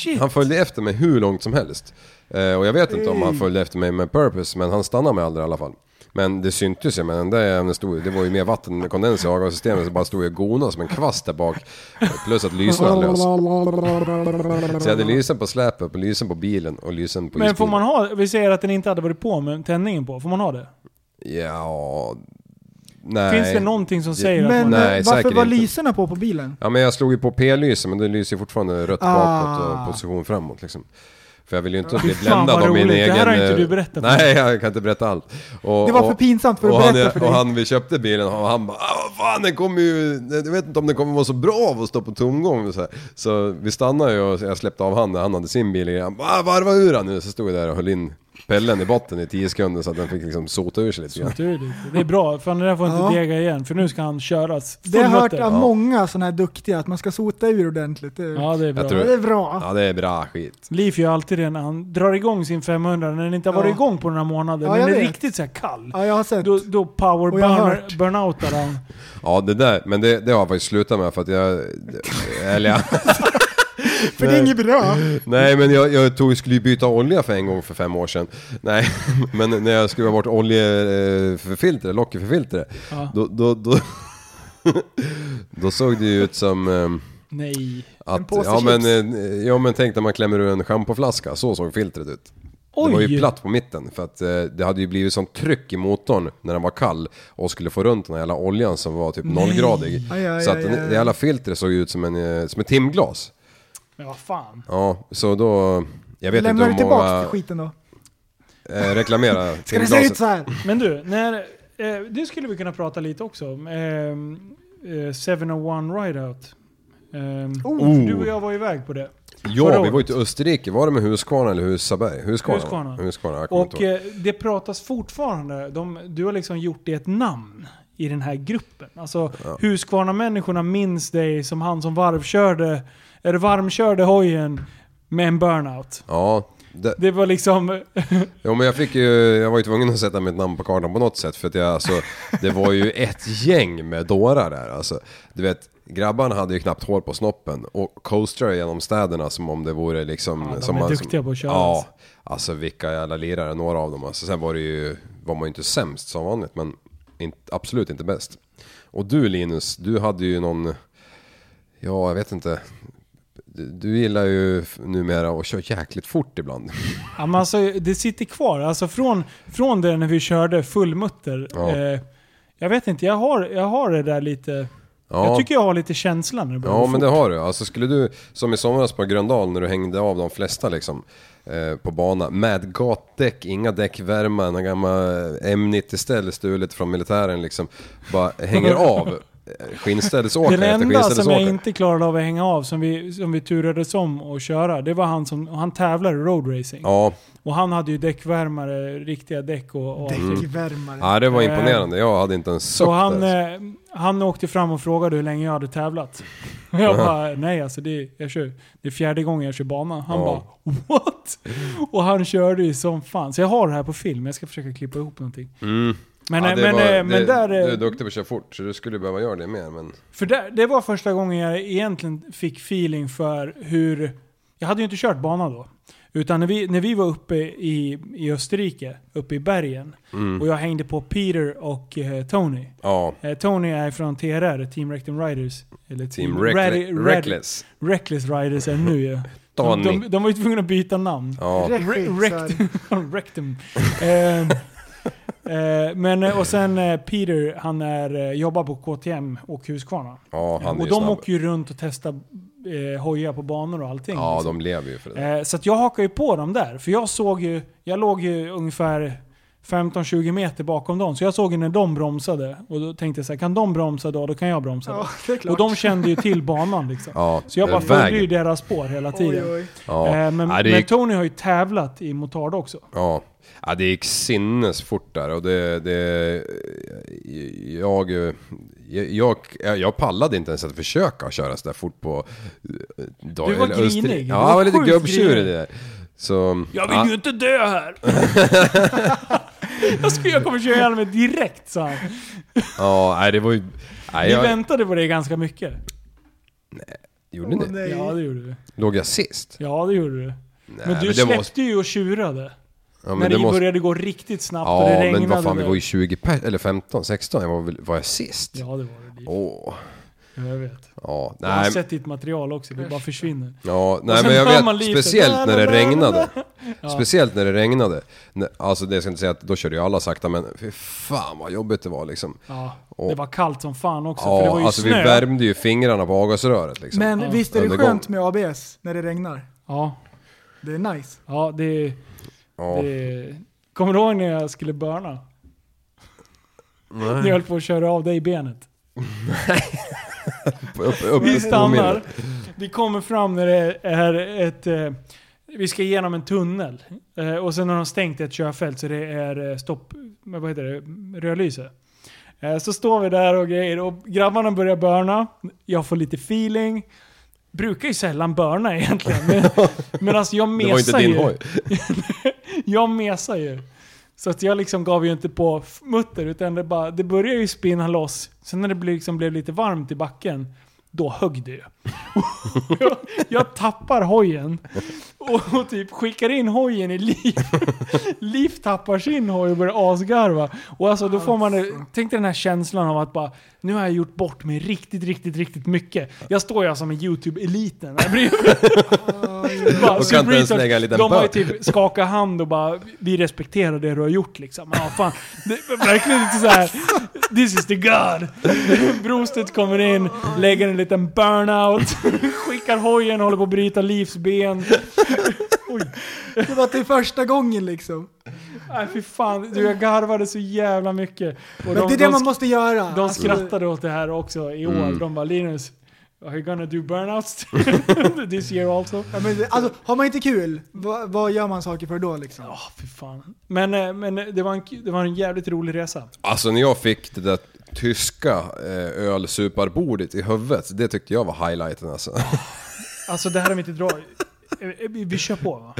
Shit!
Han följde efter mig hur långt som helst. Eh, och jag vet inte om han följde efter mig med purpose men han stannade mig aldrig i alla fall. Men det syntes ju, men den där jäveln stod, det var ju mer vattenkondens i avgassystemet så bara stod jag och gonade som en kvast där bak. Plus att lysen hade lös. Så jag hade lysen på släpet, på lysen på bilen och lysen på
Men får
isbilen.
man ha, vi säger att den inte hade varit på men tändningen på, får man ha det?
Ja... Nej.
Finns det någonting som säger att
Men
man...
Nej,
eh, varför
säkert
var
inte.
lyserna på på bilen?
Ja men jag slog ju på p-lyset men det lyser ju fortfarande rött
Ah.
bakåt och position framåt liksom. För jag vill ju inte
Fy
bli
fan,
bländad
vad
av min
roligt.
egen...
Det här har inte
eh,
du berättat för mig.
Nej, jag kan inte berätta allt. Och,
Det var
och-
för pinsamt för att
och
berätta
han,
för dig.
Och han, vi köpte bilen och han bara "Ah, vad fan den kommer ju... Jag vet inte om den kommer vara så bra av att stå på tomgång och så, här. så vi stannade ju och jag släppte av han när han hade sin bil igen. Han bara "Ah, varva ur han nu. Så stod jag där och höll in pellen i botten i 10 sekunder så att den fick liksom sota ur sig lite grann.
Du, du, Det är bra, för den där får inte
Ja.
dega igen. För nu ska han köras.
Det har jag hört
Fullmutter.
av många sådana här duktiga, att man ska sota ur ordentligt. Det,
Ja, det är bra.
Jag tror-
det är bra.
Ja det är bra skit.
Liv gör alltid det när han drar igång sin 500, när den inte har varit
Ja.
igång på några månader.
Ja,
men
jag
den är
vet.
riktigt så här kall.
Ja, jag har sett.
Då, då power
Och jag har
burner,
hört.
burnoutar han.
Ja det där, men det, det har jag faktiskt slutat med för att jag... Eller jag,
för det är inget bra.
Nej men jag, jag tog, skulle ju byta olja för en gång för fem år sedan. Nej, men när jag skruvade bort oljeförfiltret, locket för filtret.
Ja.
Då, då, då, då såg det ju ut som... ehm,
Nej.
Att,
påse
ja, men,
chips.
eh, ja men tänk när man klämmer ur en schampoflaska, så såg filtret ut.
Oj.
Det var ju platt på mitten för att eh, det hade ju blivit sånt tryck i motorn när den var kall och skulle få runt den här jävla oljan som var typ nollgradig.
Aj, aj,
Så att
aj,
den,
aj.
det jävla filtret såg ju ut som, en, eh, som ett timglas.
Men vad fan.
Ja, så då... Jag vet
Lämnar du
inte hur
tillbaka
många...
till skiten då?
Eh, reklamera
Ska det se ut
timglaset.
så här?
Men du, när, eh, det skulle vi kunna prata lite också om. Eh, eh, 701 Rideout. Eh,
Oh.
Du och jag var iväg på det. förra
Ja, vi var ju
året.
till Österrike. Var det med Husqvarna eller Husaberg? Husqvarna.
Husqvarna.
Husqvarna, jag kommer
Och
inte ihåg.
eh, det pratas fortfarande, de, du har liksom gjort det ett namn i den här gruppen. Alltså Husqvarna-människorna minns dig som han som varvkörde, eller varmkörde hojen med en
eh,
burnout.
Ja, det,
Det var liksom...
Jo men jag fick ju, jag var ju tvungen att sätta mitt namn på kartan på något sätt för att jag alltså, det var ju ett gäng med dårar där alltså. Du vet, Grabbarna hade ju knappt hår på snoppen och coastrade genom städerna som om det vore liksom...
Ja, de
som
är
man-
duktiga på att köra,
Ja,
alltså.
alltså vilka jävla lirare, några av dem. Alltså, sen var det ju, var man ju inte sämst som vanligt, men in, absolut inte bäst. Och du Linus, du hade ju någon, ja jag vet inte. Du, du gillar ju f- numera att köra jäkligt fort ibland.
Ja, men alltså, det sitter kvar. Alltså från, från det när vi körde fullmutter.
Ja.
Eh, jag vet inte, jag har, jag har det där lite...
Ja.
Jag tycker jag har lite känslan när det börjar
Ja
gå
men det
fort.
har du. Alltså skulle du, som i somras på Gröndal när du hängde av de flesta liksom eh, på bana med gatdäck, inga däckvärmare, några gamla M90-ställ stulet från militären liksom. Bara hänger av eh, skinnställsåkare
Den
efter
enda som jag
skinnställsåkare.
inte klarade av att hänga av, som vi, som vi turades om att köra, det var han som han tävlade i road racing.
Ja,
Och han hade ju däckvärmare, riktiga däck och... och
Däckvärmare.
ja, det var imponerande. Jag hade inte en suck alltså.
Så han,
där.
eh, han åkte fram och frågade hur länge jag hade tävlat. Och jag bara, nej alltså det är, jag kör, det är fjärde gången jag kör bana. Han
Ja.
bara, what? Och han körde ju som fan. Så jag har det här på film, jag ska försöka klippa ihop någonting. Men,
Mm. Ja,
eh,
det
men,
var-
eh,
det-
men där... eh,
Du är duktig på att köra fort så du skulle behöva göra det mer men...
För där, det var första gången jag egentligen fick feeling för hur... Jag hade ju inte kört bana då. Utan när vi, när vi var uppe i, i Österrike, uppe i bergen,
Mm.
och jag hängde på Peter och eh, Tony.
Ja,
Eh, Tony är från TRR, Team Rectum Riders. Eller
Team
Radi-
Reckle-
Radi-
Reckless.
Reckless Riders är nu ju. De,
Tony.
de, de var ju tvungna att byta namn.
Ja.
Re-
Rekt.
Rectum. rectum. Ehm, eh, men, eh, och sen eh, Peter, han är, eh, jobbar på KTM och Husqvarna.
Ja, han är
och
ju
de
snabb.
åker ju runt och testar eh, hojar på banor och allting.
Ja,
liksom.
de lever ju för det.
Eh, Så att jag hakar ju på dem där. För jag såg ju, jag låg ju ungefär 15-20 meter bakom dem. Så jag såg ju när de bromsade. Och då tänkte jag så här, kan de bromsa då, då kan jag bromsa då.
Ja, det är klart.
och de kände ju till banan liksom.
Ja,
Så jag bara
vägen.
följde ju deras spår hela
Oj,
tiden.
oj.
Ja.
Eh, Men,
Ja, det är
men Tony har ju tävlat i motard också.
Ja. ja, det gick sinnesfort där och det... det jag, jag, jag, jag pallade inte ens att försöka köra så där fort på... eh, Dag,
Du var
eller Öster-
grinig. Du
Ja,
var
jag var lite
sjukt
gubbtjurig
grinig.
där. Så...
Jag vill ju inte dö här! jag, ska, jag kommer köra ihjäl mig direkt sa han.
Ja, nej det var ju... Nej,
Vi
jag,
väntade på det ganska mycket.
gjorde ni?
Nej.
Ja det gjorde vi.
Låg jag sist?
Ja det gjorde du.
Nej,
Men du
det
släppte
måste-
ju och tjurade.
ja, men
när
det
det,
måste-
började gå riktigt snabbt och det
Ja,
regnade.
men vad fan, vi
där.
var ju 20 pers, eller 15, 16, jag var, väl- var jag sist?
Ja, det var det.
Åh,
Jag vet.
ja,
Jag har
nej.
sett ditt material också, det bara försvinner.
Ja,
Och
nej
sen
men
hör
jag
man
vet,
lite,
speciellt när det
"Da, da, da, da."
regnade. Speciellt när det regnade. Nä, Alltså det ska jag inte säga att då körde ju alla sakta men fy fan vad jobbigt det var liksom.
Ja,
Och-
det var kallt som fan också, för det var
Ja,
ju
alltså vi
snö.
värmde ju fingrarna på avgasröret liksom.
Men
Ja.
visst är det
Undergång.
skönt med ABS när det regnar?
Ja,
Det är nice.
ja det,
ja.
det... Kommer du ihåg när jag skulle börna? När jag höll på att köra av dig benet.
Upp- upp- upp-
Vi
upp-
stannar, vi kommer fram när det är ett... eh, Vi ska igenom en tunnel. Eh, Och sen har de stängt ett körfält så det är eh, stopp... men Vad heter det? Rödlyse. Eh, Så står vi där och grejer och grabbarna börjar börna. Jag får lite feeling. Brukar ju sällan börna egentligen. Men, men alltså jag
Det var inte
mesar
din
ju.
hoj.
Jag mesar ju. Så att jag liksom gav ju inte på f- mutter utan det, bara, det började ju spinna loss. Sen när det blev- liksom blev lite varmt i backen, då högg det ju. jag, jag tappar hojen och, och typ skickar in hojen i liv. Liv tappar sin hoj och börjar asgarva. Och alltså då får man, tänk dig den här känslan av att bara, nu har jag gjort bort mig riktigt, riktigt, riktigt mycket. Jag står ju här som en YouTube-eliten. här bredvid. Bara,
Och kan inte ens
Research,
lägga en liten
De har ju
bög.
typ skakat hand och bara, vi respekterar det du har gjort liksom. Ja, fan. Det, är verkligen inte så här. this is the God. Brostet kommer in, lägger en liten burnout, skickar hojen, håller på att bryta Livs ben.
Det var till första gången liksom.
Nej fy fan, du jag garvade så jävla mycket. Och
Men det är det man måste göra.
de
Alltså,
skrattade åt det här också i år. De bara Linus, are you gonna do burnouts this year also?
ja, men det- Alltså, har man inte kul, vad, vad gör man saker för då liksom?
Ja, fy fan. Men, eh, men det, var en, det var en jävligt rolig resa.
Alltså när jag fick det där tyska eh, ölsuparbordet i huvudet, det tyckte jag var highlighten alltså.
Alltså det här har vi inte dra. Eh, eh, Vi, vi kör på va?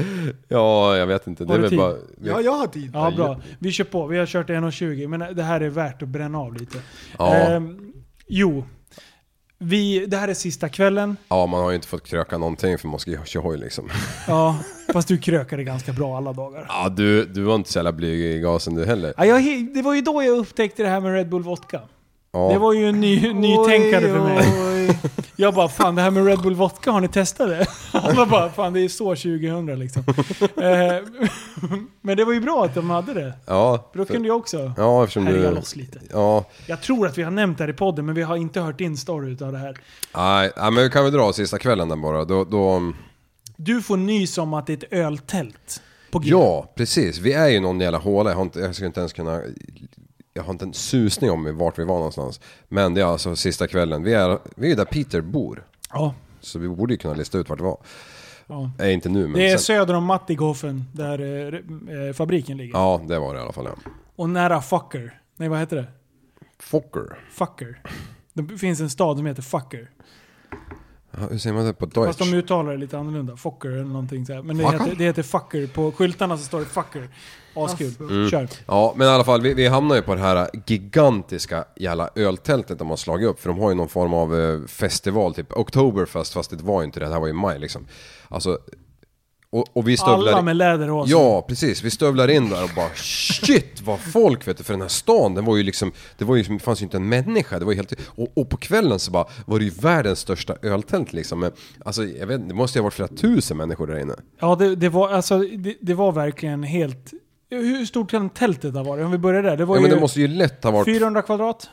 Ja, jag vet inte. Det
Har
är
du
väl
tid?
bara...
Ja, jag har tid.
Ja, bra. Vi kör på. Vi har eh, kört 1.20, men det här är värt att bränna av lite.
Ja.
Ehm, jo. Vi, det här är sista kvällen.
Ja, man har ju inte fått kröka någonting för man ska ju köra hoj liksom.
Ja, fast du krökade ganska bra alla dagar.
Ja, du, du var inte så jävla blyg i gasen du heller.
Ja, jag, he- det var ju då jag upptäckte det här med Red Bull Vodka.
Ja,
Det var ju en ny, nytänkande för mig.
Oj, oj.
Jag bara, fan det här med Red Bull Vodka, har ni testat det? Alla bara, fan det är så 2000 liksom. Eh, Men det var ju bra att de hade det.
ja,
För då kunde jag också
ja, eftersom
härja
du...
loss lite.
Ja,
Jag tror att vi har nämnt det här i podden, men vi har inte hört din story utav det här.
nej, nej, men vi kan väl dra sista kvällen där bara. Då, då,
Du får nys om att det är ett öltält. På G.
ja, precis. Vi är ju någon jävla håla. Jag, har inte, jag ska inte ens kunna... Jag har inte en susning om vart vi var någonstans. Men det är alltså sista kvällen. Vi är, vi är där Peter bor.
Ja.
Så vi borde ju kunna lista ut vart det var.
Ja.
Nej, inte nu men
Det är
sen.
söder om Mattighofen, där eh, eh, fabriken ligger.
Ja, det var det i alla fall. Ja.
Och nära Fucker. Nej, vad heter det?
Fokker.
Fucker. Det finns en stad som heter Fucker.
Ja, hur säger man det på deutsch?
Fast de uttalar det lite annorlunda. Fucker eller någonting så här. Men det
Fucker?
heter, det heter Fucker. På skyltarna så står det Fucker. Askul. Kör.
Ja, men i alla fall, vi, vi hamnar ju på det här gigantiska jävla öltältet de har slagit upp. För de har ju någon form av eh, festival, typ Oktoberfest, fast det var ju inte det. Det här var ju i maj liksom. Alltså, och, och vi stövlar...
Alla med läderhosen.
Ja, precis. Vi stövlar in där och bara shit vad folk vet du, för den här stan, den var ju liksom, det var ju, det fanns ju inte en människa. Det var ju helt, och, och på kvällen så bara var det ju världens största öltält liksom. Men, alltså, jag vet inte, det måste ju ha varit flera tusen människor där inne.
Ja, det, det, var, alltså, det, det var verkligen helt... Hur stort kan tältet ha varit? Om vi börjar där. Det var
Ja,
ju
men det måste ju lätt ha varit...
400 kvadrat.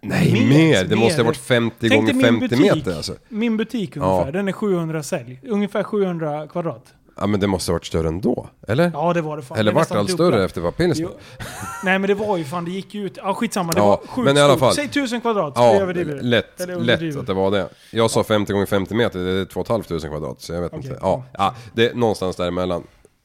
Nej, mer!
Mer,
Det måste ha
mer.
varit 50
Tänk dig
gånger
min
50
butik.
meter alltså.
Min butik ungefär. Den är 700 sälj. Ungefär 700 kvadrat.
Ja, men det måste ha varit större ändå, eller?
Ja, det var det fan. Det
eller
är
vart
nästan
allt
dubbla.
större efter vad pilsner?
Jo. Nej men det var ju fan, det gick ju ut... Ja skitsamma, det
Ja,
var sjukt
men i alla
stort.
fall.
Säg 1000 kvadrat, vi
Ja,
överdriver.
lätt,
Eller
lätt
överdriver.
att det var det. Jag sa 50 gånger 50 meter, det är 2 500 kvadrat, så jag vet inte. Ja, ja, det är någonstans däremellan.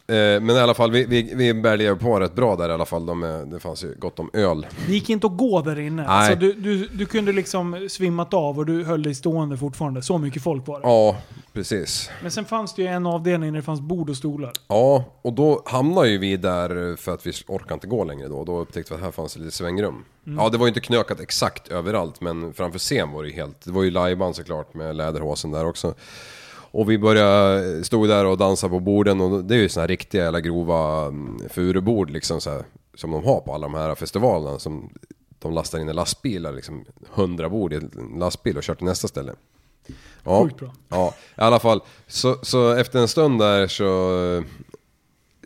Eh, Men i alla fall, vi, vi, vi bälgade på rätt bra där i alla fall. De, eh, det fanns ju gott om öl.
Det gick inte att gå där inne.
Nej.
Alltså, du, du, du kunde liksom svimmat av och du höll dig stående fortfarande. Så mycket folk var det.
Ja, precis.
Men sen fanns det ju en avdelning där det fanns bord och stolar.
Ja, och då hamnar ju vi där eh, för att vi orkar inte gå längre då. Då upptäckte vi att här fanns det lite svängrum. Ja, det var ju inte knökat exakt överallt, men framför scen var det ju helt... Det var ju lajban såklart med läderhosen där också. Och vi började, stod där och dansade på borden och det är ju såna här riktiga jävla grova mm, furubord liksom så här, Som de har på alla de här festivalerna som de lastar in i lastbilar liksom. Hundra bord i en lastbil och kör till nästa ställe. Ja,
Sjukt bra.
Ja, i alla fall. Så, så efter en stund där så,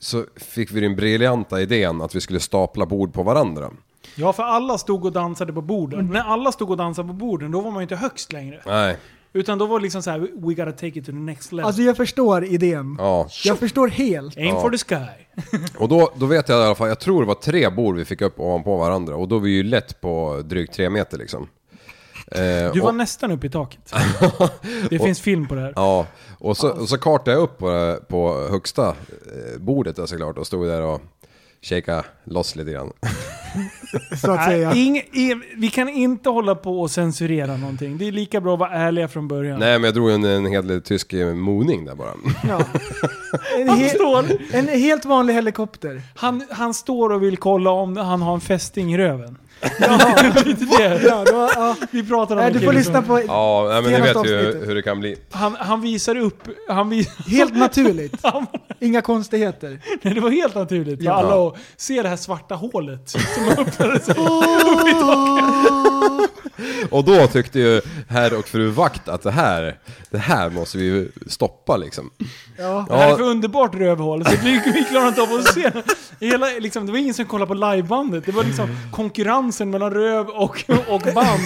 så fick vi den briljanta idén att vi skulle stapla bord på varandra.
Ja, för alla stod och dansade på borden. När alla stod och dansade på borden, då var man ju inte högst längre.
Nej,
Utan då var det liksom så här: we gotta take it to the next level.
Alltså jag förstår idén.
ja.
Jag förstår helt.
Aim for the sky.
Och då, då vet jag i alla fall, jag tror det var tre bord vi fick upp ovanpå varandra och då var vi ju lätt på drygt tre meter liksom. Eh,
Du var
och,
nästan uppe i taket. Det finns film på det här.
Ja, och så, och så kartade jag upp på, på högsta eh, bordet där såklart och stod där och shakade loss lite grann.
Så att
Nej,
säga.
ing- i- vi kan inte hålla på och censurera någonting. Det är lika bra att vara ärliga från början.
Nej men jag drog en, en hel del tysk eh, moning där bara.
Ja. En, he
Står,
en helt vanlig helikopter.
han, han står och vill kolla om han har en fästing i röven. det är inte det.
Ja, då, ja.
Vi pratar om
Nej,
en
du
kille
får
som-
lyssna på
Ja, nej, men ni
Senaste
vet ju
avsnittet.
hur det kan bli.
Han, han visar upp... Han vi,
helt naturligt. Inga konstigheter.
Nej, det var helt naturligt för alla att se det här svarta hålet som öppnade sig.
Och då tyckte ju herr och fru vakt att det här, det här måste vi ju stoppa liksom.
Ja.
Det här är för
Ja,
underbart rövhål, så vi, vi klarar inte av att se det. Hela, liksom, det var ingen som kollade på livebandet. Det var liksom konkurrensen mellan röv och, och band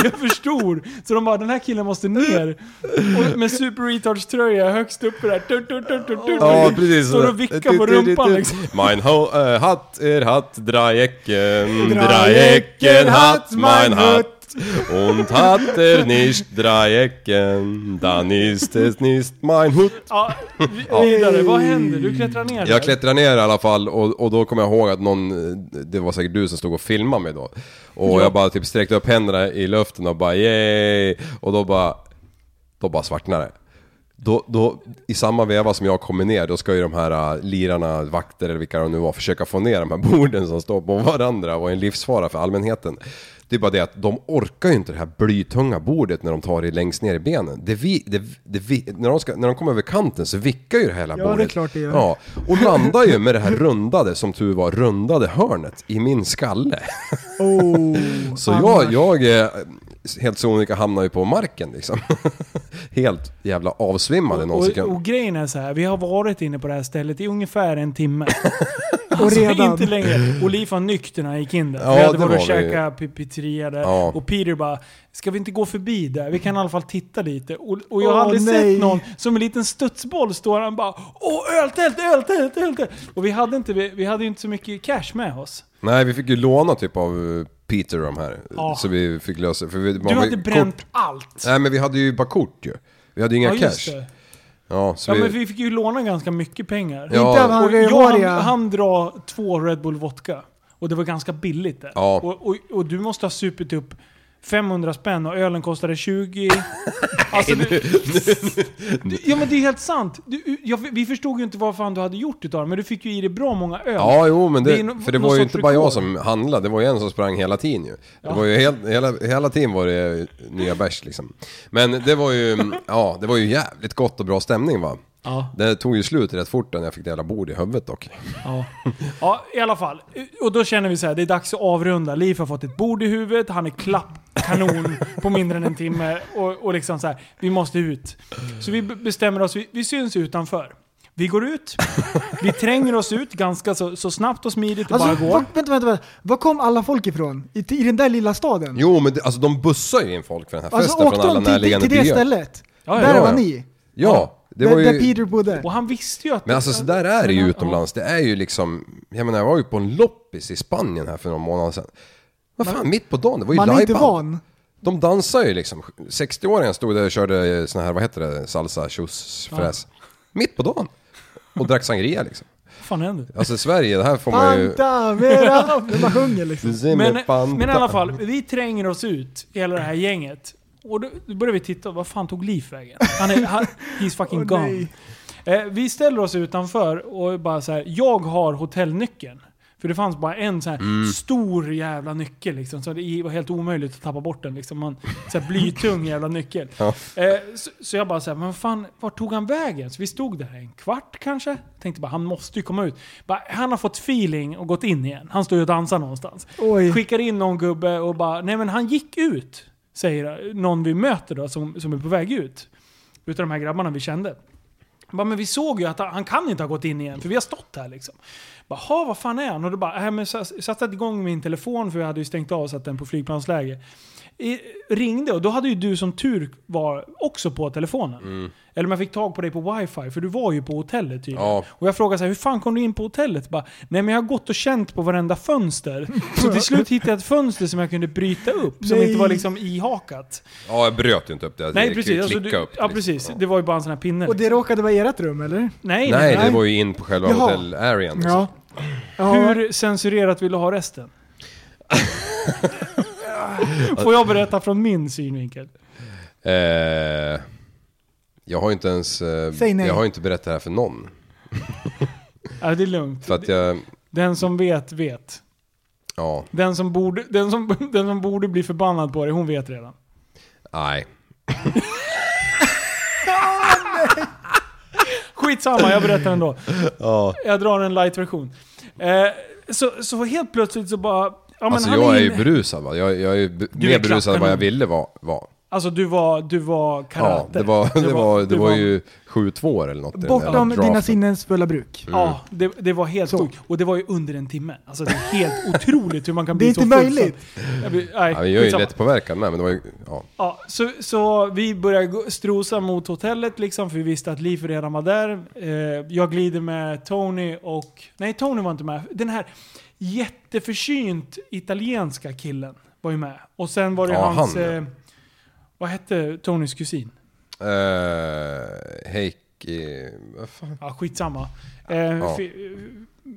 blev för stor. Så de bara, den här killen måste ner. Och med Super Retards tröja högst upp där. Tur, tur, tur, tur, tur,
ja precis.
Står och vickar på rumpan liksom.
Mein ho, eh, hatt er hatt, dreiecken,
Dreiecken
dreiecken hatt,
hat
mein
mein
hatt. Und hat er nicht dreiecken, dann ist es nicht mein Hut.
Ja, vi- vidare. Vad händer? Du klättrar ner där.
Jag klättrade ner i alla fall och, och då kommer jag ihåg att någon, det var säkert du som stod och filmade mig då. Och jag bara typ sträckte upp händerna i luften och bara yay! Och då bara, då bara svartnade det. Då, då, I samma veva som jag kommer ner, då ska ju de här äh, lirarna, vakter eller vilka de nu var, försöka få ner de här borden som står på varandra och är en livsfara för allmänheten. Det är bara det att de orkar ju inte det här blytunga bordet när de tar det längst ner i benen. Det vi, det, det vi, när, de ska, när de kommer över kanten så vickar ju det här hela
Ja, det är
bordet.
klart det gör.
Ja, och landar ju med det här rundade, som tur var, rundade hörnet i min skalle.
Oh,
Så jag, jag eh, helt sonika hamnar ju på marken liksom. Helt jävla avsvimmad i någon
Och,
sekund.
och grejen är så här, vi har varit inne på det här stället i ungefär en timme.
Och
Alltså,
redan.
inte längre. Och Liv var nykter när han gick in där.
Ja,
vi hade
det
varit och
var vi.
käkat pi- pizzeria där.
Ja.
Och Peter bara, ska vi inte gå förbi där? Vi kan i alla fall titta lite. Och, och jag har
Åh,
aldrig
nej.
sett någon som en liten studsboll står han bara Åh, öltält, öltält, öltält! Och vi hade, inte, vi, vi hade ju inte så mycket cash med oss.
Nej, vi fick ju låna typ av eh, Peter de här.
Ja.
Så vi fick lösa. För vi,
Du
man-
hade
vi-
bränt
Kort,
allt.
nej, men vi hade ju bara kort ju. Vi hade ju inga cash.
det.
Ja, så
Ja,
vi,
men vi fick ju låna ganska mycket pengar.
Ja.
Inte av
Och
han
jag
rödhåriga.
hann, hann dra två Red Bull vodka. Och det var ganska billigt där.
Ja.
Och, och, och du måste ha supit upp 500 spänn och ölen kostade 20. alltså, du, du, ja men det är helt sant. Du, jag, vi förstod ju inte vad fan du hade gjort utav det, men du fick ju i dig bra många öl.
Ja, jo, men det,
är no-
för det
någon
var ju
sorts
inte bara
rekord.
jag som handlade, det var ju en som sprang hela tiden ju. Det var ju helt, hela, hela tiden var det nya bärs liksom. Men det var ju, ja, det var ju jävligt gott och bra stämning va.
Ja.
Det tog ju slut rätt fort när jag fick det jävla bord i huvudet dock.
Ja. ja, i alla fall. Och då känner vi så här, det är dags att avrunda. Liv har fått ett bord i huvudet, han är klappkanon på mindre än en timme. Och, och liksom så här, vi måste ut. Så vi b- bestämmer oss, vi, vi syns utanför. Vi går ut, vi tränger oss ut ganska så, så snabbt och smidigt det
Alltså,
bara går.
var, vänta, vänta, vänta. Var kom alla folk ifrån? I, I den där lilla staden?
Jo men det, alltså de bussar ju in folk för den här
alltså
festen
åkte
från alla
de till,
närliggande
till det
byar.
stället?
Ja, ja,
där
ja,
var
ja.
ni?
Ja, det
där,
var
där
ju...
Peter bodde?
Och han visste ju att...
Men alltså så där är det ju
Ja.
utomlands. Det är ju liksom... Jag menar jag var ju på en loppis i Spanien här för någon månad sedan. Vad fan, mitt på dagen, det var ju
Man är inte
liveband.
van.
De dansar ju liksom. 60-åringen stod där och körde eh, sån här, vad heter det, salsa, tjus, fräs. Mitt på dagen. Och drack sangria liksom.
Vad fan händer?
Alltså Sverige, det här får man ju...
Panta, mera! När man sjunger liksom.
Men, men i alla fall, vi tränger oss ut, hela det här gänget. Och då, då börjar vi titta, vad fan tog Leif vägen? Han är, han, he's fucking
Åh,
gone.
nej.
Eh, vi ställer oss utanför och bara så här. jag har hotellnyckeln. För det fanns bara en så här stor jävla nyckel liksom, så det var helt omöjligt att tappa bort den. Liksom. Man, så här blytung jävla nyckel. Eh, så, så jag bara såhär, men fan, vart tog han vägen? Så vi stod där en kvart kanske. Tänkte bara, han måste ju komma ut. Bara, han har fått feeling och gått in igen. Han står ju och dansar någonstans.
Oj.
Skickar in någon gubbe och bara, nej men han gick ut. Säger någon vi möter då, som, som är på väg ut. Utav de här grabbarna vi kände. Bara, men vi såg ju att han, han kan inte ha gått in igen, för vi har stått här liksom. Bara, "Ha, vad fan är han? Och då bara, äh, men så, så jag satte igång min telefon, för jag hade ju stängt av och satt den på flygplansläge. I, ringde och då hade ju du som tur var också på telefonen. Eller man fick tag på dig på wifi, för du var ju på hotellet tydligen.
Ja.
Och jag frågade så här, hur fan kom du in på hotellet? Bara, Nej men jag har gått och känt på varenda fönster. Så till slut hittade jag ett fönster som jag kunde bryta upp, som
Nej.
inte var liksom ihakat.
Ja, jag bröt ju inte upp det. Jag
Nej
klick-
precis, alltså,
klickade
du,
upp,
ja,
liksom.
precis.
Ja.
det var ju bara en sån här pinne.
Och det råkade vara ert rum eller?
Nej,
Nej, det
Nej.
var ju in på själva
Jaha.
hotellarean. liksom.
Ja. ja.
Hur censurerat vill du ha resten? Får jag berätta från min synvinkel?
Eh, jag har ju inte ens... Eh,
Säg nej.
Jag har ju inte berättat det här för någon.
Ja, det är lugnt.
För att jag...
Den som vet, vet.
Ja,
Den som borde, den som, den som borde bli förbannad på dig, hon vet redan.
nej.
Skitsamma, jag berättar ändå.
Ja.
Jag drar en light-version. Eh, så, så helt plötsligt så bara... Ja, men
Alltså
han
jag är
in-
ju berusad va. Jag, jag är ju b-
Du är
mer berusad än vad jag
klapparna.
ville vara. vara.
Alltså du var, du var
Ja,
karate.
det var, det var, det
du
var ju 7-2 eller något. i den
Bortom
där
dina
draften.
sinnens fulla bruk.
Mm.
Ja, det, det var helt
Så.
sjukt. Och det var ju under en timme. Alltså det är helt otroligt hur man kan
Det
bli
är
så
inte
fullsatt.
möjligt.
Jag blir- nej,
Ja, men jag är ju
skitsamma.
lätt påverkad med, men det var ju... Ja.
Ja, så, så vi börjar gå- strosa mot hotellet liksom, för vi visste att Liv redan var där. Eh, jag glider med Tony och... Nej, Tony var inte med. Den här jätteförsynt italienska killen var ju med. Och sen var det
Ja,
hans...
han, ja.
eh, vad hette Tonys kusin?
Uh, Heikki... Vad fan?
Ja, skitsamma. Eh, fi, eh,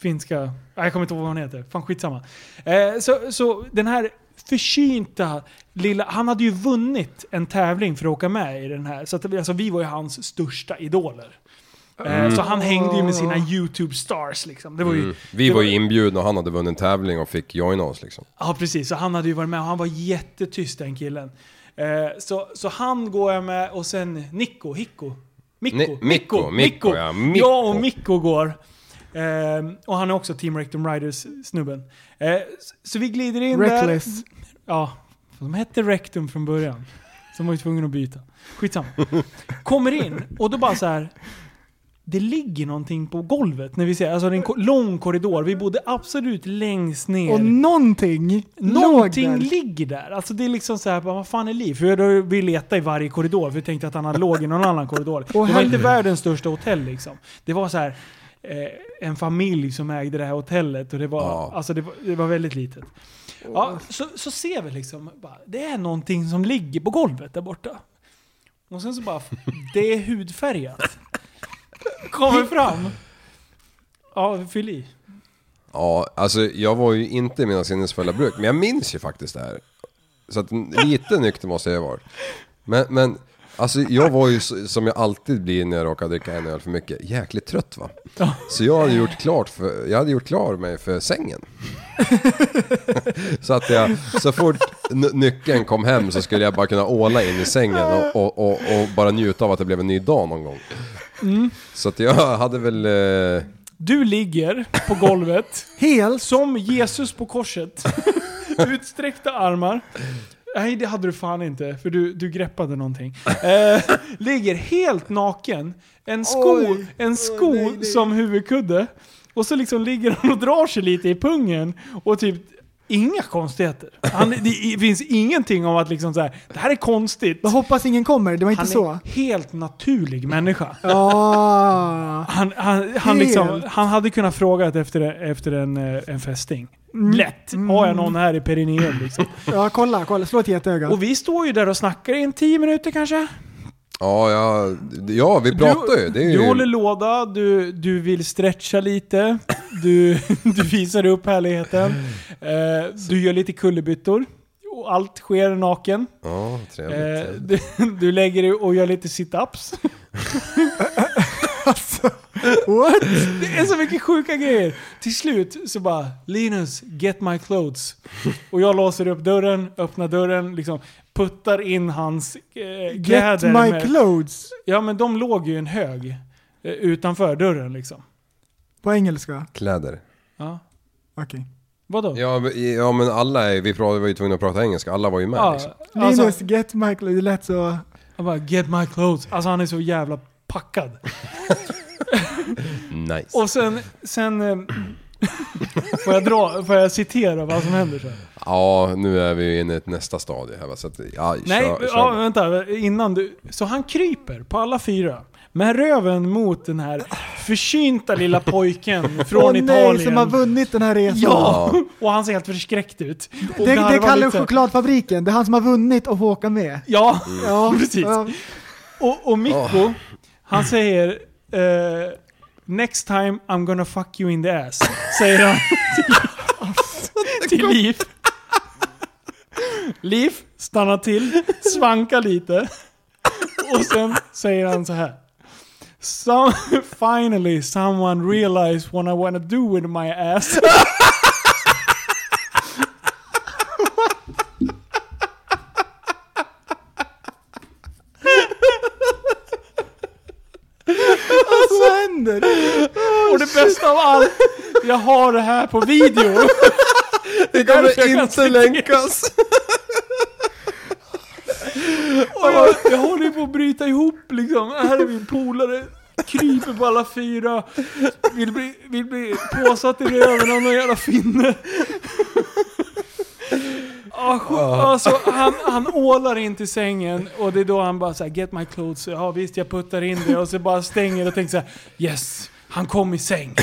finska... Nej, jag kommer inte ihåg vad han heter. Fan, skitsamma. Eh, så, så den här försynta lilla... Han hade ju vunnit en tävling för att åka med i den här. Så att, det- alltså, vi var ju hans största idoler. Eh, Så han hängde ju med sina YouTube-stars liksom. Det var ju,
Mm. Vi
det
var ju inbjudna och han hade vunnit en tävling och fick joina oss liksom.
Ja, precis. Så han hade ju varit med och han var jättetyst den killen. Eh, så, så han går jag med och sen Nico, Hicko, Mikko,
Ni- Mikko, Mikko, ja, Mikko.
Jag och Mikko går. Ehm, och han är också Team Rectum Riders-snubben. Eh, s- så vi glider in
Mm.
Reckless.
där. Ja, för de hette Rectum från början. Så de var ju tvungna att byta. Skitsamma. Kommer in och då bara så här. Det ligger någonting på golvet när vi ser, alltså det är en ko- lång korridor. Vi bodde absolut längst ner.
Och någonting
Någonting
låg där.
ligger där. Alltså det är liksom så här, bara, vad fan är liv? För då, vi letade i varje korridor, för vi tänkte att han hade låg i någon annan korridor. det var
herre.
inte världens största hotell liksom. Det var så här, eh, en familj som ägde det här hotellet och det var,
Ja.
alltså, det var, det var väldigt litet. Ja, så, så ser vi liksom, bara, det är någonting som ligger på golvet där borta. Och sen så bara, det är hudfärgat. Kommer fram. Ja, fyll i.
Ja, alltså jag var ju inte i mina sinnesfulla bruk, men jag minns ju faktiskt det här. Så att lite nykter måste jag ha varit. Men, men alltså jag var ju så- som jag alltid blir när jag råkar dricka en öl för mycket, jäkligt trött va. Så jag hade gjort klart för, jag hade gjort klar mig för sängen. Så att jag, så fort n- nyckeln kom hem så skulle jag bara kunna åla in i sängen och, och, och, och bara njuta av att det blev en ny dag någon gång. Så att jag hade väl... Eh,
Du ligger på golvet.
Helt.
Som Jesus på korset. Utsträckta armar. Nej, det hade du fan inte, för du, du greppade någonting. Eh, ligger helt naken. En sko,
Oj.
en sko
nej, nej.
som huvudkudde. Och så liksom ligger han och drar sig lite i pungen. Och typ, inga konstigheter. Han, det i- finns ingenting om att liksom så här, det här är konstigt.
Jag hoppas ingen kommer, det var inte
Han
så.
är helt naturlig människa.
Ah.
Han, han, han,
Helt.
liksom, han hade kunnat fråga efter, efter en, eh, en fästing. Lätt! Har jag någon här i perineum liksom?
Ja, kolla, kolla. Slå ett getöga.
Och vi står ju där och snackar i en tio minuter kanske.
Ja, ja, ja vi pratar ju. Det är ju...
Du håller låda, du, du vill stretcha lite, du, du visar upp härligheten. Eh, du gör lite kullerbyttor. Och allt sker naken.
Ja, trevligt.
Eh,
trevligt.
du, du lägger dig och gör lite sit-ups.
What?
Det är så mycket sjuka grejer. Till slut så bara Linus, get my clothes. Och jag låser upp dörren, öppnar dörren, liksom puttar in hans eh,
Get
kläder.
my
med-
clothes.
Ja men de låg ju i en hög eh, utanför dörren liksom.
På engelska.
Kläder.
Ja.
Okej.
Vadå?
Ja, men- ja, men alla är, vi pratade, var ju tvungna att prata engelska. Alla var ju med
Ja,
liksom.
alltså,
Linus, get my clothes. Det lät så...
jag bara get my clothes. Alltså han är så jävla packad.
Nice.
Och sen, sen eh, får, jag dra, får jag citera vad som händer sen?
Ja, nu är vi ju inne i ett nästa stadie här va, så att, ja,
Nej,
kör,
ja,
kör.
vänta. Innan du... Så han kryper på alla fyra. Med röven mot den här försynta lilla pojken från
Åh
Italien.
nej, som har vunnit den här resan.
Ja! Och han ser helt förskräckt ut. Och
Det, det
garvar
kallar
lite.
chokladfabriken. Det är han som har vunnit och får åka med.
Ja,
Ja,
precis.
ja.
Och, och Mikko, han säger... eh, Next time I'm gonna fuck you in the ass. Säger han till- till Liv. Liv stannar till, svankar lite. Och sen säger han så här. Some, finally someone realized what I wanna do with my ass.
Vad händer?
Och det bästa av allt, jag har det här på video. därför
Det
jag
kommer
kan
inte
citera.
länkas!
Och jag, jag håller ju på att bryta ihop liksom. Här är min polare. Kryper på alla fyra. Vill bli, vill bli påsatt i röven av någon jävla finne. Ah, sj- alltså, han, han ålar in till sängen och det är då han bara såhär Get my clothes. Ja visst jag puttar in det och så bara stänger och tänker såhär Yes, han kom i säng.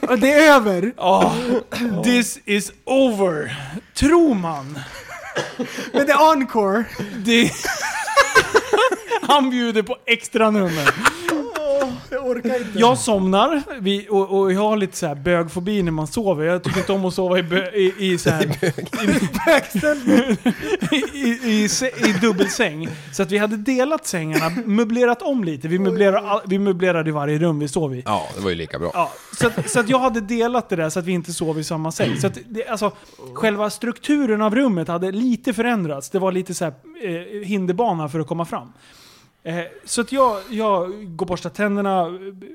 Ja, Det är över.
Ah, this is over. Tror man.
Men det är encore.
Det... han bjuder på extra nummer.
Jag orkar inte.
Jag somnar vi, och, och jag har lite så här bögfobi när man sover. Jag tycker inte om att sova i, bö, i, i, så här, i, i, i, se- i dubbelsäng. Så att vi hade delat sängarna, möblerat om lite. Vi möblerade, all- vi möblerade i varje rum vi sov i.
Ja, det var ju lika bra.
Ja, så att, så att jag hade delat det där så att vi inte sov i samma säng. Så att det, alltså, själva strukturen av rummet hade lite förändrats. Det var lite så här, eh, hinderbana för att komma fram. Eh, så att jag, jag går och borstar tänderna. eh,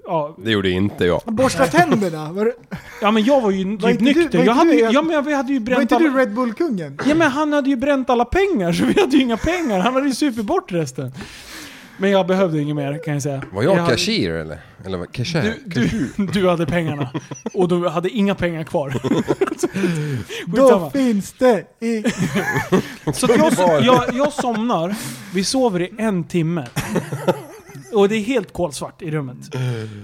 Ja,
Det gjorde inte jag.
Borsta tänderna. Var,
ja, men jag var ju
Var
typ
inte du-
nykter.
var
jag
inte
hade,
du-
ju- ja, men jag- vi hade ju
var
bränt
inte
alla,
du Red Bull-kungen?
Ja, men han hade ju bränt alla pengar så vi hade ju inga pengar. Han hade ju supit bort resten. Men jag behövde inget mer kan jag säga.
Var jag
hade-
cashier eller? Eller vad- cashier?
Du, du, du hade pengarna. Och du hade inga pengar kvar.
Då
Skitsamma.
finns det i...
Så att jag, jag, jag somnar, vi sover i en timme. Och det är helt kolsvart i rummet.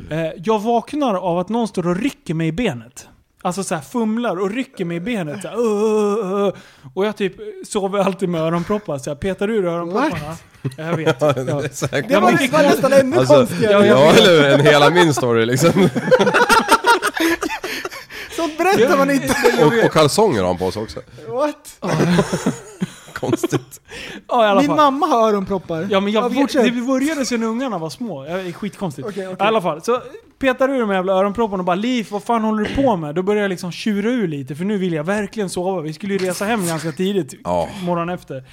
Eh, Jag vaknar av att någon står och rycker mig i benet. Alltså så här fumlar och rycker mig i benet. Så här, "Åh, åh, åh." och jag typ sover alltid med öronproppar. Så jag petar ur öronpropparna. Jag vet. Ja.
Säkert.
Det
Ja,
var,
men-
det var nästan ännu
Alltså,
konstigare.
ja, eller en hela min story liksom.
Så berättar man inte.
Och, och kalsonger har han på sig också.
What?
Konstigt.
Ja, i alla
Min
fall.
mamma har öronproppar.
Ja men jag vet,
fortsätt.
det började sen ungarna var små. Ja, Det är skitkonstigt.
Okej, okej.
I alla fall, så petar ur de jävla öronpropparna och bara Liv, vad fan håller du på med? Då börjar jag liksom tjura ur lite för nu vill jag verkligen sova. Vi skulle ju resa hem ganska tidigt,
Ja.
morgonen efter.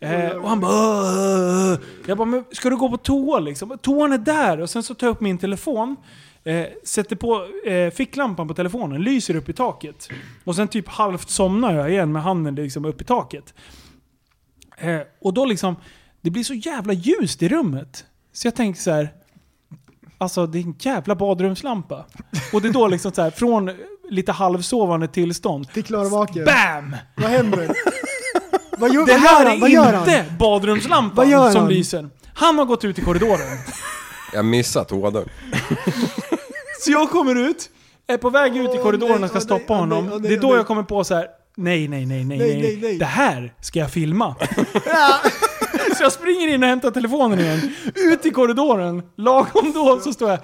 Eh, och han bara "Åh, åh." Jag bara, men ska du gå på toa liksom? Toan är där! Och sen så tar jag upp min telefon, eh, sätter på eh, ficklampan på telefonen, lyser upp i taket. Och sen typ halvt somnar jag igen med handen liksom upp i taket. Eh, och då liksom, det blir så jävla ljust i rummet. Så jag tänker så här. Alltså det är en jävla badrumslampa. Och det är då liksom så här, från lite halvsovande tillstånd.
Till klarvaken.
BAM!
Vad händer? Vad, gör,
Det
vad gör
här
han? Vad gör
är
han?
inte
Vad gör
badrumslampan som
han?
lyser. Han har gått ut i korridoren.
Jag missade toadörren.
Så jag kommer ut, är på väg ut i
Åh,
korridoren
nej,
och ska
åh,
stoppa
nej, åh,
honom.
nej, åh,
det är
nej,
då
åh,
jag
nej.
kommer på så här. Nej, nej, nej, nej,
Nej,
nej,
nej, nej.
Det här ska jag filma. så jag springer in och hämtar telefonen igen. Ut i korridoren. Lagom då så står jag.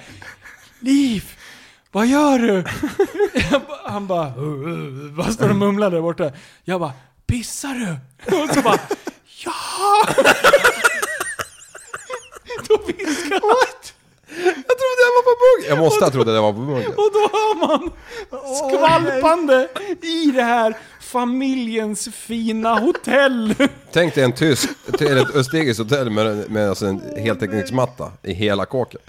Liv! Vad gör du? Jag ba- Han bara... Vad står du och mumlar där borta? Jag bara... Pissar du? Och så bara... Ja! Då viskar han.
Jag trodde jag var på bugg. Jag måste ha trott att jag var på bugg.
Och då hör man skvalpande i det här familjens fina hotell.
Tänk dig en tysk, eller ett österrikiskt hotell med, med alltså en heltäckningsmatta i hela kåken.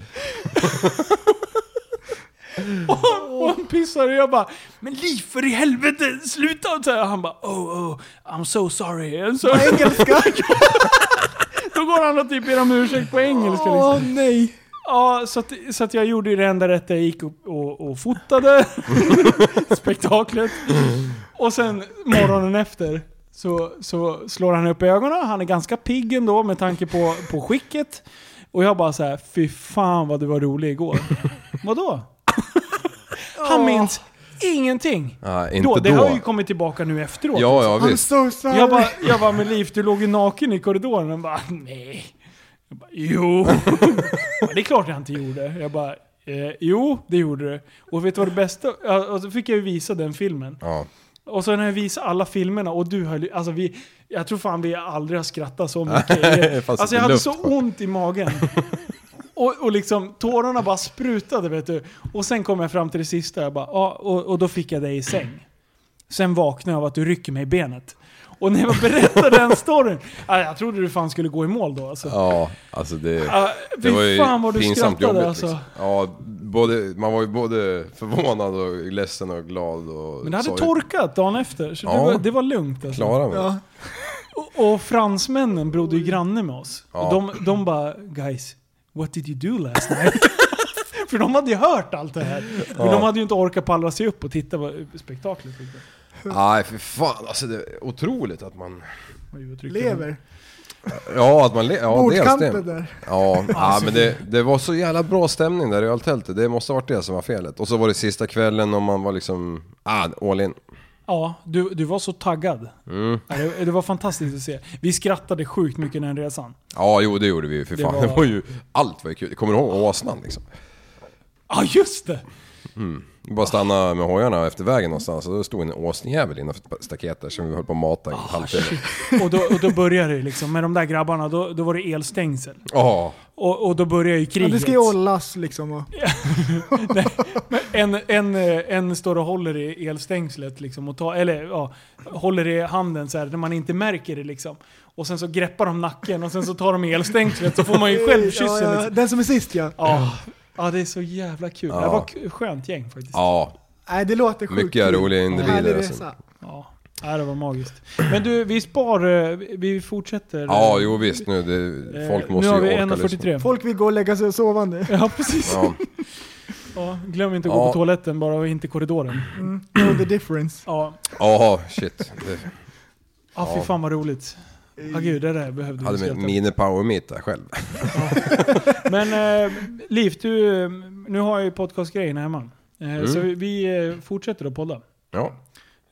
Och, och han pissar och jag bara Men Liv för i helvete sluta! Och så här, han bara oh, oh I'm so sorry. Så,
Engelska?
då går han och typ ber om ursäkt på engelska. Liksom.
Åh nej.
Ja, så att, så att jag gjorde ju det enda rätta. Jag gick upp och, och fotade spektaklet. Och sen morgonen efter så, så slår han upp ögonen. Han är ganska pigg ändå med tanke på, på skicket. Och jag bara så här, fy fan vad du var rolig igår. Vadå? Han minns ingenting.
Nej, inte
Då,
då.
det har ju kommit tillbaka nu efteråt.
Ja, ja
I'm
visst.
so sorry.
Jag bara, jag bara men Liv, du låg ju naken i korridoren. Han bara, nej. Jag bara, jo. Men det är klart jag inte gjorde. Jag bara, eh, jo, det gjorde du. Och vet du vad det bästa ja, Och så fick jag ju visa den filmen.
Ja.
Och så när jag visade alla filmerna och du höll alltså vi, Jag tror fan vi aldrig har skrattat så mycket.
fanns
alltså jag
inte
hade
luft
så ont i magen. Och, och liksom tårarna bara sprutade vet du. Och sen kom jag fram till det sista, jag bara, ja, och, och då fick jag dig i säng. Sen vaknade jag av att du rycker mig i benet. Och när jag berättade den storyn, ja, jag trodde du fan skulle gå i mål då alltså.
Ja, alltså det...
Ja,
Det var ju
Fy fan vad du
pinsamt
skrattade
jobbigt
alltså.
liksom. Ja, både, man var ju både förvånad och ledsen och glad och
Men det hade
sorg.
torkat dagen efter, så det,
Ja.
var, det var lugnt alltså.
Klara mig.
Ja.
Och, och fransmännen bodde ju granne med oss.
Ja.
Och de, de bara “Guys, what did you do last night?” För de hade ju hört allt det här. Men
Ja.
de hade ju inte orkat pallra sig upp och titta på spektaklet. liksom.
Nej, för fan alltså det är otroligt att man...
Och ju tryckte dem.
Lever.
Ja, att man... le- Ja, dels det.
Bordkanten där.
Ja, ja men det, det var så jävla bra stämning där i öltältet. Det måste ha varit det som var felet. Och så var det sista kvällen och man var liksom... Ah, all in.
Ja, du, du var så taggad.
Mm.
Ja, Det, det var fantastiskt att se. Vi skrattade sjukt mycket den resan.
Ja, jo det gjorde vi ju för
Det
fan. Det
var-
var ju... Allt var ju kul. Kommer du ihåg åsnan liksom?
Ja, just det!
Vi bara stanna med hojarna efter vägen någonstans och då stod en åsnejävel innanför staketet som vi höll på att mata i en halvtimme.
Och då, och då började det liksom, med de där grabbarna, då, då var det elstängsel.
Ja,
Och, och då började ju
Ja,
kriget.
det ska ju ollas liksom. Och,
En, en, eh, en står och håller i elstängslet liksom och tar, eller ja, håller i handen så här när man inte märker det liksom. Och sen så greppar de nacken och sen så tar de i elstängslet så får man ju själv kyssen
ja, ja,
liksom.
Den som är sist ja.
Ja, ja, det är så jävla kul.
Ja.
Det var ett skönt gäng faktiskt. Ja.
ja.
Nej, det låter sjukt.
Mycket
kul.
roliga
Härlig
individer. Alltså.
resa.
Ja. det var magiskt. Men du, vi spar, eh, vi fortsätter.
Ja, jo visst nu. Det,
Eh,
folk måste
Nu har
ju
vi
orka lyssna.
1.43.
Folk vill gå och lägga sig och sova nu.
Ja, precis. Ja.
Ja.
glöm inte att gå
Ja.
på toaletten bara och inte i korridoren.
Know the difference.
Ja,
Jaha, shit. Det-
ah, fy
Ja.
fan vad roligt. Ja, gud, det där behövde vi
hade
skratta
min
åt.
mini power meet där själv.
Men eh, Liv, du, eh, nu har jag ju podcastgrejen hemma. Eh,
Mm.
Så vi, vi eh, fortsätter att podda.
Ja,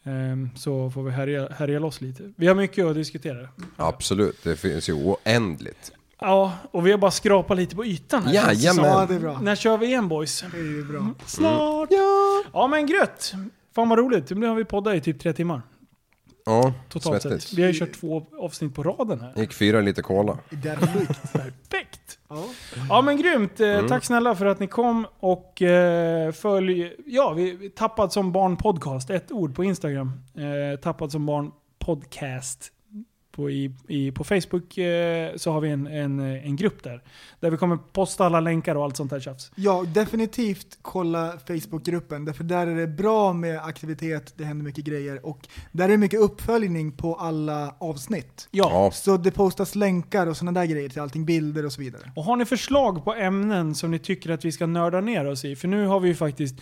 Eh, så får vi härja, härja loss lite. Vi har mycket att diskutera.
absolut. Det finns ju oändligt.
Ja, och vi har bara skrapat lite på ytan här. känns det som.
Jajamän.
Ja, det är bra.
När kör vi igen boys?
Det är ju bra.
Snart! Ja. ja men grött! Fan vad roligt. Nu har vi poddat i typ tre timmar.
Ja,
Totalt
svettigt.
sett. Vi har ju kört två avsnitt på raden här.
Gick fyra lite cola.
Därför.
Perfekt!
Ja.
Ja men grymt! Eh, Tack snälla för att ni kom och eh, följ... Ja, vi vi Tappad som barn podcast. Ett ord på Instagram. Eh, tappad som barn podcast. På, i, i, på Facebook eh, så har vi en, en, en grupp där. Där vi kommer posta alla länkar och allt sånt där tjafs.
Ja, definitivt kolla Facebookgruppen. Därför där är det bra med aktivitet, det händer mycket grejer och där är det mycket uppföljning på alla avsnitt.
Ja,
Så det postas länkar och sådana där grejer till allting, bilder och så vidare.
Och har ni förslag på ämnen som ni tycker att vi ska nörda ner oss i? För nu har vi ju faktiskt...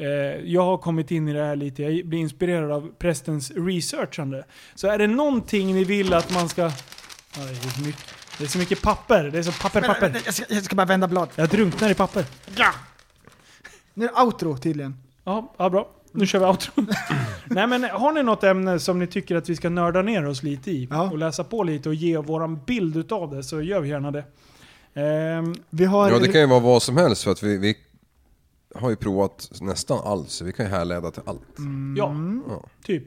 Eh, jag har kommit in i det här lite. Jag blir inspirerad av prästens researchande. Så är det någonting ni vill att man ska... Aj, det, är så mycket, det är så mycket papper. Det är så papper, papper.
Jag, ska, bara vända blad.
Jag drunknar i papper.
Nu är det outro tydligen.
Ja, ja bra. Nu kör vi outro. Nej men har ni något ämne som ni tycker att vi ska nörda ner oss lite i?
Ja.
Och läsa på lite och ge våran bild utav det så gör vi gärna det. Ehm,
Vi har...
ja det kan ju vara vad som helst för att vi, vi har ju provat nästan allt så vi kan ju härleda till allt.
ja,
Ja.
typ.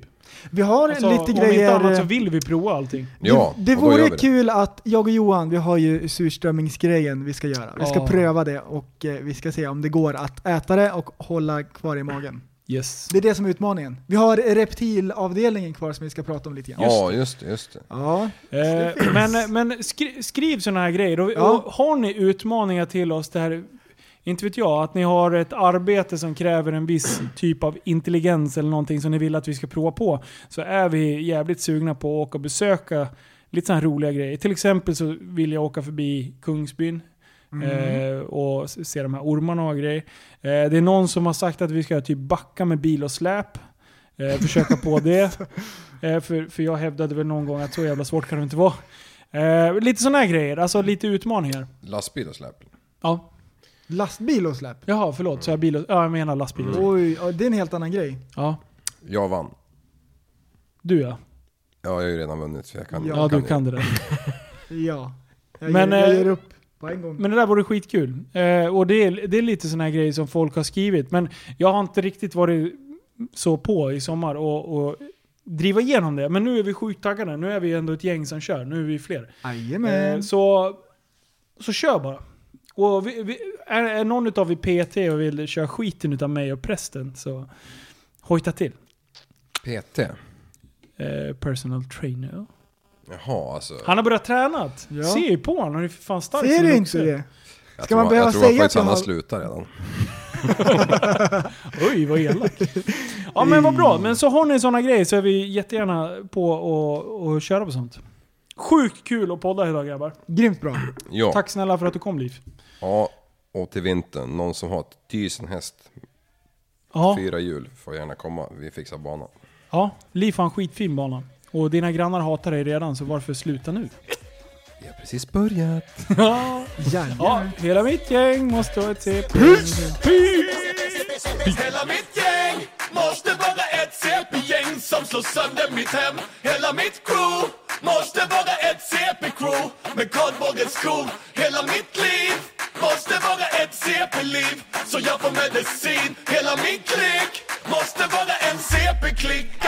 Vi har lite
Alltså, Om inte
grejer...
annat så vill vi prova allting.
Ja,
det det
och då gör
vore
vi det.
kul att jag och Johan, vi har ju surströmmingsgrejen vi ska göra. Vi ska
Ja.
pröva det och eh, vi ska se om det går att äta det och hålla kvar i magen.
Yes.
Det är det som är utmaningen. Vi har reptilavdelningen kvar som vi ska prata om lite grann.
Ja, just det, just det.
Ja.
Eh, men men skri, skriv sådana här grejer. Och,
Ja.
och har ni utmaningar till oss där, inte vet jag, att ni har ett arbete som kräver en viss typ av intelligens eller någonting som ni vill att vi ska prova på, så är vi jävligt sugna på att åka och besöka lite sådana här roliga grejer. Till exempel så vill jag åka förbi Kungsbyn. eh, och s- se de här ormarna och grejer. Eh, det är någon som har sagt att vi ska typ backa med bil och släp. Eh, försöka på det. Eh, för, för jag hävdade väl någon gång att så jävla svårt kan det inte vara. Eh, lite sådana här grejer, alltså lite utmaningar.
Lastbil och släp.
Ja.
Lastbil och släp.
Jaha, förlåt. Så jag bil och, ja, jag menar lastbil.
Mm.
och så.
Oj, ja, det är en helt annan grej.
Ja.
Jag vann.
Du ja.
Ja, jag har ju redan vunnit så jag kan
Ja,
Ja,
jag
du
ju.
kan det där.
Ja. Jag,
Men,
ger, jag
eh,
ger upp på en gång.
Men det där vore skitkul. Eh, och det är, det är lite sådana här grejer som folk har skrivit. Men jag har inte riktigt varit så på i sommar och, och driva igenom det. Men nu är vi sjukt taggade. Nu är vi ändå ett gäng som kör. Nu är vi fler. Eh,
Jajamän.
Så, så kör bara. Och vi, vi, är, är någon utav er PT och vill köra skiten utav mig och prästen så hojta till.
PT.
Eh, personal trainer.
Jaha, alltså.
Han har börjat träna.
Ja.
Se ju på honom, han är för fan stark.
Ser
som
du
en
inte
oxe.
det?
Jag
Ska
tror,
man behöva
jag tror
säga
faktiskt
att jag
han har
har-
slutat redan.
Oj, vad elak. ja men vad bra. Men så har ni sådana grejer så är vi jättegärna på och, och köra på sånt. Sjukt kul att podda idag grabbar.
Grymt bra.
Ja.
Tack snälla för att du kom Liv.
ja, och till vintern. Någon som har tusen häst,
Ja,
fyra hjul får gärna komma. Vi fixar banan.
ja. Liv har en skitfin bana. Och dina grannar hatar dig redan så varför sluta nu?
Vi har precis börjat.
Ja.
Jajamän.
Ja, hela mitt gäng måste ha ett CP.
Hela mitt gäng måste vara ett CP-gäng som slår sönder mitt hem Hela mitt crew måste vara ett CP-crew med kardborrets skor Hela mitt liv måste vara ett CP CP-liv Så jag får medicin Hela min klick måste vara en CP-klick